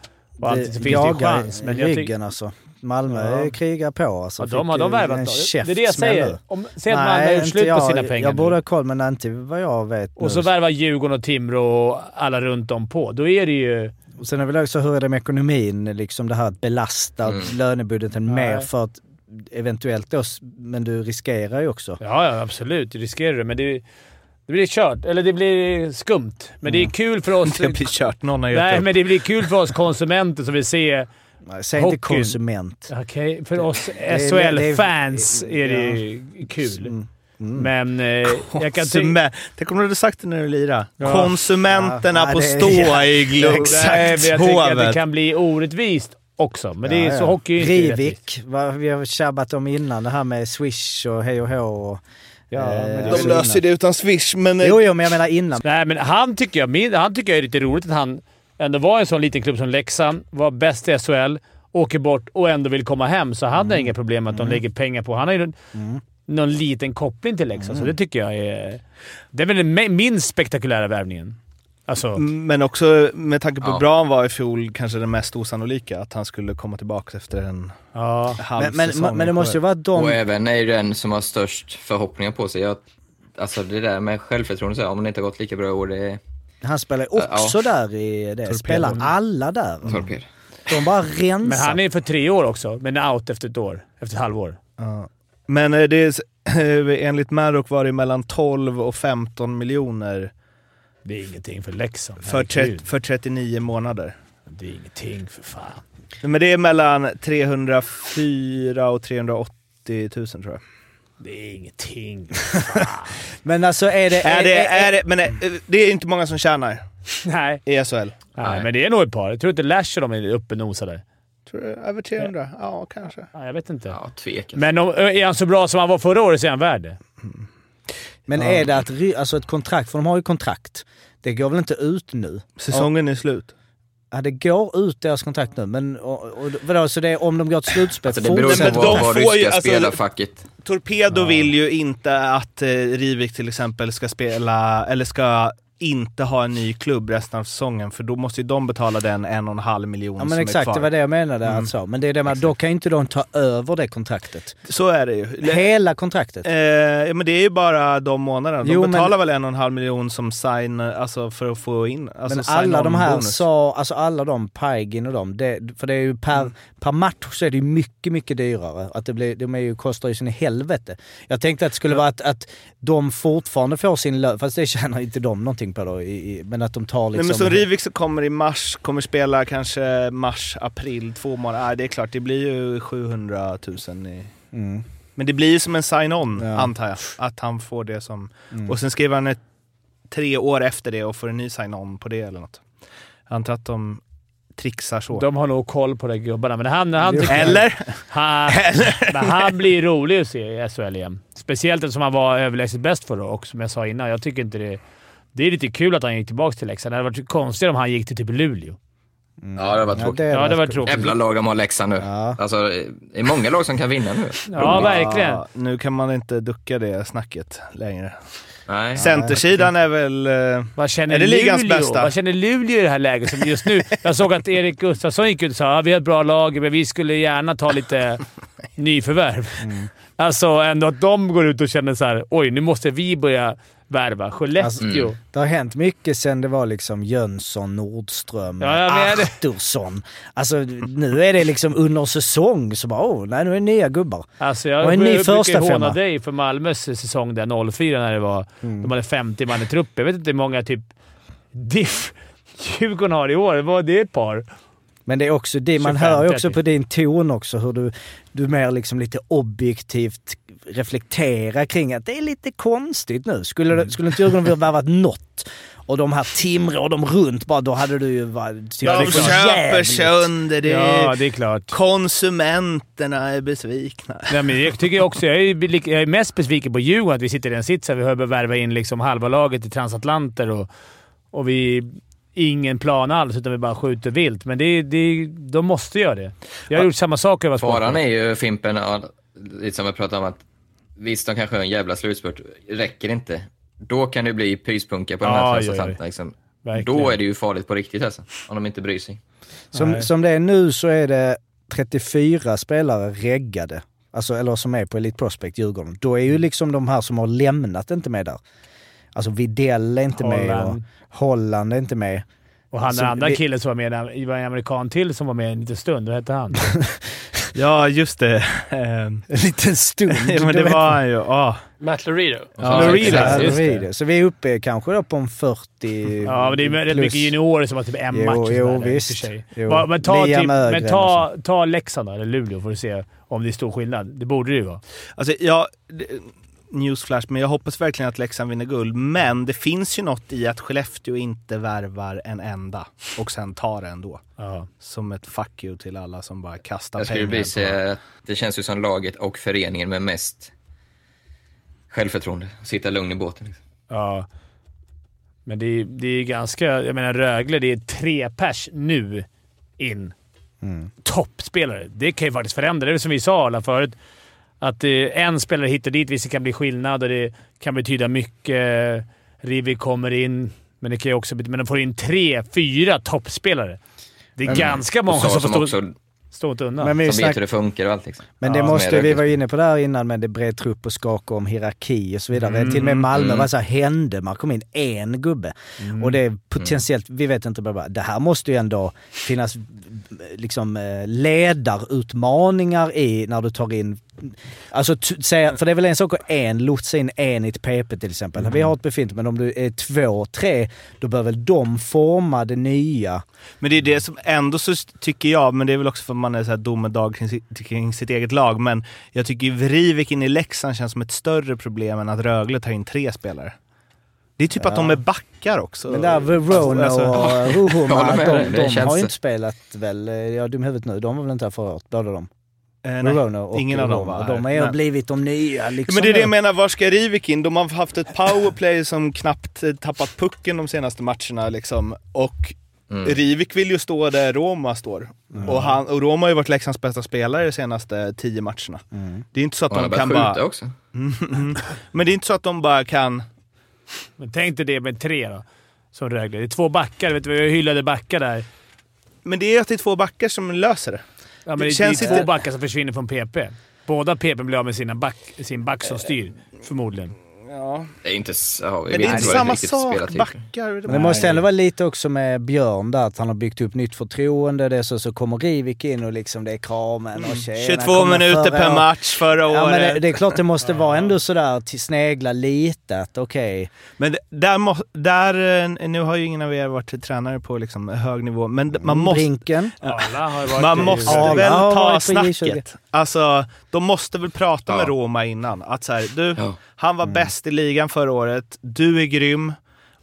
Speaker 2: och allt.
Speaker 3: Det
Speaker 2: Det finns det ju
Speaker 3: jagar
Speaker 2: chans, men jag
Speaker 3: ryggen
Speaker 2: tycker...
Speaker 3: alltså. Malmö
Speaker 2: Ja.
Speaker 3: eh, krigar på alltså.
Speaker 2: Ja, de
Speaker 3: Fick
Speaker 2: har de
Speaker 3: ju
Speaker 2: värvat
Speaker 3: en
Speaker 2: då. Det- Det är det jag
Speaker 3: käftsmäll
Speaker 2: säger.
Speaker 3: nu.
Speaker 2: Om, säg att Malmö har gjort
Speaker 3: inte
Speaker 2: slut på
Speaker 3: jag,
Speaker 2: sina pengar
Speaker 3: Jag
Speaker 2: nu.
Speaker 3: borde ha koll, men inte vad jag vet nu.
Speaker 2: Och så värvar Djurgården och Timrå och alla runt om på. Då är det ju...
Speaker 3: Och Sen är väl också hur är det med ekonomin, liksom det här att belasta
Speaker 2: Mm.
Speaker 3: lönebudgeten mer
Speaker 2: Nej.
Speaker 3: för att eventuellt då, s- men du riskerar ju också.
Speaker 2: Ja, ja absolut. Du riskerar det, men det, det blir kört. Eller det blir skumt. Men
Speaker 3: Mm.
Speaker 2: det är kul för oss...
Speaker 4: Det blir kört. Någon har gett
Speaker 2: Nej,
Speaker 4: upp.
Speaker 2: men det blir kul för oss konsumenter som vill se...
Speaker 3: Nej, Säg
Speaker 2: Hockeyn.
Speaker 3: inte konsument.
Speaker 2: Okej, för oss
Speaker 3: är-
Speaker 2: SHL-fans
Speaker 3: det är-
Speaker 2: är det ju kul.
Speaker 3: Mm.
Speaker 2: Men eh, jag kan tycka...
Speaker 4: Konsument. Tänk om du hade sagt det när du lirade.
Speaker 2: Ja.
Speaker 4: Konsumenterna
Speaker 3: Ja, ja,
Speaker 4: på
Speaker 3: det-
Speaker 4: stå
Speaker 3: ja,
Speaker 4: i Globen.
Speaker 2: Nej, men jag tycker att det
Speaker 4: Hovet.
Speaker 2: kan bli orättvist också. Men det är
Speaker 3: Ja,
Speaker 2: så
Speaker 3: ja.
Speaker 2: hockey är ju inte rättvist.
Speaker 3: Rivik, vad vi har tjabbat om innan, det här med swish och hej och hå. Och,
Speaker 2: Ja,
Speaker 3: eh,
Speaker 2: men det-
Speaker 3: alltså
Speaker 4: De löser det utan swish, men... eh,
Speaker 3: Jo, jo, men jag menar innan.
Speaker 2: Nej, men han tycker jag, min- han tycker jag är lite roligt att han ändå var i en sån liten klubb som Leksand, var bäst i SHL, åker bort och ändå vill komma hem. Så han har inga problem att de lägger pengar på. Han har ju någon, någon liten koppling till Leksand, så det tycker jag är... Det är väl den me- minst spektakulära värvningen. Alltså,
Speaker 4: Men också med tanke på hur
Speaker 1: Ja.
Speaker 4: bra han var i fjol, kanske det mest osannolika att han skulle komma tillbaka efter en
Speaker 2: ja.
Speaker 4: halv
Speaker 3: Men, men,
Speaker 4: säsong.
Speaker 3: men det måste ju vara
Speaker 1: Och
Speaker 3: de...
Speaker 1: även är ju den som har störst förhoppningar på sig. Jag, alltså det där med självförtroende, så här, om det inte har gått lika bra i år, det är
Speaker 3: Han spelar ju också där i det. Spelar alla där.
Speaker 1: torped.
Speaker 3: De bara
Speaker 2: Men
Speaker 3: rensar.
Speaker 2: han är för tre år också, men out efter ett år. Efter ett halvår.
Speaker 4: Ja. Men eh, det är, s- eh, enligt Maddock var det mellan 12 och 15 miljoner
Speaker 2: Det är ingenting för Leksand.
Speaker 4: för,
Speaker 2: Herregud.
Speaker 4: tret- för 39 månader.
Speaker 2: Det är ingenting för fan.
Speaker 4: Men det är mellan 304 och 380 000 tror jag.
Speaker 2: Det är ingenting.
Speaker 3: Men alltså är det...
Speaker 4: Är det, är det, men eh, det är inte många som tjänar
Speaker 2: Nej.
Speaker 4: i SHL.
Speaker 2: Nej, men det är nog ett par. Jag tror inte Lash och de är uppe och nosade.
Speaker 4: Tror du, över 300? Ja, kanske.
Speaker 2: Nej, jag vet inte.
Speaker 1: Ja, tvekan.
Speaker 2: Men om, är han så bra som han var förra året så är han värd det.
Speaker 3: Men är det att, ry- alltså ett kontrakt, för de har ju kontrakt. Det går väl inte ut nu?
Speaker 4: Säsongen är slut.
Speaker 3: Ja, det går ut deras kontrakt nu, men och, och, vadå, så det är om de går till slutspel?
Speaker 1: Alltså det beror
Speaker 4: Nej,
Speaker 1: ju
Speaker 4: men
Speaker 1: på
Speaker 4: de
Speaker 1: vad, vad
Speaker 4: får ju-
Speaker 1: ryska
Speaker 4: alltså-
Speaker 1: spelarfacket...
Speaker 4: Torpedo vill ju inte att eh, Rivik till exempel ska spela, eller ska inte ha en ny klubb resten av säsongen för då måste ju de betala den en och en halv miljon
Speaker 3: Ja
Speaker 4: som
Speaker 3: men
Speaker 4: är
Speaker 3: exakt,
Speaker 4: kvar.
Speaker 3: det var det jag menade alltså. Men det är det med, att då kan ju inte de ta över det kontraktet.
Speaker 4: Så är det ju. Le-
Speaker 3: Hela kontraktet.
Speaker 4: eh, ja, men det är ju bara de månaderna. De
Speaker 3: Jo, men-
Speaker 4: betalar väl en och en halv miljon som sign, alltså för att få in... Alltså
Speaker 3: men alla de här
Speaker 4: bonus.
Speaker 3: sa, alltså alla de, Paigin och de, det, för det är ju per,
Speaker 4: Mm.
Speaker 3: per match så är det ju mycket, mycket dyrare. Att det blir, de är ju, kostar ju sin helvete. Jag tänkte att det skulle vara att, att de fortfarande får sin lön, fast det tjänar inte de någonting på då, i, i, men att de tar liksom...
Speaker 4: Nej, men så Rivik som kommer i mars, kommer spela kanske mars, april, två månader. Nej, det är klart, det blir ju 700 000 i...
Speaker 3: Mm.
Speaker 4: Men det blir ju som en sign-on,
Speaker 3: Ja.
Speaker 4: antar jag. Att han får det som...
Speaker 3: Mm.
Speaker 4: Och sen skriver han ett, tre år efter det och får en ny sign-on på det eller något. Jag antar att de trixar så.
Speaker 2: De har nog koll på de gubbarna, men han, han tycker-
Speaker 4: Eller?
Speaker 2: Han, men han blir rolig att se i SHL igen. Speciellt eftersom han var överlägset bäst förra och som jag sa innan, jag tycker inte det... Det är lite kul att han gick tillbaka till Leksand. Det hade varit konstigt om han gick till typ Luleå.
Speaker 1: Ja, det var
Speaker 3: Ja,
Speaker 1: tråkigt.
Speaker 3: det är
Speaker 2: Ja, det var tråkigt.
Speaker 1: Jävla lag de har Leksand nu.
Speaker 4: Ja.
Speaker 1: Alltså, det är många lag som kan vinna nu.
Speaker 2: Ja, verkligen.
Speaker 4: Ja, nu kan man inte ducka det snacket längre.
Speaker 1: Nej.
Speaker 4: Centersidan är väl... eh,
Speaker 2: Vad känner,
Speaker 4: Är det ligans
Speaker 2: Luleå?
Speaker 4: bästa?
Speaker 2: Vad känner Luleå i det här läget som just nu? Jag såg att Erik Gustafsson gick ut och sa att vi har ett bra lag, men vi skulle gärna ta lite nyförvärv. Alltså ändå att de går ut och känner så här: oj, nu måste vi börja värva. Skellefteå.
Speaker 3: Det har hänt mycket sen det var liksom Jönsson, Nordström,
Speaker 2: Ja, jag menar det.
Speaker 3: Artursson. Alltså nu är det liksom under säsong så bara åh, nej nu är det nya gubbar.
Speaker 2: Alltså jag
Speaker 3: Och en ny
Speaker 2: brukar
Speaker 3: första
Speaker 2: håna
Speaker 3: femma.
Speaker 2: dig för Malmös säsong där 04 när det var, de hade 50 man i truppen. Jag vet inte hur många typ diff Djurgården har i år. Det var det ett par.
Speaker 3: Men det är också det, man
Speaker 2: 25,
Speaker 3: hör ju också
Speaker 2: 30.
Speaker 3: på din ton också hur du, du mer liksom lite objektivt reflekterar kring att det är lite konstigt nu. Skulle,
Speaker 2: Mm.
Speaker 3: det- skulle inte Djurgården vilja värvat något och de här Timrå och de runt bara, då hade du ju varit... tyckt det var
Speaker 4: De
Speaker 3: så
Speaker 4: köper
Speaker 3: jävligt.
Speaker 4: sönder det.
Speaker 2: Ja, det är klart.
Speaker 4: Konsumenterna är besvikna.
Speaker 2: Nej, men jag tycker också... Jag är, ju lik- jag är mest besviken på Djurgården att vi sitter i den sitsen. Vi har börjat värva in liksom halva laget i transatlanter och, och vi... Ingen plan alls, utan vi bara skjuter vilt. Men det, det, de måste göra det. Jag har gjort samma sak över
Speaker 1: Faran är ju Fimpen, ja, lite som jag pratade om, att visst de kanske har en jävla slutspurt, räcker inte. Då kan det bli pyspunka på de
Speaker 2: Ja,
Speaker 1: här
Speaker 2: ja, ja.
Speaker 1: transatlanterna. Liksom.
Speaker 2: Verkligen.
Speaker 1: Då är det ju farligt på riktigt alltså, om de inte bryr sig.
Speaker 3: Som,
Speaker 2: Nej.
Speaker 3: som det är nu så är det 34 spelare reggade. Alltså, eller som är på Elite Prospect Djurgården. Då är ju
Speaker 2: Mm.
Speaker 3: liksom de här som har lämnat inte med där. Alltså Videll är inte med och
Speaker 2: Holland.
Speaker 3: Holland är inte med.
Speaker 2: Och han den
Speaker 3: Så
Speaker 2: andra
Speaker 3: vi-
Speaker 2: killen som var med, det var en amerikan till som var med en liten stund. Vad hette han?
Speaker 4: Ja, just det. Ehm,
Speaker 3: En liten stund. du vet.
Speaker 4: han ju. Ja.
Speaker 8: Matt Larido.
Speaker 1: Ja,
Speaker 2: Larido,
Speaker 1: exakt.
Speaker 3: Ja,
Speaker 2: just
Speaker 3: det är
Speaker 2: det.
Speaker 3: det. Så vi är uppe kanske då på en 40
Speaker 2: Ja, men det är rätt
Speaker 3: plus.
Speaker 2: mycket juniorer som har typ en
Speaker 3: Jo,
Speaker 2: match. och
Speaker 3: jo,
Speaker 2: sådär, i och för
Speaker 3: visst.
Speaker 2: sig.
Speaker 3: Jo.
Speaker 2: Va- Men, ta,
Speaker 3: Liam
Speaker 2: typ,
Speaker 3: Ögren
Speaker 2: men
Speaker 3: och
Speaker 2: ta, ta Leksand då, eller Luleå, får du se om det är stor skillnad. Det borde det ju vara.
Speaker 4: Alltså, jag, det- newsflash, men jag hoppas verkligen att Leksand vinner guld. Men det finns ju något i att Skellefteå inte värvar en enda och sen tar det ändå.
Speaker 2: Ja. Som
Speaker 4: Som ett fuck you till alla som bara kastar
Speaker 1: Jag skulle
Speaker 4: pengar.
Speaker 1: bli
Speaker 4: på dem.
Speaker 1: säga att det känns ju som laget och föreningen med mest självförtroende. Sitta lugn i båten. Liksom.
Speaker 2: ja. Men det är, det är ganska... Jag menar Rögle, det är tre pers nu in. Toppspelare. Det kan ju faktiskt förändra. Det är som vi sa alla förut. Att eh, en spelare hit och dit visst det kan bli skillnad och det kan betyda mycket. Rivi kommer in, men det kan ju också betyda... Men de får in tre, fyra toppspelare. Det är ganska många
Speaker 1: Och så,
Speaker 2: som får
Speaker 1: som
Speaker 2: stå,
Speaker 1: också
Speaker 2: stå inte undan.
Speaker 3: Men vi
Speaker 1: som
Speaker 3: snack-
Speaker 1: vet hur det funkar och allt. Liksom.
Speaker 3: Men det
Speaker 1: Ja, som
Speaker 3: måste,
Speaker 1: är
Speaker 3: vi
Speaker 1: rökigt.
Speaker 3: var inne på det här innan med det bred trupp och skak om hierarki och så vidare.
Speaker 1: Mm,
Speaker 3: Till och med Malmö var så här, hände, man kom in en gubbe.
Speaker 1: Mm,
Speaker 3: Och det är potentiellt, vi vet inte, bara, det här måste ju ändå finnas liksom eh, ledarutmaningar i när du tar in, alltså t- säga, för det är väl en sak att en lotsa in en i ett PP till exempel.
Speaker 1: Mm.
Speaker 3: Vi har ett befintligt, men om du är två, tre, då bör väl de forma det nya.
Speaker 4: Men det är det som ändå så tycker jag, men det är väl också för att man är så här domedag kring, sitt- kring sitt eget lag, men jag tycker ju Vrivik in i Leksand känns som ett större problem än att Rögle tar in tre spelare. Det är typ att de är backar också.
Speaker 3: Men där Verona
Speaker 4: Alltså,
Speaker 3: och
Speaker 1: Jag
Speaker 3: Ruhuma,
Speaker 1: håller med dig.
Speaker 3: de,
Speaker 1: Det
Speaker 3: de
Speaker 1: känns-
Speaker 3: har ju inte spelat väl... eh, Jag är dum i huvudet nu. De var väl inte här förra året, båda de?
Speaker 4: eh, nej.
Speaker 3: Verona och
Speaker 4: ingen av dem
Speaker 3: Roma.
Speaker 4: var
Speaker 3: Och
Speaker 4: här.
Speaker 3: De har ju
Speaker 4: Men-
Speaker 3: blivit de nya liksom.
Speaker 4: Men det är det jag menar, var ska Rivik in? De har haft ett powerplay som knappt eh, tappat pucken de senaste matcherna liksom. Och
Speaker 1: Mm.
Speaker 4: Rivik vill ju stå där Roma står.
Speaker 3: Mm.
Speaker 4: Och, han, och Roma har ju varit Leksands bästa spelare de senaste tio matcherna.
Speaker 3: Mm.
Speaker 4: Det är inte så att
Speaker 1: Och han har
Speaker 4: de kan
Speaker 1: börjat
Speaker 4: bara...
Speaker 1: skjuta också.
Speaker 4: Men det är inte så att de bara kan...
Speaker 2: Men tänk dig det med tre då, som Rögle. Det är två backar. Vet du, jag hyllade backar där.
Speaker 4: Men det är ju att det är två backar som löser det.
Speaker 2: Ja, men
Speaker 4: Det
Speaker 2: det,
Speaker 4: känns
Speaker 2: det är två
Speaker 4: inte-
Speaker 2: backar som försvinner från PP. Båda PP blir av med sina back, sin back som styr, förmodligen.
Speaker 1: Det är inte, s- ja, vi
Speaker 4: Men
Speaker 1: vet
Speaker 4: det är inte
Speaker 1: vad
Speaker 4: samma
Speaker 1: riktigt
Speaker 4: sak,
Speaker 1: spelartyper.
Speaker 4: backar.
Speaker 3: Men det måste ändå vara lite också med Björn där, att han har byggt upp nytt förtroende. Det är så, så kommer Rivik in och liksom det är kramen och tjena,
Speaker 4: 22
Speaker 3: kommer
Speaker 4: Mm. minuter
Speaker 3: förra
Speaker 4: per
Speaker 3: året.
Speaker 4: match förra
Speaker 3: Ja,
Speaker 4: året.
Speaker 3: men det, det är klart det måste vara ändå sådär, till- snegla lite att okej.
Speaker 4: Men det- där, må, där, eh, nu har ju ingen av er varit tränare på liksom hög nivå, men d- man måste,
Speaker 3: Brinken.
Speaker 2: Alla har varit
Speaker 4: man
Speaker 2: i-
Speaker 4: måste
Speaker 3: Alla
Speaker 4: väl
Speaker 3: har
Speaker 4: ta
Speaker 3: varit på J20.
Speaker 4: snacket. Alltså, de måste väl prata
Speaker 1: Ja.
Speaker 4: med Roma innan. Att så här, du,
Speaker 3: Mm.
Speaker 1: Ja.
Speaker 4: han var bäst i ligan förra året, du är grym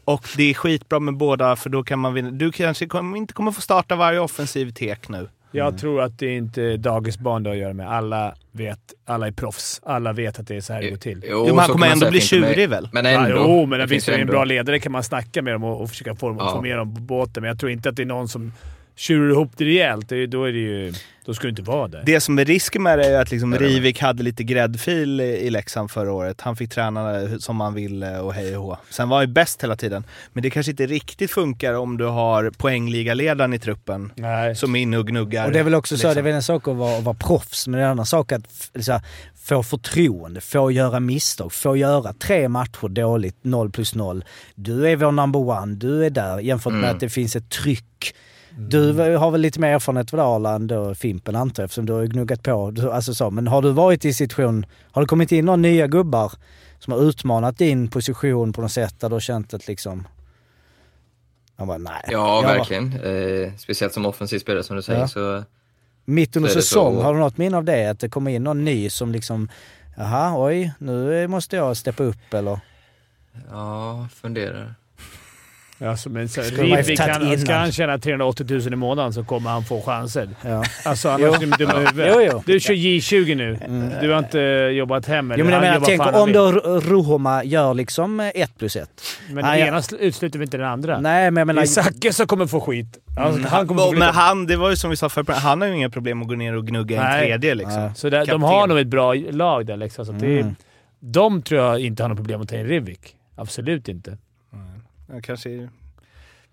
Speaker 4: Och det är skitbra med båda för då kan man vinna. Du kanske kom, inte kommer få starta varje offensiv tek nu.
Speaker 2: Jag tror att det inte är dagisbarn det har att göra med. Alla vet. Alla är proffs. Alla vet att det är så här det går till.
Speaker 4: Jo, men han
Speaker 1: så
Speaker 4: kommer
Speaker 1: kan man
Speaker 4: ändå
Speaker 1: säga
Speaker 4: bli
Speaker 1: att det inte-
Speaker 4: tjurig väl?
Speaker 1: Men ändå.
Speaker 2: Ja, jo, men det
Speaker 1: finns
Speaker 2: finns
Speaker 1: ju
Speaker 2: en
Speaker 1: ändå-
Speaker 2: bra ledare kan man snacka med dem och, och försöka få,
Speaker 1: Ja.
Speaker 2: få med dem på båten, men jag tror inte att det är någon som tjurar ihop det rejält. Det, är- då, är det ju, då ska du inte vara där.
Speaker 4: Det som är risken med det är ju att liksom
Speaker 1: Jag vet inte.
Speaker 4: Rivik hade lite gräddfil i- i Leksand förra året. Han fick träna som han ville och hej och hå. Sen var han ju bäst hela tiden. Men det kanske inte riktigt funkar om du har poängligaledaren i truppen
Speaker 2: Nej.
Speaker 4: som är inne och gnuggar.
Speaker 3: Och det är väl också så,
Speaker 4: liksom.
Speaker 3: det är väl en sak att vara, att vara proffs, men det är en annan sak att f- så här, få förtroende, få göra misstag, få göra tre matcher dåligt, noll plus noll. Du är vår number one, du är där, jämfört med att det finns ett tryck.
Speaker 2: Mm.
Speaker 3: Du v- har väl lite mer erfarenhet av Arland och Fimpen antar jag, eftersom du har ju gnuggat på. Du- Alltså så. Men har du varit i situation, har det kommit in några nya gubbar som har utmanat din position på något sätt, där du har känt att liksom... Jag bara, nej.
Speaker 1: Ja,
Speaker 3: Jag bara-
Speaker 1: verkligen. Eh, speciellt som offensiv spelare som du säger.
Speaker 3: Ja.
Speaker 1: Så,
Speaker 3: Mitt under
Speaker 1: Så är det
Speaker 3: säsong,
Speaker 1: så.
Speaker 3: har du något minne av det? Att det kommer in någon ny som liksom, jaha, oj, nu måste jag steppa upp eller?
Speaker 1: ja, funderar.
Speaker 2: Alltså, men så,
Speaker 3: Skulle man ju
Speaker 2: Rivik,
Speaker 3: tagit
Speaker 2: han, ska
Speaker 3: innan.
Speaker 2: han tjäna 380 000 i månaden så kommer han få chanser.
Speaker 3: Ja.
Speaker 2: Alltså, annars är du dum i huvudet.
Speaker 3: Jo, jo.
Speaker 2: Du kör J20 nu. Du har inte jobbat hem. Eller?
Speaker 3: Jo men jag
Speaker 2: Han
Speaker 3: menar,
Speaker 2: jobbar
Speaker 3: tänk
Speaker 2: fan han
Speaker 3: om
Speaker 2: vill.
Speaker 3: då R- Ruhoma gör liksom 1 plus 1.
Speaker 2: Men
Speaker 3: Nej,
Speaker 2: den
Speaker 3: jag-
Speaker 2: ena sl- utesluter väl inte den andra?
Speaker 3: Nej men Mm. jag
Speaker 2: Det är
Speaker 3: menar...
Speaker 2: Zacke som kommer få skit. Alltså, han kommer få
Speaker 4: Men
Speaker 2: flytta.
Speaker 4: han, det var ju som vi sa förra han har ju inga problem att gå ner och gnugga i en
Speaker 2: Nej.
Speaker 4: tredje liksom.
Speaker 3: Nej.
Speaker 2: Så där, de
Speaker 4: Kapten.
Speaker 2: har nog ett bra lag där, Leksand. Så att det,
Speaker 3: Mm.
Speaker 2: De tror jag inte har något problem att ta in Rivik. Absolut inte.
Speaker 4: Ja, kanske...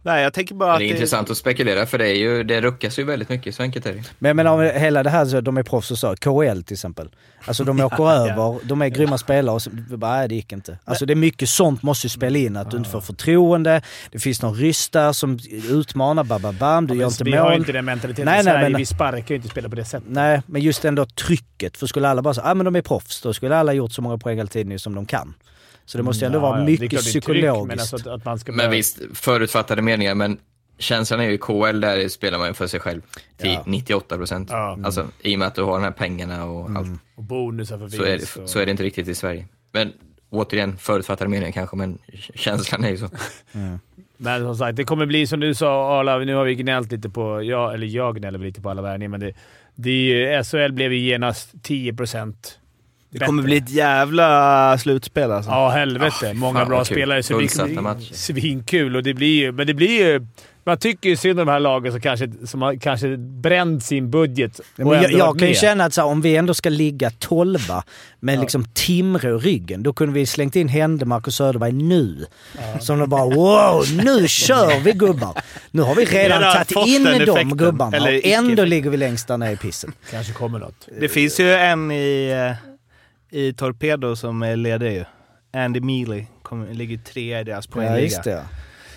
Speaker 4: Nej, jag tänker bara att...
Speaker 1: Men det är intressant att spekulera för det, är ju, det ruckas ju väldigt mycket, så enkelt är det.
Speaker 3: Men jag menar om hela det här, så de är proffs och så. KL till exempel. Alltså de åker över, de är grymma spelare och så, bara, nej det gick inte. Alltså det är mycket sånt måste ju spela in. Att du inte får förtroende, det finns någon ryss där som utmanar, bababam, du gör inte
Speaker 2: vi
Speaker 3: mål.
Speaker 2: har ju inte den mentaliteten
Speaker 3: Nej,
Speaker 2: i
Speaker 3: nej,
Speaker 2: Sverige.
Speaker 3: men-
Speaker 2: Vi sparkar ju inte spelare på det sättet.
Speaker 3: Nej, men just ändå trycket. För skulle alla bara säga ah, men de är proffs, då skulle alla gjort så många poäng hela tiden som de kan. Så det måste ju ändå
Speaker 2: Mm, Ja,
Speaker 3: vara
Speaker 2: ja, det är klart det
Speaker 3: mycket
Speaker 2: är tryck,
Speaker 3: psykologiskt.
Speaker 2: men alltså att, att man ska
Speaker 1: Men
Speaker 2: börja-
Speaker 1: visst, förutfattade meningar, men känslan är ju i KL, där spelar man ju för sig själv till
Speaker 3: Ja.
Speaker 1: 98 procent.
Speaker 2: Ja. Mm.
Speaker 1: Alltså, I och med att du har de här pengarna och allt,
Speaker 2: Och bonusar för
Speaker 1: så, är det,
Speaker 2: vinst. och-
Speaker 1: så är det inte riktigt i Sverige. Men återigen, förutfattade meningar kanske, men k- känslan är ju så.
Speaker 2: Men som sagt, det kommer bli som du sa Arla. Nu har vi gnällt lite på... Jag, eller jag gnäller väl lite på alla värvningar, men det, det är ju, SHL blev ju genast 10 procent.
Speaker 4: det kommer bli ett jävla slutspel alltså.
Speaker 2: Ja, helvete. Många
Speaker 1: Ah, fan,
Speaker 2: bra
Speaker 1: vad kul.
Speaker 2: spelare, så det
Speaker 1: Fullsatta
Speaker 2: kommer bli
Speaker 1: matcher.
Speaker 2: svinkul. Och det blir ju, men det blir ju... Man tycker ju synd om de här lagen som kanske, som har kanske bränt sin budget.
Speaker 3: Ja,
Speaker 2: och
Speaker 3: Men jag,
Speaker 2: ändå
Speaker 3: jag
Speaker 2: varit
Speaker 3: kan ju
Speaker 2: med.
Speaker 3: känna att så här, om vi ändå ska ligga tolva med liksom Timrå i ryggen, då kunde vi slängt in Händemark och Söderberg nu. Som de bara wow, nu kör vi gubbar! Nu har vi redan
Speaker 4: Redan fått
Speaker 3: tagit in
Speaker 4: den
Speaker 3: de
Speaker 4: effekten.
Speaker 3: gubbarna
Speaker 4: Eller
Speaker 3: och ändå
Speaker 4: icke-effekt.
Speaker 3: ligger vi längst där nere i pissen.
Speaker 2: kanske kommer något.
Speaker 4: Det finns ju en i, eh, i Torpedo som är ledig ju. Andy Mealy kommer- ligger trea i deras
Speaker 3: Ja,
Speaker 4: poängliga.
Speaker 3: just det. ja.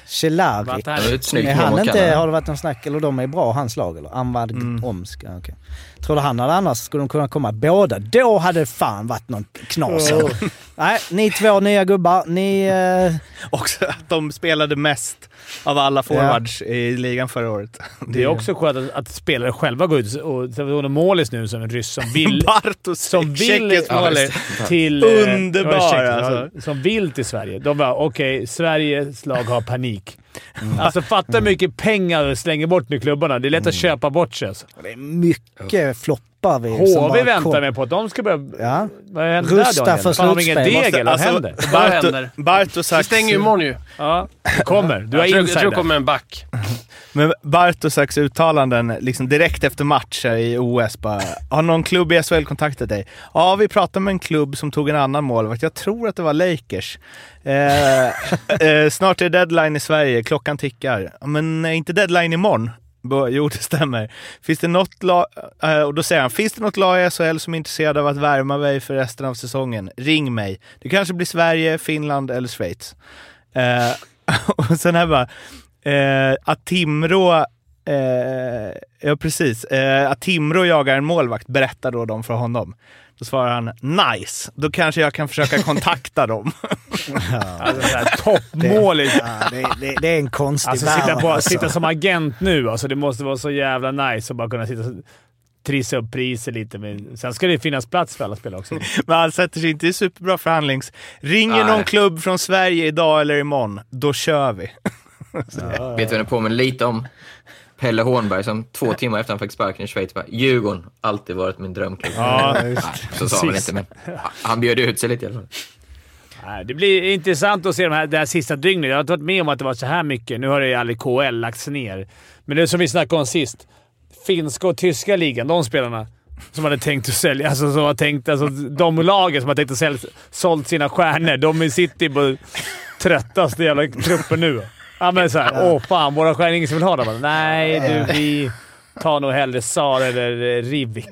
Speaker 3: Chelari.
Speaker 2: Vart
Speaker 1: Det
Speaker 2: här-
Speaker 1: är ett snyggt
Speaker 3: Är
Speaker 1: mål
Speaker 3: han
Speaker 1: mot
Speaker 3: inte,
Speaker 1: Kanada.
Speaker 3: har det varit någon snack, eller de är bra hans lag eller? Anwar mm. Omsk, ja, okej. Tror du han hade annars, skulle de kunna komma båda? Då hade det fan varit någon knas. här. Nej, ni två nya gubbar, ni... Eh,
Speaker 4: Också att de spelade mest av alla forwards i ligan förra året.
Speaker 2: Det är också skönt att, att spelare själva går ut och... Det var Målis nu som en ryss som vill...
Speaker 4: Bartos
Speaker 2: som vill
Speaker 4: tjeckisk målis.
Speaker 2: till... eh,
Speaker 4: Underbar,
Speaker 2: ja, ursäkta,
Speaker 4: alltså.
Speaker 2: ja, Som vill till Sverige. De bara okej, Sveriges lag har panik.
Speaker 3: Mm.
Speaker 2: Alltså fatta hur mycket pengar du slänger bort nu klubbarna. Det är lätt att
Speaker 3: Mm.
Speaker 2: köpa bort sig. Alltså.
Speaker 3: det är mycket floppar vi som
Speaker 2: HV
Speaker 3: bara
Speaker 2: väntar
Speaker 3: kom.
Speaker 2: vi på att de ska börja...
Speaker 3: Ja.
Speaker 2: Vad händer där
Speaker 3: Rusta
Speaker 2: Daniel?
Speaker 3: för
Speaker 2: Fan, har de ingen
Speaker 3: slutspel.
Speaker 2: deg
Speaker 4: Måste-
Speaker 2: eller? Vad
Speaker 4: alltså-
Speaker 2: händer?
Speaker 8: Vad
Speaker 4: Barto-
Speaker 8: händer?
Speaker 4: Bartos
Speaker 8: Vi
Speaker 4: Ax-
Speaker 8: stänger ju imorgon ju.
Speaker 2: Ja, det kommer. Du har
Speaker 8: Jag tror, jag tror det
Speaker 2: insider.
Speaker 8: kommer en back.
Speaker 4: Men Bartosaks uttalanden liksom direkt efter matcher i OS bara “Har någon klubb i SHL kontaktat dig?” “Ja, vi pratade med en klubb som tog en annan målvakt. Jag tror att det var Lakers. Eh, eh, snart är deadline i Sverige. Klockan tickar. "Ja, Men är inte deadline imorgon?” Bo- “Jo, det stämmer. Finns det något lag...” eh, Och då säger han “Finns det något lag i SHL som är intresserade av att värma mig för resten av säsongen? Ring mig. Det kanske blir Sverige, Finland eller Schweiz.” Eh, och sen här bara, eh, att Timrå, eh, ja precis, eh, att Timrå jagar en målvakt berättar då de för honom. Då svarar han nice, då kanske jag kan försöka kontakta dem.
Speaker 2: Alltså, så här, Toppmålis.
Speaker 3: Ja, det, det, det är en konstig
Speaker 2: Alltså
Speaker 3: värld.
Speaker 2: sitta, på,
Speaker 3: alltså.
Speaker 2: sitta som agent nu. Alltså, det måste vara så jävla nice att bara kunna sitta... så- trissa upp priset lite. Men sen ska det finnas plats för alla spelare också.
Speaker 4: Men han sätter sig inte i superbra förhandlings. Ringer
Speaker 1: Nej.
Speaker 4: någon klubb från Sverige idag eller imorgon, då kör vi.
Speaker 1: Vet du vad den påminner lite om? Pelle Hornberg som två timmar efter han fick sparken i Schweiz bara “Djurgården, alltid varit min drömklubb”.
Speaker 2: Ja,
Speaker 1: Nej, så sa han väl inte, men han bjöd ut sig lite i alla fall.
Speaker 2: Nej, Det blir intressant att se de här, det här sista dygnet. Jag har inte varit med om att det var så här mycket. Nu har det ju aldrig KL lagts ner. Men det är som vi snackade om sist. Finska och tyska ligan, de spelarna som hade tänkt att sälja, alltså som har tänkt, alltså de lagen som har tänkt att sälja, sålt sina stjärnor, de sitter ju på tröttaste jävla truppen nu. Ja men såhär, åh fan, våra stjärnor, ingen som vill ha dem. Bara, Nej du, vi tar nog hellre Sar eller eh, Rivik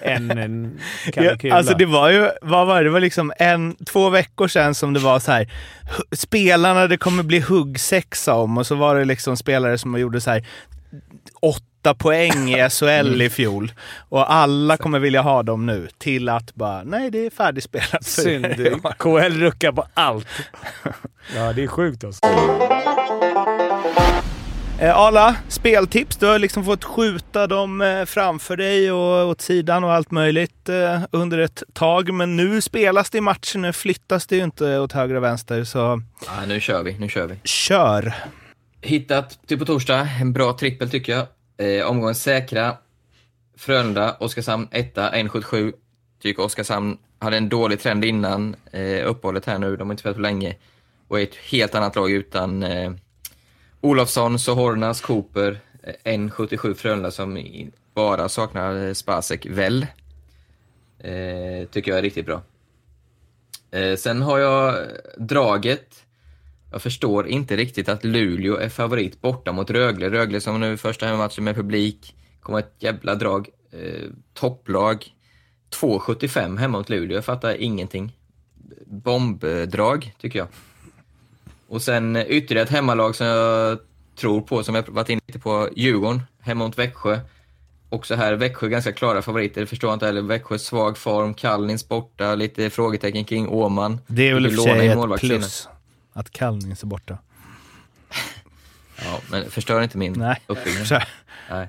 Speaker 2: än en Kalle Kula.
Speaker 4: Mm. alltså det var ju, vad var det, det var liksom en, två veckor sedan som det var så här. hu- Spelarna det kommer bli huggsexa om och så var det liksom spelare som gjorde så här åtta poäng i SHL i fjol. Och alla kommer vilja ha dem nu. Till att bara, nej det är färdigspelat för er i
Speaker 2: Synd.
Speaker 4: år.
Speaker 2: KL ruckar på allt. Ja, det är sjukt alltså.
Speaker 4: Eh, Arla, speltips. Du har liksom fått skjuta dem eh, framför dig och åt sidan och allt möjligt eh, under ett tag. Men nu spelas det i matcher, nu flyttas det ju inte åt höger och vänster. Så
Speaker 1: Ja, nu kör vi, nu kör vi.
Speaker 4: kör!
Speaker 1: Hittat till på torsdag. En bra trippel tycker jag. Eh, omgången säkra. Frölunda, Oskarshamn 1, 1,77. Tycker Oskarshamn hade en dålig trend innan eh, uppehållet här nu. De har inte spelat på länge. Och är ett helt annat lag utan eh, Olofsson, Sohornas, Cooper, eh, 1,77 Frölunda som i- bara saknar eh, Spasek, väl. Eh, tycker jag är riktigt bra. Eh, sen har jag draget. Jag förstår inte riktigt att Luleå är favorit borta mot Rögle. Rögle som nu första hemmamatchen med publik. Kommer ett jävla drag. Eh, topplag. 2,75 hemma mot Luleå. Jag fattar ingenting. Bombdrag, tycker jag. Och sen eh, ytterligare ett hemmalag som jag tror på, som jag varit inne lite på. Djurgården, hemma mot Växjö. Också här, Växjö ganska klara favoriter. Det förstår jag inte heller. Växjö svag form, Kallnins borta, lite frågetecken kring Åman.
Speaker 4: Det är väl i och för
Speaker 1: Fick ju låna
Speaker 4: sig
Speaker 1: in
Speaker 4: ett
Speaker 1: målvaktssidan.
Speaker 4: plus. Att Kalnings är borta.
Speaker 1: Ja, men förstör inte min
Speaker 4: Nej.
Speaker 1: uppbyggnad.
Speaker 4: Så,
Speaker 1: Nej.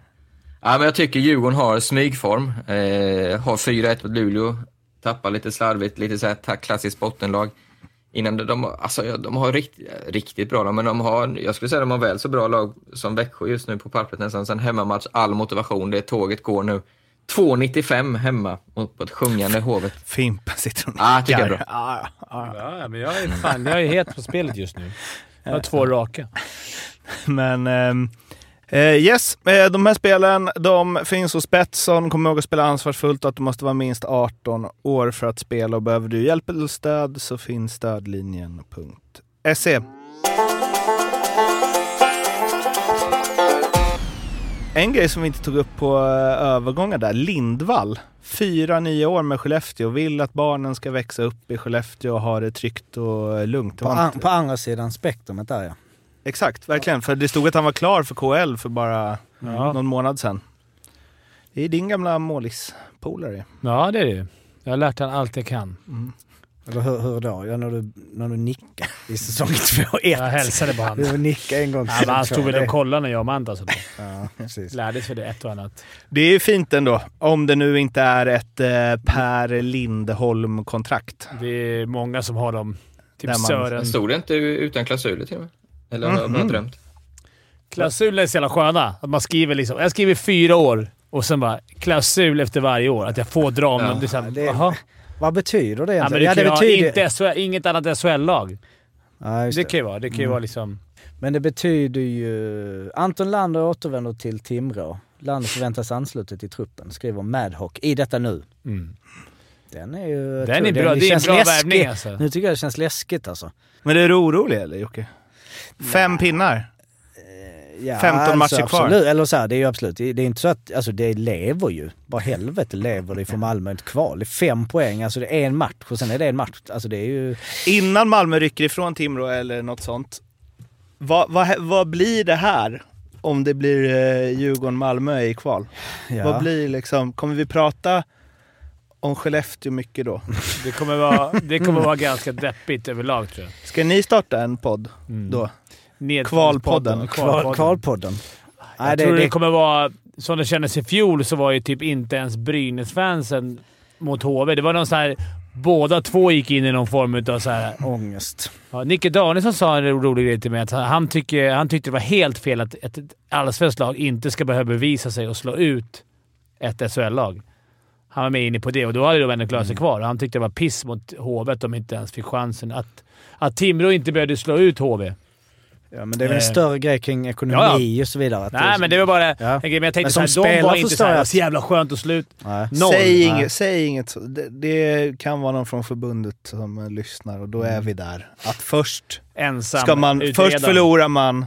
Speaker 1: Ja, men jag tycker Djurgården har smygform. Eh, har 4-1 mot Luleå. Tappar lite slarvigt, lite så här ta- klassiskt bottenlag. Innan de- de, har- alltså, ja, de har rikt, riktigt bra lag, men de har, jag skulle säga de har väl så bra lag som Växjö just nu på pappret nästan. Sen hemmamatch, all motivation, det tåget går nu. 2.95 hemma mot på ett sjungande Hovet.
Speaker 4: Fimpen sitter och
Speaker 1: Ah, tycker jag är
Speaker 4: nickar.
Speaker 1: bra.
Speaker 4: Ah, ah.
Speaker 2: Ja, men jag är fan, jag är het på spelet just nu. Jag har två raka.
Speaker 4: Men ehm, eh, yes, eh, de här spelen de finns hos Betsson. Kom ihåg att spela ansvarsfullt och att du måste vara minst 18 år för att spela. Och behöver du hjälp eller stöd så finns stödlinjen.se. En grej som vi inte tog upp på eh, övergångar där, Lindvall. Fyra nya år med Skellefteå, vill att barnen ska växa upp i Skellefteå och ha det tryggt och eh, lugnt. Det
Speaker 3: På,
Speaker 4: var
Speaker 3: an,
Speaker 4: inte-
Speaker 3: på andra sidan spektrumet där ja.
Speaker 4: Exakt, verkligen. För det stod att han var klar för KL för bara
Speaker 2: Ja,
Speaker 4: någon månad sedan. Det är din gamla målispolare.
Speaker 2: ja det är det ju. Jag har lärt han allt jag kan.
Speaker 3: Eller hur, hur då? Ja, när du, när du nickar i säsong 2 1
Speaker 2: Jag hälsade på honom.
Speaker 3: Du nickar en gång till
Speaker 2: Ja, men han
Speaker 3: säsong
Speaker 2: stod väl
Speaker 3: två.
Speaker 2: och kollade när jag och Manta så
Speaker 3: Ja, precis.
Speaker 2: lärdes för det ett och annat.
Speaker 4: Det är ju fint ändå, om det nu inte är ett eh, Per Lindholm-kontrakt.
Speaker 2: Det är många som har dem.
Speaker 4: Där
Speaker 2: Typ
Speaker 4: man-
Speaker 2: Sören.
Speaker 1: Stod det inte utan klausuler till och med? Eller har jag
Speaker 4: Mm-hmm.
Speaker 1: bara drömt?
Speaker 2: Klausuler är så jävla sköna. Att man skriver liksom, jag skriver fyra år och sen bara klausul efter varje år. Att jag får dra, men
Speaker 1: Ja.
Speaker 2: det är såhär...
Speaker 3: Det-
Speaker 2: Jaha.
Speaker 3: Vad betyder det
Speaker 2: Ja, men du
Speaker 3: egentligen?
Speaker 2: kan ju
Speaker 3: det
Speaker 2: ha
Speaker 3: betyder...
Speaker 2: inte SHL, inget annat SHL-lag.
Speaker 3: Ja, just
Speaker 2: Det
Speaker 3: det.
Speaker 2: kan ju vara. Det kan ju vara liksom...
Speaker 3: Men det betyder ju... Anton Lander återvänder till Timrå. Lander förväntas ansluta till truppen, skriver Madhawk i detta nu. Den är ju... jag
Speaker 2: Mm. Den
Speaker 3: tror
Speaker 2: är bra. Det är en
Speaker 3: känns
Speaker 2: bra
Speaker 3: läskig.
Speaker 2: värvning alltså.
Speaker 3: Nu tycker jag det känns läskigt alltså.
Speaker 4: Men är du orolig eller Jocke? Fem pinnar?
Speaker 3: Ja, alltså,
Speaker 4: 15 matcher kvar.
Speaker 3: Absolut. Eller så här, det är ju absolut. Det är inte så att, alltså det lever ju. Vad helvete lever det för Malmö ett kval? Det är fem poäng, alltså det är en match och sen är det en match. Alltså det är ju...
Speaker 4: Innan Malmö rycker ifrån Timrå eller något sånt. Vad, vad, vad blir det här om det blir eh, Djurgården-Malmö i kval?
Speaker 3: Ja.
Speaker 4: Vad blir liksom, kommer vi prata om Skellefteå mycket då?
Speaker 2: Det kommer vara, det kommer vara ganska deppigt överlag tror jag.
Speaker 4: Ska ni starta en podd
Speaker 2: Mm.
Speaker 4: då?
Speaker 2: Ned-
Speaker 4: Kvalpodden.
Speaker 2: Kvalpodden.
Speaker 3: Kvalpodden. Nej,
Speaker 2: jag
Speaker 3: det-
Speaker 2: tror det,
Speaker 3: det-
Speaker 2: kommer vara... Som det kändes i fjol så var ju typ inte ens Brynäs-fansen mot HV. Det var någon så här... Båda två gick in i någon form av så här...
Speaker 3: Ångest.
Speaker 2: Ja, Nicke Danielsson sa en rolig grej till mig. Att han, tycker, han tyckte det var helt fel att ett ett allsvenskt lag inte ska behöva bevisa sig och slå ut ett SHL-lag. Han var med inne på det och då hade de ändå klarat
Speaker 4: Mm.
Speaker 2: sig kvar. Han tyckte det var piss mot HV att de inte ens fick chansen. Att, att Timrå inte behövde slå ut HV.
Speaker 3: Ja, men det är väl en
Speaker 2: Eh.
Speaker 3: större grej kring ekonomi
Speaker 2: Ja,
Speaker 3: och så vidare. Att
Speaker 2: Nej, men det var bara
Speaker 3: Ja.
Speaker 2: en grej. Men jag tänkte
Speaker 3: Men som
Speaker 2: såhär, de var
Speaker 3: spelare
Speaker 2: inte
Speaker 3: förstår
Speaker 2: såhär
Speaker 3: jag
Speaker 2: det var
Speaker 3: att-
Speaker 2: så jävla skönt att slå ut
Speaker 3: Nej.
Speaker 2: noll.
Speaker 4: Säg,
Speaker 2: Nej.
Speaker 4: inget, säg inget. så- Det, det kan vara någon från förbundet som eh, lyssnar och då är vi där. Att först
Speaker 2: Ensam
Speaker 4: ska man...
Speaker 2: utredare.
Speaker 4: Först förlorar man...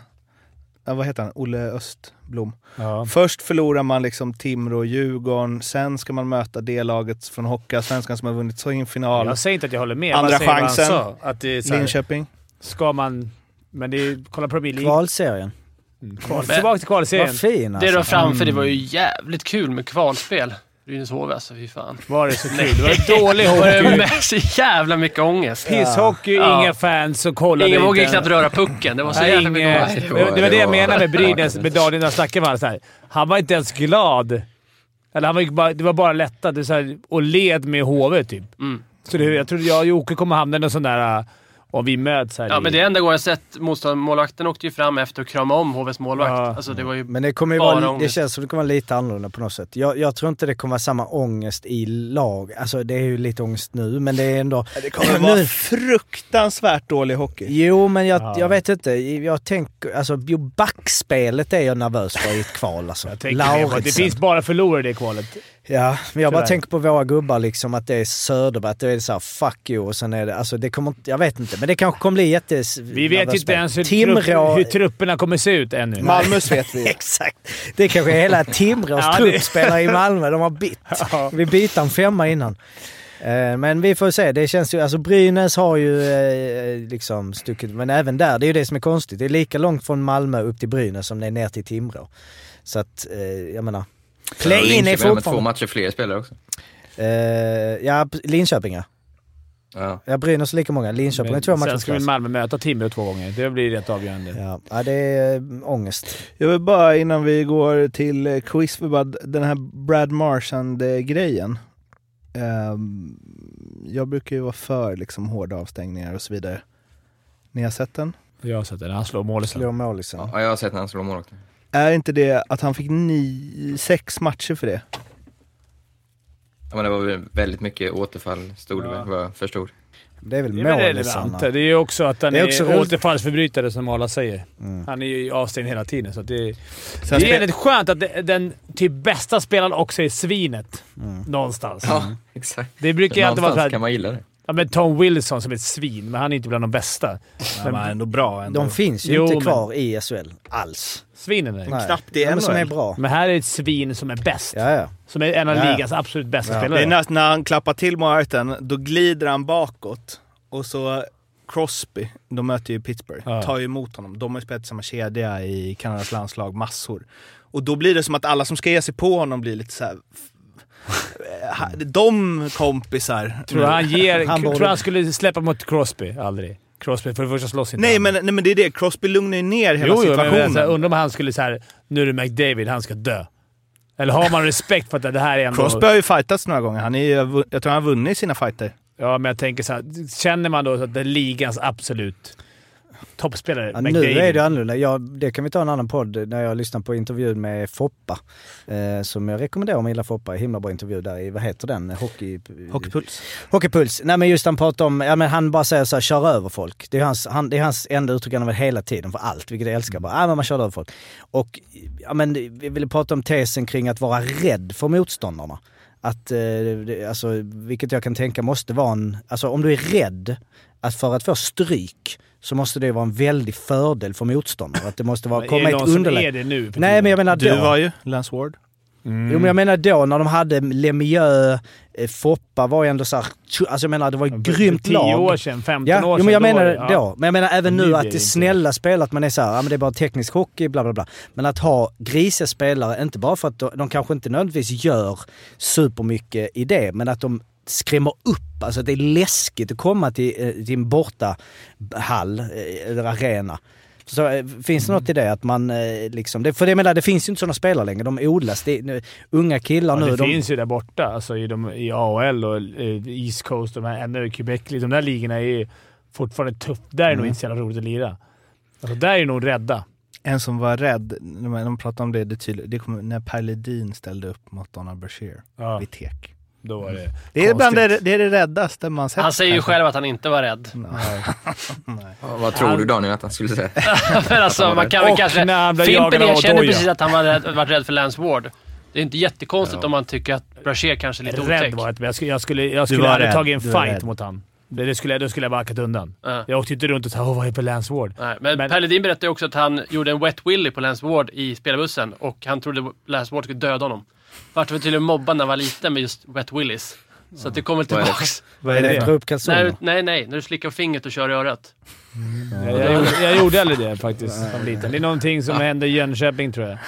Speaker 4: Ja, vad heter han? Olle Östblom.
Speaker 2: Ja.
Speaker 4: Först förlorar man liksom Timrå och Djurgården, sen ska man möta det laget från Hockeyallsvenskan som har vunnit så in final.
Speaker 2: Jag säger inte att jag håller med. Jag
Speaker 4: Andra
Speaker 2: bara säger vad han
Speaker 4: chansen.
Speaker 2: sa. Att det är såhär,
Speaker 4: Linköping.
Speaker 2: ska man... Men det är, kolla Premier League.
Speaker 3: Kvalserien.
Speaker 2: Kval. Tillbaka till kvalserien.
Speaker 3: Vad fin
Speaker 8: Det
Speaker 3: alltså.
Speaker 8: du har framför dig var ju jävligt kul med kvalspel. Brynäs-HV alltså, fy fan.
Speaker 2: Var det så kul? Det var dålig
Speaker 8: Det var
Speaker 2: hockey.
Speaker 8: med så jävla mycket ångest.
Speaker 2: Pisshockey,
Speaker 8: Ja.
Speaker 2: inga fans som kollade
Speaker 8: Ingen vågade
Speaker 2: inte.
Speaker 8: knappt röra pucken. Det var så
Speaker 2: Nej,
Speaker 8: jävla
Speaker 2: inga-
Speaker 8: mycket ångest.
Speaker 2: det, var, det jag menade med Brynäs, med Daniel när jag snackade med honom. så här. Han var inte ens glad. Eller han var, ju bara, det var bara lättad det är så här, och led med HV typ.
Speaker 8: Mm.
Speaker 2: Så det, jag tror jag och Jocke kommer hamna i någon sån där... äh, Om vi möts här
Speaker 8: Ja,
Speaker 2: i-
Speaker 8: men det är enda gången jag sett motståndarmålvakten åkte ju fram efter att krama om HVs målvakt.
Speaker 2: Ja.
Speaker 8: Alltså, det var ju...
Speaker 3: Men det kommer ju
Speaker 8: Bara
Speaker 3: vara, det
Speaker 8: ångest.
Speaker 3: känns som det kommer vara lite annorlunda på något sätt. Jag, jag tror inte det kommer vara samma ångest i lag. Alltså det är ju lite ångest nu, men det är ändå...
Speaker 4: Det kommer vara fruktansvärt dålig hockey.
Speaker 3: Jo, men jag,
Speaker 2: Ja.
Speaker 3: jag vet inte. Jag tänker... Alltså jo, backspelet är jag nervös för i ett kval alltså.
Speaker 2: Jag tänker mer på att det finns bara förlorare i det kvalet.
Speaker 3: Ja, men jag bara
Speaker 2: Tyvärr. tänker
Speaker 3: tänker på våra gubbar liksom att det är Söderberg, då är det såhär fuck you och sen är det, alltså det kommer inte, jag vet inte, men det kanske kommer bli jätte...
Speaker 2: Vi vet inte ens hur,
Speaker 3: Timrå...
Speaker 2: trupp, hur trupperna kommer se ut ännu.
Speaker 4: Malmös vet vi.
Speaker 3: Exakt! Det kanske är hela Timrås
Speaker 2: Ja, det-
Speaker 3: trupp spelar i Malmö, de har bytt. Vi bytte en femma innan. Eh, Men vi får se, det känns ju, alltså Brynäs har ju eh, liksom stuckit, men även där, det är ju det som är konstigt. Det är lika långt från Malmö upp till Brynäs som det är ner till Timrå. Så att, eh, jag menar... Play-in är
Speaker 1: Linköping har med två
Speaker 3: fortfarande...
Speaker 1: matcher fler spelare också.
Speaker 3: Eh, ja, Linköping ja.
Speaker 1: Ja.
Speaker 3: Jag bryr oss lika många. Linköping är
Speaker 2: Men
Speaker 3: två matcher
Speaker 2: Sen ska väl
Speaker 3: kvar.
Speaker 2: Malmö möta Timrå två gånger. Det blir rätt avgörande.
Speaker 3: Ja. ja, det är eh, ångest.
Speaker 4: Jag vill bara innan vi går till eh, quiz, vi bara, den här Brad Marchand-grejen. Ehm, jag brukar ju vara för liksom, hårda avstängningar och så vidare. Ni har sett den?
Speaker 2: Jag har sett det. Han slår målet sen.
Speaker 3: Slår målisen.
Speaker 1: ja, jag har sett när han slår målvakten.
Speaker 4: Är inte det att han fick ni, sex matcher för det?
Speaker 1: Ja, men det var väl väldigt mycket återfall, stod det väl, vad jag förstod.
Speaker 3: Det är väl
Speaker 2: Det är väl
Speaker 3: målisarna?
Speaker 2: relevant. Det är ju också att han
Speaker 3: Det
Speaker 2: är,
Speaker 3: är också Mm. roligt.
Speaker 2: återfallsförbrytare, som alla säger. Han är ju avstängd hela tiden, så att det,
Speaker 4: Sen
Speaker 2: det
Speaker 4: spe-
Speaker 2: är väldigt skönt att det- den typ bästa spelaren också är svinet.
Speaker 3: Mm.
Speaker 2: Någonstans.
Speaker 1: Ja, exakt.
Speaker 2: Det brukar ju alltid vara
Speaker 1: Någonstans
Speaker 2: såhär...
Speaker 1: kan man gilla det.
Speaker 2: Ja, men Tom Wilson som är ett svin, men han är inte bland de bästa.
Speaker 4: Han var ändå bra ändå.
Speaker 3: De finns ju
Speaker 2: Jo, men-
Speaker 3: inte kvar i SHL alls.
Speaker 2: Svinen är det.
Speaker 3: Nej.
Speaker 4: knappt i
Speaker 3: De som
Speaker 4: NHL.
Speaker 3: är bra.
Speaker 2: Men här är ett svin som är bäst.
Speaker 3: Ja, ja.
Speaker 2: Som är en av
Speaker 3: Ja, ja.
Speaker 2: ligans absolut bästa
Speaker 4: Det
Speaker 2: spelare.
Speaker 4: är nästan när han klappar till Martin, då glider han bakåt. Och så Crosby, de möter ju Pittsburgh,
Speaker 2: Ja.
Speaker 4: tar ju emot honom. De har ju spelat i samma kedja i Kanadas landslag, massor. Och då blir det som att alla som ska ge sig på honom blir lite såhär... De kompisar.
Speaker 2: Tror du han ger...
Speaker 3: Mm. Han
Speaker 2: tror
Speaker 3: borde-
Speaker 2: du han skulle släppa mot Crosby? Aldrig. Crosby, för det första slåss inte
Speaker 4: Nej
Speaker 2: han.
Speaker 4: men, nej men det är det, Crosby lugnar ju ner hela
Speaker 2: Jo, jo, men
Speaker 4: situationen.
Speaker 2: jag så här, undrar om han skulle så här, nu är det McDavid, han ska dö. Eller har man respekt för att det här är ändå...
Speaker 4: Crosby har ju fightats några gånger, han är ju, jag tror han har vunnit sina fighter.
Speaker 2: Ja, men jag tänker så här, känner man då att det är ligans absolut toppspelare,
Speaker 3: Ja,
Speaker 2: McDavid.
Speaker 3: nu är det annorlunda. Jag, det kan vi ta en annan podd när jag lyssnar på intervjun med Foppa. Eh, som jag rekommenderar om man gillar Foppa. Himla bra intervju där i, vad heter den? Hockey...
Speaker 4: Hockeypuls.
Speaker 3: Hockeypuls. Nej men just han pratar om, ja men han bara säger så här, kör över folk. Det är hans, han, det är hans enda uttryck han använder hela tiden för allt, vilket jag älskar. Bara, ja men man kör över folk. Och ja men vi ville prata om tesen kring att vara rädd för motståndarna. Att, eh, det, alltså, vilket jag kan tänka måste vara en, alltså om du är rädd att för att få stryk så måste det vara en väldig fördel för motståndare. Att det måste vara,
Speaker 2: Är
Speaker 3: komma
Speaker 2: det
Speaker 3: i ett
Speaker 2: någon som är
Speaker 3: underläge.
Speaker 2: det nu? för
Speaker 3: Nej
Speaker 2: tiden?
Speaker 3: men jag menar
Speaker 4: Du
Speaker 3: då.
Speaker 4: var ju Lance Ward.
Speaker 3: Jo men jag menar då när de hade Lemieux, eh, Foppa var ju ändå såhär, alltså jag menar det var ett
Speaker 2: För
Speaker 3: grymt
Speaker 2: tio
Speaker 3: lag.
Speaker 2: år sedan, 15
Speaker 3: Ja,
Speaker 2: år
Speaker 3: jo,
Speaker 2: sedan.
Speaker 3: men jag menar
Speaker 2: var
Speaker 3: det då. Men jag menar även
Speaker 2: Nu
Speaker 3: nu
Speaker 2: är
Speaker 3: att
Speaker 2: det
Speaker 3: det är
Speaker 2: inte
Speaker 3: snälla spel, att man är så här, ja men det är bara teknisk hockey, bla bla bla. Men att ha grisiga spelare, inte bara för att de, de kanske inte nödvändigtvis gör supermycket i det, men att de skrämmer upp. Alltså att det är läskigt att komma till, eh, till en borta hall eh, eller arena. Så eh, finns det något i det att man eh, liksom, det, för jag menar det finns ju inte sådana spelare längre, de odlas. Det, är nu, unga killar
Speaker 2: Ja,
Speaker 3: nu,
Speaker 2: det
Speaker 3: de,
Speaker 2: finns ju där borta, alltså i, de, i AHL och eh, East Coast och de här, ända i Quebec. liksom, De där ligorna är ju fortfarande tufft. Där är det nog inte så jävla roligt att lira. Alltså, där är nog rädda.
Speaker 4: En som var rädd, de, de pratade om det, det, tydligt, det kom, när Per Ledin ställde upp mot Donna Brashear
Speaker 2: Ja,
Speaker 4: vid tek.
Speaker 2: då var det
Speaker 4: Det är, bland det,
Speaker 2: konstigt.
Speaker 4: det är det räddaste man sett.
Speaker 8: Han säger ju
Speaker 4: kanske.
Speaker 8: själv att han inte var rädd.
Speaker 2: Mm.
Speaker 4: Nej.
Speaker 1: Ja, Vad tror du Daniel att han skulle säga?
Speaker 8: Men alltså, man kan väl
Speaker 2: Och
Speaker 8: kanske...
Speaker 2: när han blev jagad
Speaker 8: Fimpen
Speaker 2: av
Speaker 8: erkänner
Speaker 2: Odoja.
Speaker 8: precis att han var rädd, varit rädd för Lance Ward. Det är inte jättekonstigt om man tycker att Brashear kanske är lite
Speaker 2: Rädd
Speaker 8: otäck.
Speaker 2: var jag inte, men jag skulle, jag skulle, jag skulle
Speaker 4: var
Speaker 2: aldrig
Speaker 4: rädd.
Speaker 2: tagit en
Speaker 4: Du var
Speaker 2: fight
Speaker 4: rädd.
Speaker 2: mot han. Det, det skulle, jag- då skulle jag backat undan.
Speaker 8: Ja.
Speaker 2: Jag åkte inte runt och sa “Åh, vad är på Lance Ward?”
Speaker 8: Nej, men,
Speaker 2: Men-
Speaker 8: Per Ledin berättade ju också att han gjorde en wet willy på Lance Ward i spelbussen och han trodde Lance Ward skulle döda honom. Vart var tydligen mobbad när han var liten med just wet willies. Så att det kommer
Speaker 1: Vad är det?
Speaker 8: tillbaks.
Speaker 4: Vad är det?
Speaker 3: dra upp kalsonger.
Speaker 8: Nej, nej, nej. När du slickar fingret och kör i örat.
Speaker 2: Jag, jag, gjorde- jag gjorde aldrig det faktiskt som liten. Det är någonting som hände i Jönköping tror jag.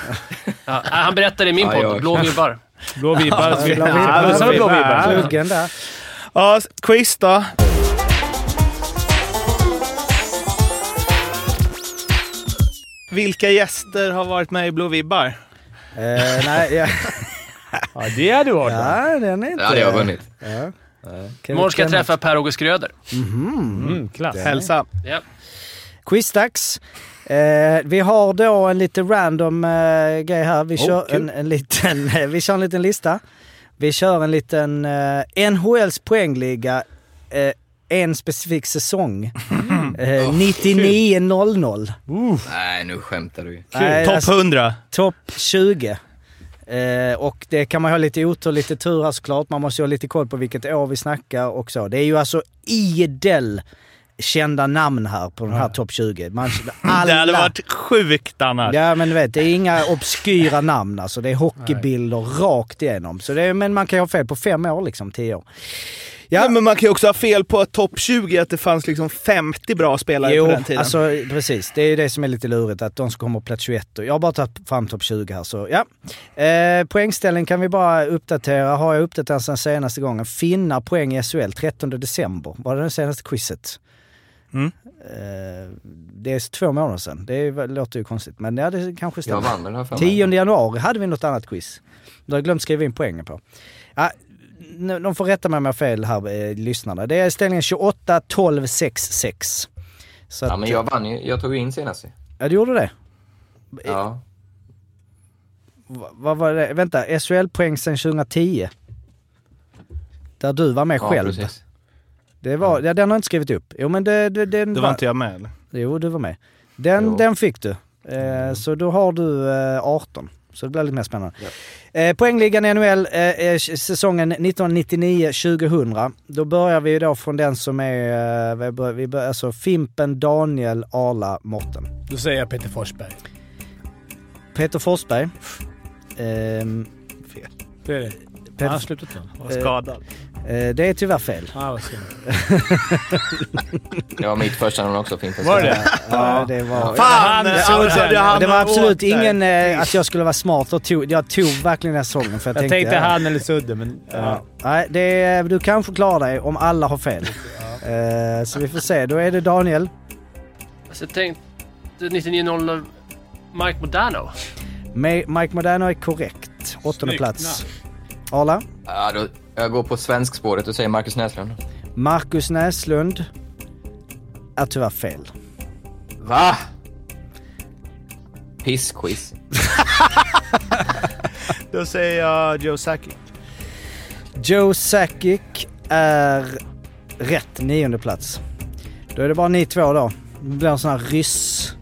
Speaker 8: Ja, äh, han berättade i min
Speaker 1: Ja, jag-
Speaker 8: podd, Blå vibbar.
Speaker 2: Blå vibbar.
Speaker 3: Ja, blå
Speaker 2: Ja, det var blå vibbar.
Speaker 3: Pluggen där.
Speaker 4: Ja, s- quiz då. Vilka gäster har varit med i Blå vibbar?
Speaker 3: Eh, nej, ja,
Speaker 2: Ja, det hade du varit.
Speaker 3: ja, den är inte...
Speaker 1: Det hade jag vunnit.
Speaker 3: Ja. Kan
Speaker 8: Imorgon ska jag
Speaker 3: vi-
Speaker 8: träffa Per-Åge Skröder.
Speaker 2: Mm, klass.
Speaker 4: Hälsa.
Speaker 8: Ja.
Speaker 3: Quizdags. Eh, vi har då en lite random eh, grej här.
Speaker 8: Oh,
Speaker 3: Vi, kör en, en liten, vi kör en liten lista. Vi kör en liten eh, NHLs poängliga eh, en specifik säsong.
Speaker 8: Oh,
Speaker 3: Eh, 99.00.
Speaker 1: Nej, nu skämtar du ju.
Speaker 3: Nej,
Speaker 4: Topp
Speaker 3: alltså,
Speaker 4: 100.
Speaker 3: Topp 20. Eh, och det kan man ha lite otur, lite tur här såklart. Man måste ju ha lite koll på vilket år vi snackar och så. Det är ju alltså idel kända namn här på den här topp 20. Man, alla,
Speaker 4: Det hade varit sjukt annars.
Speaker 3: Ja men du vet, det är inga obskyra namn alltså. Det är hockeybilder rakt igenom. Så det är, men man kan ju ha fel på fem år liksom, tio år.
Speaker 4: Ja, men man kan ju också ha fel på att topp 20, att det fanns liksom 50 bra spelare på
Speaker 3: Jo,
Speaker 4: den tiden.
Speaker 3: alltså precis. Det är ju det som är lite lurigt, att de som kommer på plats 21. Och jag har bara tagit fram topp 20 här, så ja. Eh, poängställen kan vi bara uppdatera. Har jag uppdaterat sen senaste gången? Finna poäng i SHL 13 december. Var det det senaste quizet?
Speaker 4: Mm.
Speaker 3: Eh, det är två månader sedan. Det är, låter ju konstigt, men ja, det kanske stämmer.
Speaker 1: Jag vann väl, har jag för mig.
Speaker 3: 10 januari hade vi något annat quiz. Då har jag glömt skriva in poängen på. Ja, n- de får rätta mig om jag har fel här, eh, lyssnarna. Det är ställningen 28, 12, 6, 6. Så att,
Speaker 1: Ja, men jag vann ju. Jag tog ju in senast ju.
Speaker 3: ja, du gjorde det.
Speaker 1: Ja.
Speaker 3: Va- Vad var det? Vänta, SHL-poäng sedan 2010. Där du var med
Speaker 1: ja,
Speaker 3: själv.
Speaker 1: precis.
Speaker 3: Det var, ja, den har jag inte skrivit upp. Jo, men det, det, den
Speaker 4: det var inte jag med eller?
Speaker 3: Jo, du var med. Den,
Speaker 1: Jo.
Speaker 3: den fick du. Eh, Så då har du eh, 18. Så det blir lite mer spännande. Eh, poängligan i NHL, eh, eh, säsongen 1999-2000. Då börjar vi då från den som är, eh, vi bör, vi bör, alltså Fimpen, Daniel, Arla, Morten.
Speaker 2: Då säger jag Peter Forsberg.
Speaker 3: Peter Forsberg. Ehm,
Speaker 2: Det är det.
Speaker 3: Peter-
Speaker 2: Har han slutat då?
Speaker 4: Jag var skadad.
Speaker 3: eh, det är tyvärr fel.
Speaker 2: Ah, vad synd.
Speaker 1: Det var mitt första namn också, Fimpen.
Speaker 2: Var det det
Speaker 3: Ja, det var...
Speaker 2: Han-
Speaker 4: Fan! alltså,
Speaker 2: han-
Speaker 4: det
Speaker 2: han
Speaker 3: eh, Det var
Speaker 4: hamnade åt
Speaker 3: absolut
Speaker 4: där.
Speaker 3: ingen eh, att jag skulle vara smart. Och tog, jag tog verkligen den här sången för jag,
Speaker 2: Jag tänkte
Speaker 3: ja.
Speaker 2: han eller Sudde, men...
Speaker 3: Ja. Eh, Nej, det är, du kanske klarar dig om alla har fel. Eh, så vi får se. Då är det Daniel.
Speaker 8: Alltså, jag tänkte 99.00 Mike Modano.
Speaker 3: Ma- Mike Modano är korrekt. Åttonde
Speaker 2: Snyggt
Speaker 3: plats. Arla.
Speaker 1: Ja, då, jag går på svenskspåret och säger Marcus Näslund.
Speaker 3: Marcus Näslund är tyvärr fel.
Speaker 1: Va? Pissquiz.
Speaker 4: Då säger jag Joe Sacki.
Speaker 3: Joe Sakic är rätt. Nionde plats. Då är det bara ni två då. Det blir en sån här ryss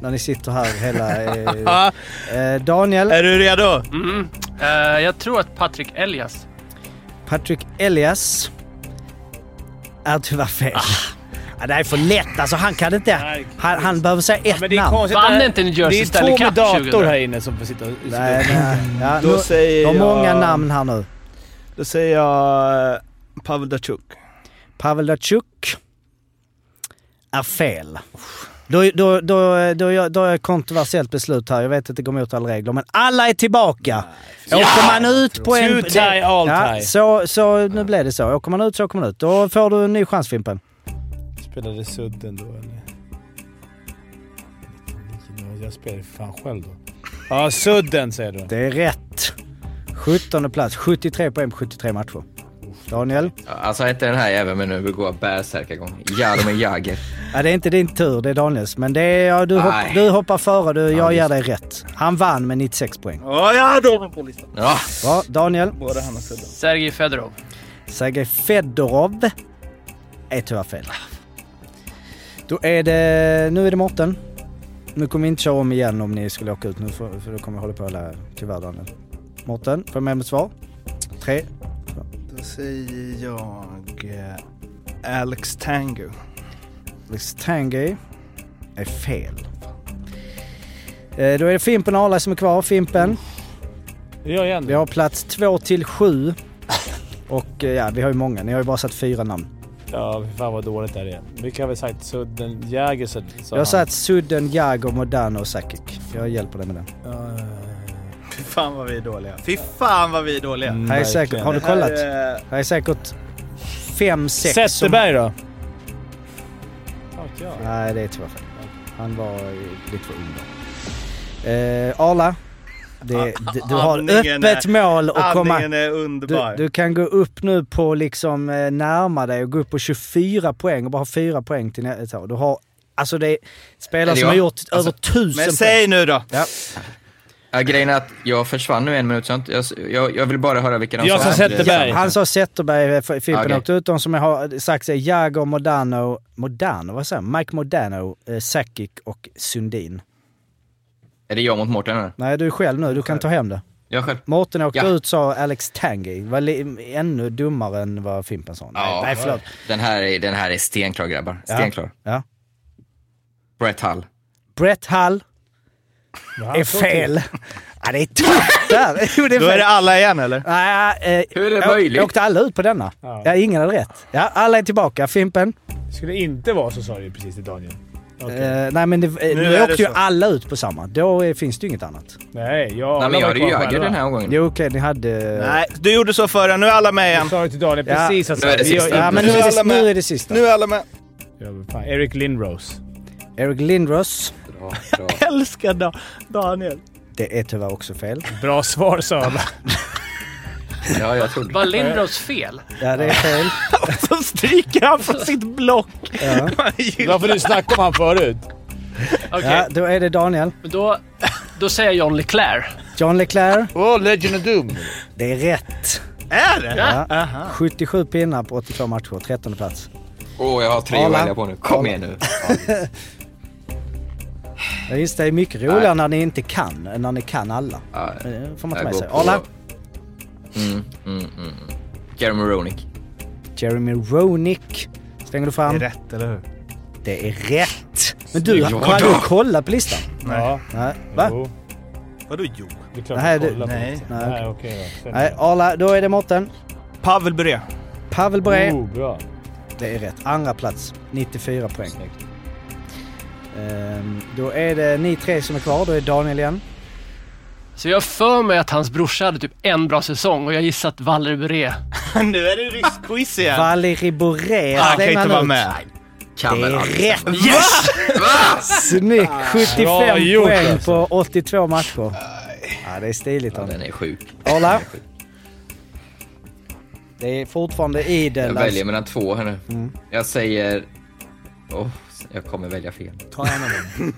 Speaker 3: när ni sitter här hela... eh, Eh, Daniel.
Speaker 4: Är du redo?
Speaker 8: Mm. Eh, jag tror att Patrik Elias.
Speaker 3: Patrick Elias är tyvärr fel. Ja, det här är för lätt alltså. Han kan inte...
Speaker 2: Ah. Nej.
Speaker 3: Han, han behöver säga ett
Speaker 2: Men det är
Speaker 3: namn.
Speaker 2: konstigt.
Speaker 8: Vann
Speaker 2: att-
Speaker 8: inte New
Speaker 2: Det
Speaker 8: Jersey
Speaker 2: är två
Speaker 8: Stanley
Speaker 2: med
Speaker 8: Cup
Speaker 2: dator
Speaker 8: 2000?
Speaker 2: här inne som sitter och...
Speaker 3: Nej, nej. Ja,
Speaker 4: Då
Speaker 3: nu,
Speaker 4: säger
Speaker 3: det var
Speaker 4: jag...
Speaker 3: många namn här nu.
Speaker 4: Då säger jag eh, Pavel Datsjuk.
Speaker 3: Pavel Datsjuk är fel. Då, då, då, då, gör- då är ett kontroversiellt beslut här. Jag vet att det går mot alla regler, men alla är tillbaka! Åker man ut på en...
Speaker 2: Two tie, all
Speaker 3: ja,
Speaker 2: tie.
Speaker 3: så, så nu blev det så. Åker man ut så åker man ut. Då får du en ny chans Fimpen.
Speaker 2: Spelade Sudden då, eller? jag spelar ju för fan själv då. Ja, sudden säger du.
Speaker 3: Det är rätt. 17 plats. 73 poäng på 73 matcher. Daniel?
Speaker 1: Alltså inte den här jäveln, men nu vill gå bärsärkagång. Jaromir Jagr.
Speaker 3: Ja, det är inte din tur, det är Daniels. Men det är, ja, du, hopp,
Speaker 1: Nej.
Speaker 3: du hoppar före, du, jag
Speaker 1: just
Speaker 3: ger dig rätt. Han vann med 96 poäng.
Speaker 4: Ja, jag hade honom på listan.
Speaker 1: Ja,
Speaker 3: Bra, Daniel.
Speaker 4: Både han och Sudden.
Speaker 8: Sergej Fedorov.
Speaker 3: Sergej Fedorov är tyvärr fel. Då är det... Nu är det Mårten. Nu kommer vi inte köra om igen om ni skulle åka ut nu för, för då kommer jag hålla på och lära tyvärr Daniel. Mårten, får jag med mitt svar? Tre.
Speaker 4: Då säger jag eh, Alex Tango.
Speaker 3: Alex Tanguy är fel. Eh, Då är det Fimpen och Arla som är kvar. Fimpen,
Speaker 2: Det gör jag igen.
Speaker 3: vi har plats två till sju. Och eh, ja, vi har ju många. Ni har ju bara satt fyra namn.
Speaker 2: Ja, fy fan vad dåligt det här är. Vilka har vi sagt? Sudden, Jäger, sa
Speaker 3: Jag har satt Sudden, Jago, Modano och Sakic. Jag hjälper dig med den.
Speaker 4: Fy fan vad vi är dåliga. Fy fan vad vi är dåliga.
Speaker 3: Här är säkert, Mm. har du kollat?
Speaker 4: Det här är-
Speaker 3: Här är säkert fem, sex som...
Speaker 2: Zetterberg då?
Speaker 3: Nej, det är tyvärr fel. Han var eh, lite för ung då. Eh, Arla, det, du, du har
Speaker 4: Ah, Andningen är-
Speaker 3: öppet mål och komma...
Speaker 4: Andningen är
Speaker 3: Du,
Speaker 4: underbar.
Speaker 3: du kan gå upp nu på liksom eh, närma dig och gå upp på 24 poäng och bara ha 4 poäng till nästa år. Du har, alltså det är spelare
Speaker 1: Är det
Speaker 3: som har
Speaker 1: jag?
Speaker 3: gjort över 1000
Speaker 4: Men
Speaker 3: poäng.
Speaker 4: säg nu då!
Speaker 1: ja, grejen är att jag försvann nu en minut, så jag, inte- jag- jag, jag vill bara höra vilka de
Speaker 2: Jag
Speaker 1: sa.
Speaker 2: sa Zetterberg.
Speaker 3: Han sa Zetterberg, eh, F- Fimpen
Speaker 1: Okej.
Speaker 3: åkte ut. De som har sagt sig Jago, Modano, Modano, vad säger jag? Mike Modano, eh, Sakic och Sundin.
Speaker 1: Är det jag mot Mårten nu?
Speaker 3: Nej, du är själv nu. Du kan ta hem det.
Speaker 1: Jag själv.
Speaker 3: Mårten åkte
Speaker 1: Ja.
Speaker 3: ut sa Alex Tanguy. Var li- ännu dummare än vad Fimpen sa. Nej,
Speaker 1: Ja.
Speaker 3: nej förlåt.
Speaker 1: Den här är, den här är stenklar grabbar. Stenklar.
Speaker 3: Ja.
Speaker 1: Brett Hull.
Speaker 3: Brett Hall är fel. Ja, det är tufft där. Jo, det är
Speaker 4: Alltså, Då är
Speaker 3: fel.
Speaker 4: det alla igen eller?
Speaker 3: Nej, eh,
Speaker 1: Hur är det
Speaker 3: jag-
Speaker 1: möjligt?
Speaker 3: Jag åkte alla ut på denna. Ja.
Speaker 2: Ja.
Speaker 3: ingen hade rätt. Ja, alla är tillbaka. Fimpen?
Speaker 2: Det skulle inte vara så sa du ju precis till Daniel. Okej.
Speaker 3: Eh, nej, men det, eh, nu,
Speaker 4: är det
Speaker 3: åkte ju
Speaker 4: så.
Speaker 3: alla ut på samma. Då eh, finns det ju inget annat.
Speaker 2: Nej, jag...
Speaker 1: Nej, men jag hade ju
Speaker 2: alla var
Speaker 1: Jagr
Speaker 2: kvar
Speaker 1: den
Speaker 2: själva.
Speaker 1: här omgången.
Speaker 3: Jo, okej, ni hade...
Speaker 4: Nej, du gjorde så förra. Nu är alla med
Speaker 2: Jag
Speaker 4: igen.
Speaker 2: sa ju till Daniel
Speaker 3: Ja.
Speaker 2: precis att...
Speaker 1: Nu är det
Speaker 2: vi gör-
Speaker 1: sista.
Speaker 3: Ja, men nu
Speaker 4: Nu är
Speaker 3: är
Speaker 4: alla
Speaker 3: det, nu
Speaker 4: med.
Speaker 3: är det sista.
Speaker 4: Nu är alla med.
Speaker 2: Ja, men fan. Eric Lindros.
Speaker 3: Eric Lindros.
Speaker 1: Bra, bra.
Speaker 4: Älskar Daniel.
Speaker 3: Det är tyvärr också fel.
Speaker 2: Bra svar sa alla.
Speaker 1: Ja, jag trodde
Speaker 8: Var Lindros fel?
Speaker 3: Ja, det är fel.
Speaker 4: Så stryker han från sitt block.
Speaker 3: Ja.
Speaker 2: Varför du snackade om han förut?
Speaker 8: Okej,
Speaker 3: Ja, då är det Daniel.
Speaker 8: men då, då säger jag John Leclerc.
Speaker 3: John Leclerc.
Speaker 4: Åh, Legend of Doom.
Speaker 3: Det är rätt.
Speaker 4: Är det?
Speaker 3: Ja.
Speaker 4: Ah.
Speaker 3: 77 pinnar på 82 matcher. 13 plats.
Speaker 1: Åh, jag har tre att
Speaker 3: Arla.
Speaker 1: välja på nu. Kom igen nu.
Speaker 3: Ja, just det. Det är mycket roligare när ni inte kan, än när ni kan alla.
Speaker 1: Ja,
Speaker 3: Men Det Eh, får man ta
Speaker 1: jag
Speaker 3: med
Speaker 1: går
Speaker 3: sig.
Speaker 1: på-
Speaker 3: Arla.
Speaker 1: Mm, mm, mm. mm. Jeremy Roenick.
Speaker 3: Jeremy Roenick. Slänger du
Speaker 4: Det är
Speaker 3: fram?
Speaker 4: rätt, eller hur?
Speaker 3: Det är rätt. Men du,
Speaker 1: Ja,
Speaker 3: har
Speaker 1: då.
Speaker 3: du kollat på listan?
Speaker 2: Ja.
Speaker 3: Nej. Va?
Speaker 4: Oh.
Speaker 2: Jo.
Speaker 4: Vadå jo?
Speaker 2: Det är klart
Speaker 3: Nej,
Speaker 2: att
Speaker 3: det-
Speaker 2: kolla på.
Speaker 4: nej.
Speaker 3: Nej,
Speaker 2: Nej, okej då.
Speaker 3: Nej, Arla, då är det Mårten.
Speaker 4: Pavel Bure.
Speaker 3: Pavel Bre.
Speaker 2: Oh, bra.
Speaker 3: Det är rätt. Andra plats. 94 poäng. Ehm, då är det ni tre som är kvar. Då är Daniel igen.
Speaker 8: Så jag har för mig att hans brorsa hade typ en bra säsong och jag gissar att Valerie Bure.
Speaker 4: nu är det rysk quiz igen.
Speaker 3: Valeri Boré.
Speaker 4: Han Ah, kan
Speaker 3: slänger
Speaker 4: inte
Speaker 3: han
Speaker 4: vara
Speaker 3: ut.
Speaker 4: med.
Speaker 1: Kan
Speaker 3: Det
Speaker 1: väl
Speaker 3: är
Speaker 1: aldrig.
Speaker 3: rätt.
Speaker 4: Yes!
Speaker 3: Snyggt!
Speaker 4: Ah,
Speaker 3: 75
Speaker 2: Bra gjort,
Speaker 3: poäng
Speaker 2: alltså.
Speaker 3: på 82 matcher. Ja, det är stiligt
Speaker 1: Ja,
Speaker 3: Daniel.
Speaker 1: Den är sjuk.
Speaker 3: Arla. Det är fortfarande
Speaker 1: Jag
Speaker 3: idel.
Speaker 1: väljer mellan två här nu.
Speaker 3: Mm.
Speaker 1: Jag säger... Åh, jag kommer välja fel. Ta en av dem.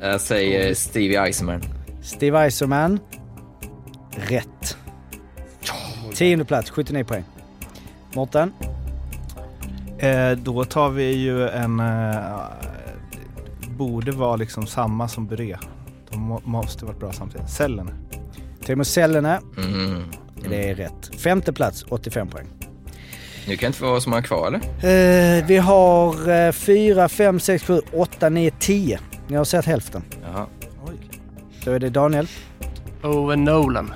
Speaker 1: Jag säger Stevie Eisenman.
Speaker 3: Steve Eiserman. Rätt. Tionde plats, 79 poäng. Mårten.
Speaker 4: Eh, då tar vi ju en... Eh, borde vara liksom samma som Bure. De må, måste varit bra samtidigt. Cellen.
Speaker 3: Timo Sellene.
Speaker 1: Mm.
Speaker 3: Det är rätt. Femte plats, 85 poäng.
Speaker 1: Nu kan det inte vara så många kvar eller?
Speaker 3: Eh, vi har eh, 4, 5, 6, 7, 8, 9, 10. Ni har sett hälften.
Speaker 1: Jaha.
Speaker 3: Då är det Daniel.
Speaker 8: Owen Nolan.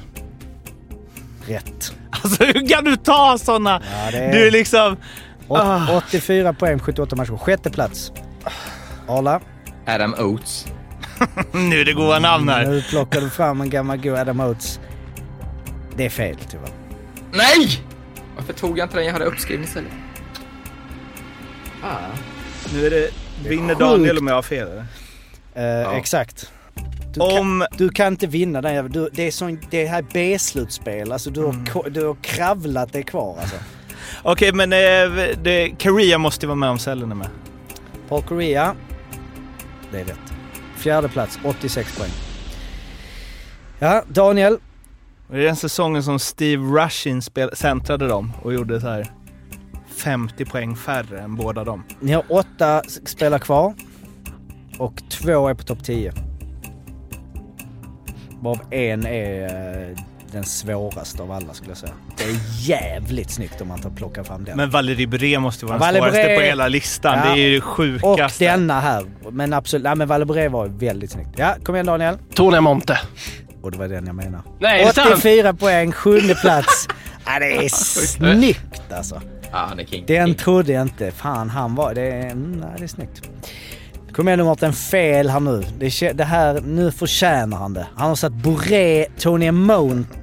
Speaker 3: Rätt.
Speaker 4: Alltså hur kan du ta såna?
Speaker 3: Ja, det
Speaker 4: Du är liksom...
Speaker 3: Åt- 84 poäng, 78 matcher. Sjätte plats. Arla,
Speaker 1: Adam Oates.
Speaker 4: Nu är det goda namn här.
Speaker 3: nu plockar du fram en gammal god Adam Oates. Det är fel tyvärr.
Speaker 1: Nej! Varför tog jag inte den jag hade uppskriven istället?
Speaker 4: Nu är det... Vinner Daniel om jag har fel eller?
Speaker 3: Eh, Exakt. Du kan,
Speaker 4: Om...
Speaker 3: du kan inte vinna den jäveln. Du- Det är sån, det här är B-slutspel. Alltså du,
Speaker 4: Mm.
Speaker 3: har, ko- du har kravlat dig kvar alltså.
Speaker 4: Okej, men eh, det, Korea måste ju vara med om cellen är med.
Speaker 3: Paul Korea. Det är rätt. Fjärde plats, 86 poäng. Ja, Daniel.
Speaker 4: Det är den säsongen som Steve Rushin spel- centrade dem och gjorde så här 50 poäng färre än båda dem.
Speaker 3: Ni har åtta s- spelare kvar. Och två är på topp 10. Varav en är eh, den svåraste av alla skulle jag säga. Det är jävligt snyggt om man tar plockar fram den.
Speaker 4: Men Valérie Bré måste ju vara den
Speaker 3: Valérie
Speaker 4: svåraste
Speaker 3: Bré-
Speaker 4: på hela listan.
Speaker 3: Ja.
Speaker 4: Det är ju det
Speaker 3: och
Speaker 4: sjukaste.
Speaker 3: denna här. Men absolut, nej men Valbré var väldigt snyggt. Ja, kom igen Daniel.
Speaker 8: Tonia Monte.
Speaker 3: Och det var den jag menade.
Speaker 8: Nej, är det sant?
Speaker 3: 84 poäng, sjunde plats. ja, det är snyggt alltså.
Speaker 1: Ja, det är king.
Speaker 3: Den
Speaker 1: king.
Speaker 3: trodde jag inte. Fan, han var... Det, är- mm, nej, det är snyggt. Kom igen nu Mårten, fel här nu. Det, kä- det här, nu förtjänar han det. Han har satt Boré, Tony Mount,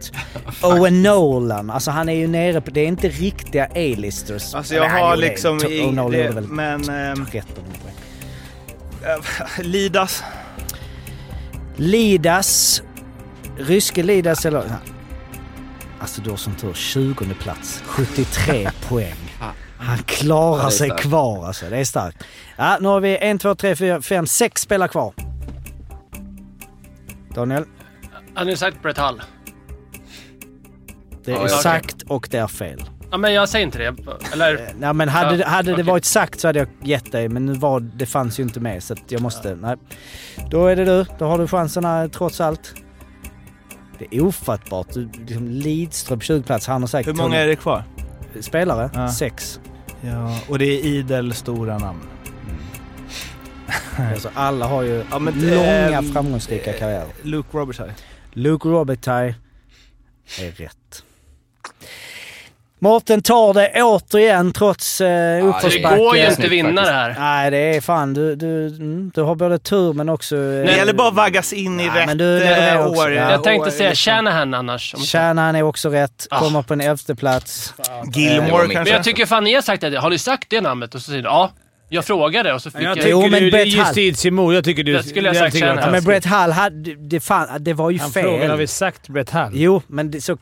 Speaker 3: Owen Nolan. Alltså han är ju nere på... Det är inte riktiga A-listers.
Speaker 4: Alltså jag
Speaker 3: Nej, han
Speaker 4: har
Speaker 3: gjorde-
Speaker 4: liksom...
Speaker 3: To-
Speaker 4: i-
Speaker 3: Owen Nolan
Speaker 4: det-
Speaker 3: gjorde väl
Speaker 4: men... ehm,
Speaker 3: 13 poäng.
Speaker 4: Lidas.
Speaker 3: Lidas. Ryske Lidas eller... Alltså du har som tur 20 plats. 73 poäng. Han
Speaker 1: Ja, det
Speaker 3: klarar
Speaker 1: är
Speaker 3: sig
Speaker 1: starkt.
Speaker 3: kvar alltså. Det är starkt. Ja, nu har vi en, två, tre, fyra, fem, sex spelare kvar. Daniel,
Speaker 8: Han har ju sagt Brett Hall.
Speaker 3: det är
Speaker 1: Ja, ja, okej.
Speaker 3: sagt och det är fel.
Speaker 8: Ja, men jag säger inte det. Eller?
Speaker 3: Nej, men hade,
Speaker 8: Ja,
Speaker 3: hade
Speaker 8: okej.
Speaker 3: det varit sagt så hade jag gett dig, men nu var, det fanns ju inte med så att jag måste... Nej. Då är det du. Då har du chansen här, trots allt. Det är ofattbart. Du, liksom Lidström 20 plats. Han har säkert...
Speaker 4: Hur många är det kvar?
Speaker 3: det? Spelare?
Speaker 4: Ja.
Speaker 3: Sex.
Speaker 4: Ja, och det är idel stora namn.
Speaker 3: Alltså, alla har ju
Speaker 4: Ja, men,
Speaker 3: långa
Speaker 4: ehm,
Speaker 3: framgångsrika karriärer.
Speaker 4: Luke Roberts här.
Speaker 3: Luke Robitaille är rätt. Mårten tar det återigen trots eh,
Speaker 1: Ja,
Speaker 8: Det
Speaker 3: uppförsbacke.
Speaker 8: går ju inte
Speaker 1: Snyggt,
Speaker 8: vinna
Speaker 1: faktiskt.
Speaker 8: det här.
Speaker 3: Nej, det är fan. Du, du, mm, du har både tur men också... eh,
Speaker 4: Det gäller bara att vaggas in i
Speaker 3: Ja,
Speaker 4: rätt
Speaker 3: men du, det är
Speaker 4: eh,
Speaker 3: också-
Speaker 4: år.
Speaker 3: ja.
Speaker 8: Jag tänkte
Speaker 4: år,
Speaker 8: säga
Speaker 4: liksom.
Speaker 8: Shanahan annars. Om...
Speaker 3: Kärnan är också rätt.
Speaker 8: Ah.
Speaker 3: Kommer på en elfte plats.
Speaker 1: Det var
Speaker 4: Gilmore
Speaker 1: mitt.
Speaker 4: kanske?
Speaker 8: Men jag tycker fan ni har sagt det. Har ni sagt det namnet? Och så säger ni ja. Jag frågade och så fick
Speaker 2: Jag
Speaker 8: jag...
Speaker 2: tycker
Speaker 3: Jo, men
Speaker 2: du
Speaker 3: Brett
Speaker 2: är
Speaker 3: Hall.
Speaker 2: justitiemord. Jag tycker du...
Speaker 8: Det skulle jag sagt
Speaker 2: tycker
Speaker 8: senare.
Speaker 3: Ja, men
Speaker 2: taskigt.
Speaker 3: Brett Hall, hade, det, fan, det var ju
Speaker 2: Han frågade, har vi
Speaker 3: fel.
Speaker 2: sagt Brett Hall?
Speaker 3: Jo, men det, så...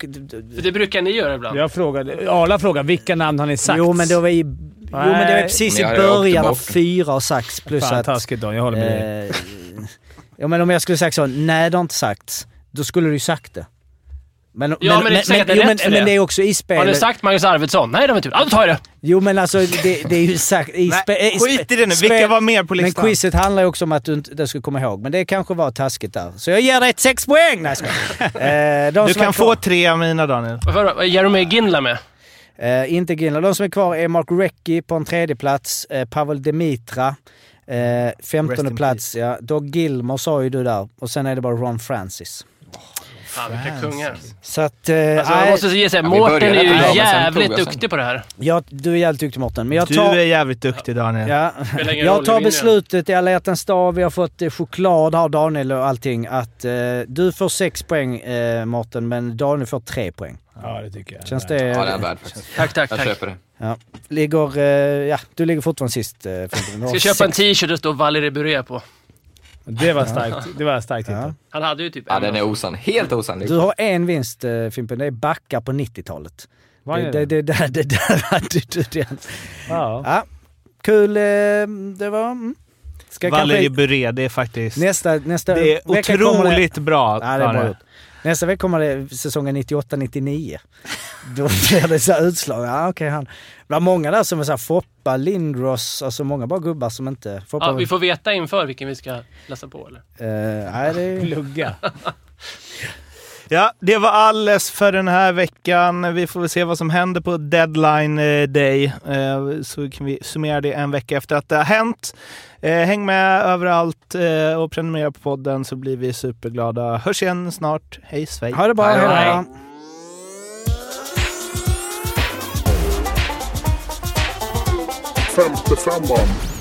Speaker 8: För det brukar ni göra ibland.
Speaker 2: Jag frågade... Arla frågade vilka namn har ni sagt?
Speaker 3: Jo, men det var, i, jo, men det var precis
Speaker 1: Men
Speaker 3: i
Speaker 1: jag hade åkt
Speaker 3: början av
Speaker 1: bort.
Speaker 3: fyra och sax plus
Speaker 2: Fan,
Speaker 3: att...
Speaker 2: taskigt Dan. Jag håller med dig.
Speaker 3: Eh, ja, men om jag skulle sagt så, nej det har inte sagts. Då skulle du ju sagt det. Men,
Speaker 8: Ja, men det är säkert
Speaker 3: jo,
Speaker 8: rätt
Speaker 3: men,
Speaker 8: för
Speaker 3: men
Speaker 8: det.
Speaker 3: det är också i
Speaker 8: Har ni
Speaker 3: spelet.
Speaker 8: sagt Magnus Arvidsson? Nej, det har vi inte gjort. Ja, då tar jag det.
Speaker 3: Jo men alltså det, det är ju sagt i
Speaker 4: Nej,
Speaker 3: spe- eh,
Speaker 4: skit i det nu.
Speaker 3: spe-
Speaker 4: Vilka var mer på
Speaker 3: Men
Speaker 4: listan?
Speaker 3: quizet handlar ju också om att du inte det ska komma ihåg. Men det kanske var taskigt där. Så jag ger dig ett sex poäng! Nej, jag skojar. eh, de
Speaker 4: Du
Speaker 3: som är
Speaker 4: kan
Speaker 3: kvar-
Speaker 4: få tre av mina Daniel.
Speaker 8: Varför då? Är Jeremy Ginla med?
Speaker 3: Eh, inte Grindler. De som är kvar är Mark Recchi på en tredje plats, eh, Pavel Demitra, eh,
Speaker 4: Rest
Speaker 3: femtonde
Speaker 4: in
Speaker 3: plats. Ja. Doug Gilmore sa ju du där. Och sen är det bara Ron Francis.
Speaker 8: Fan, vilka kungar.
Speaker 3: Så att... Eh,
Speaker 8: Alltså, jag
Speaker 3: nej,
Speaker 8: måste ge sig,
Speaker 1: Ja, vi
Speaker 8: Mårten är
Speaker 1: började
Speaker 8: ju
Speaker 1: bra, men sen
Speaker 8: jävligt
Speaker 1: tog jag sen.
Speaker 8: duktig på det här.
Speaker 3: jag, du är jävligt duktig Mårten, men jag
Speaker 4: Du
Speaker 3: tar...
Speaker 4: är jävligt duktig Daniel.
Speaker 3: Ja.
Speaker 8: Spelar ingen roll,
Speaker 3: Jag
Speaker 8: vi
Speaker 3: tar
Speaker 8: vinner.
Speaker 3: beslutet i alla hjärtans dag. Vi har fått eh, choklad här Daniel och allting. Att eh, du får sex poäng eh, Mårten, men Daniel får tre poäng.
Speaker 2: Ja, det tycker jag.
Speaker 3: Känns det...
Speaker 1: Ja, den är värd faktiskt.
Speaker 8: Tack, tack,
Speaker 1: Jag
Speaker 8: tack.
Speaker 1: köper det.
Speaker 3: Ja. Ligger... Eh, ja, du ligger fortfarande sist. Eh, Fredrik. Du har
Speaker 8: Ska köpa en
Speaker 3: sex-
Speaker 8: t-shirt det står Valérie Buré på.
Speaker 2: Det var starkt. Det var starkt
Speaker 3: Ja.
Speaker 2: hittat.
Speaker 8: Han hade ju typ
Speaker 1: Ja,
Speaker 8: en.
Speaker 1: den är osann. Helt osannolik.
Speaker 3: Du har en vinst eh, Fimpen, det är backar på 90-talet.
Speaker 2: Vad
Speaker 3: Det,
Speaker 2: är
Speaker 3: det,
Speaker 2: det?
Speaker 3: det, där- det där hade du den.
Speaker 2: Ja.
Speaker 3: Ja, kul eh, det var. Mm. Ska
Speaker 4: Valérie
Speaker 3: kanske,
Speaker 4: Buré, det är faktiskt...
Speaker 3: nästa, nästa
Speaker 4: Det är
Speaker 3: vecka kommer det-
Speaker 4: otroligt bra
Speaker 3: Ja, det är bra
Speaker 4: Daniel.
Speaker 3: gjort. Nästa vecka kommer det säsongen 98-99. Då blir det så här utslag. Ja, okej, han. Bland många där som är så här Foppa, Lindros, alltså många bara gubbar som inte... Foppa,
Speaker 8: Ja, vi får veta inför vilken vi ska läsa på eller?
Speaker 3: eh, nej, det är,
Speaker 2: Plugga.
Speaker 4: Ja, det var alles för den här veckan. Vi får väl se vad som händer på deadline eh, day. Eh, Så kan vi summera det en vecka efter att det har hänt. Eh, Häng med överallt eh, och prenumerera på podden så blir vi superglada. Hörs igen snart. Hej svej!
Speaker 3: ha det bra,
Speaker 1: Nej,
Speaker 3: hej
Speaker 1: nej.
Speaker 3: då.
Speaker 9: Femte femman.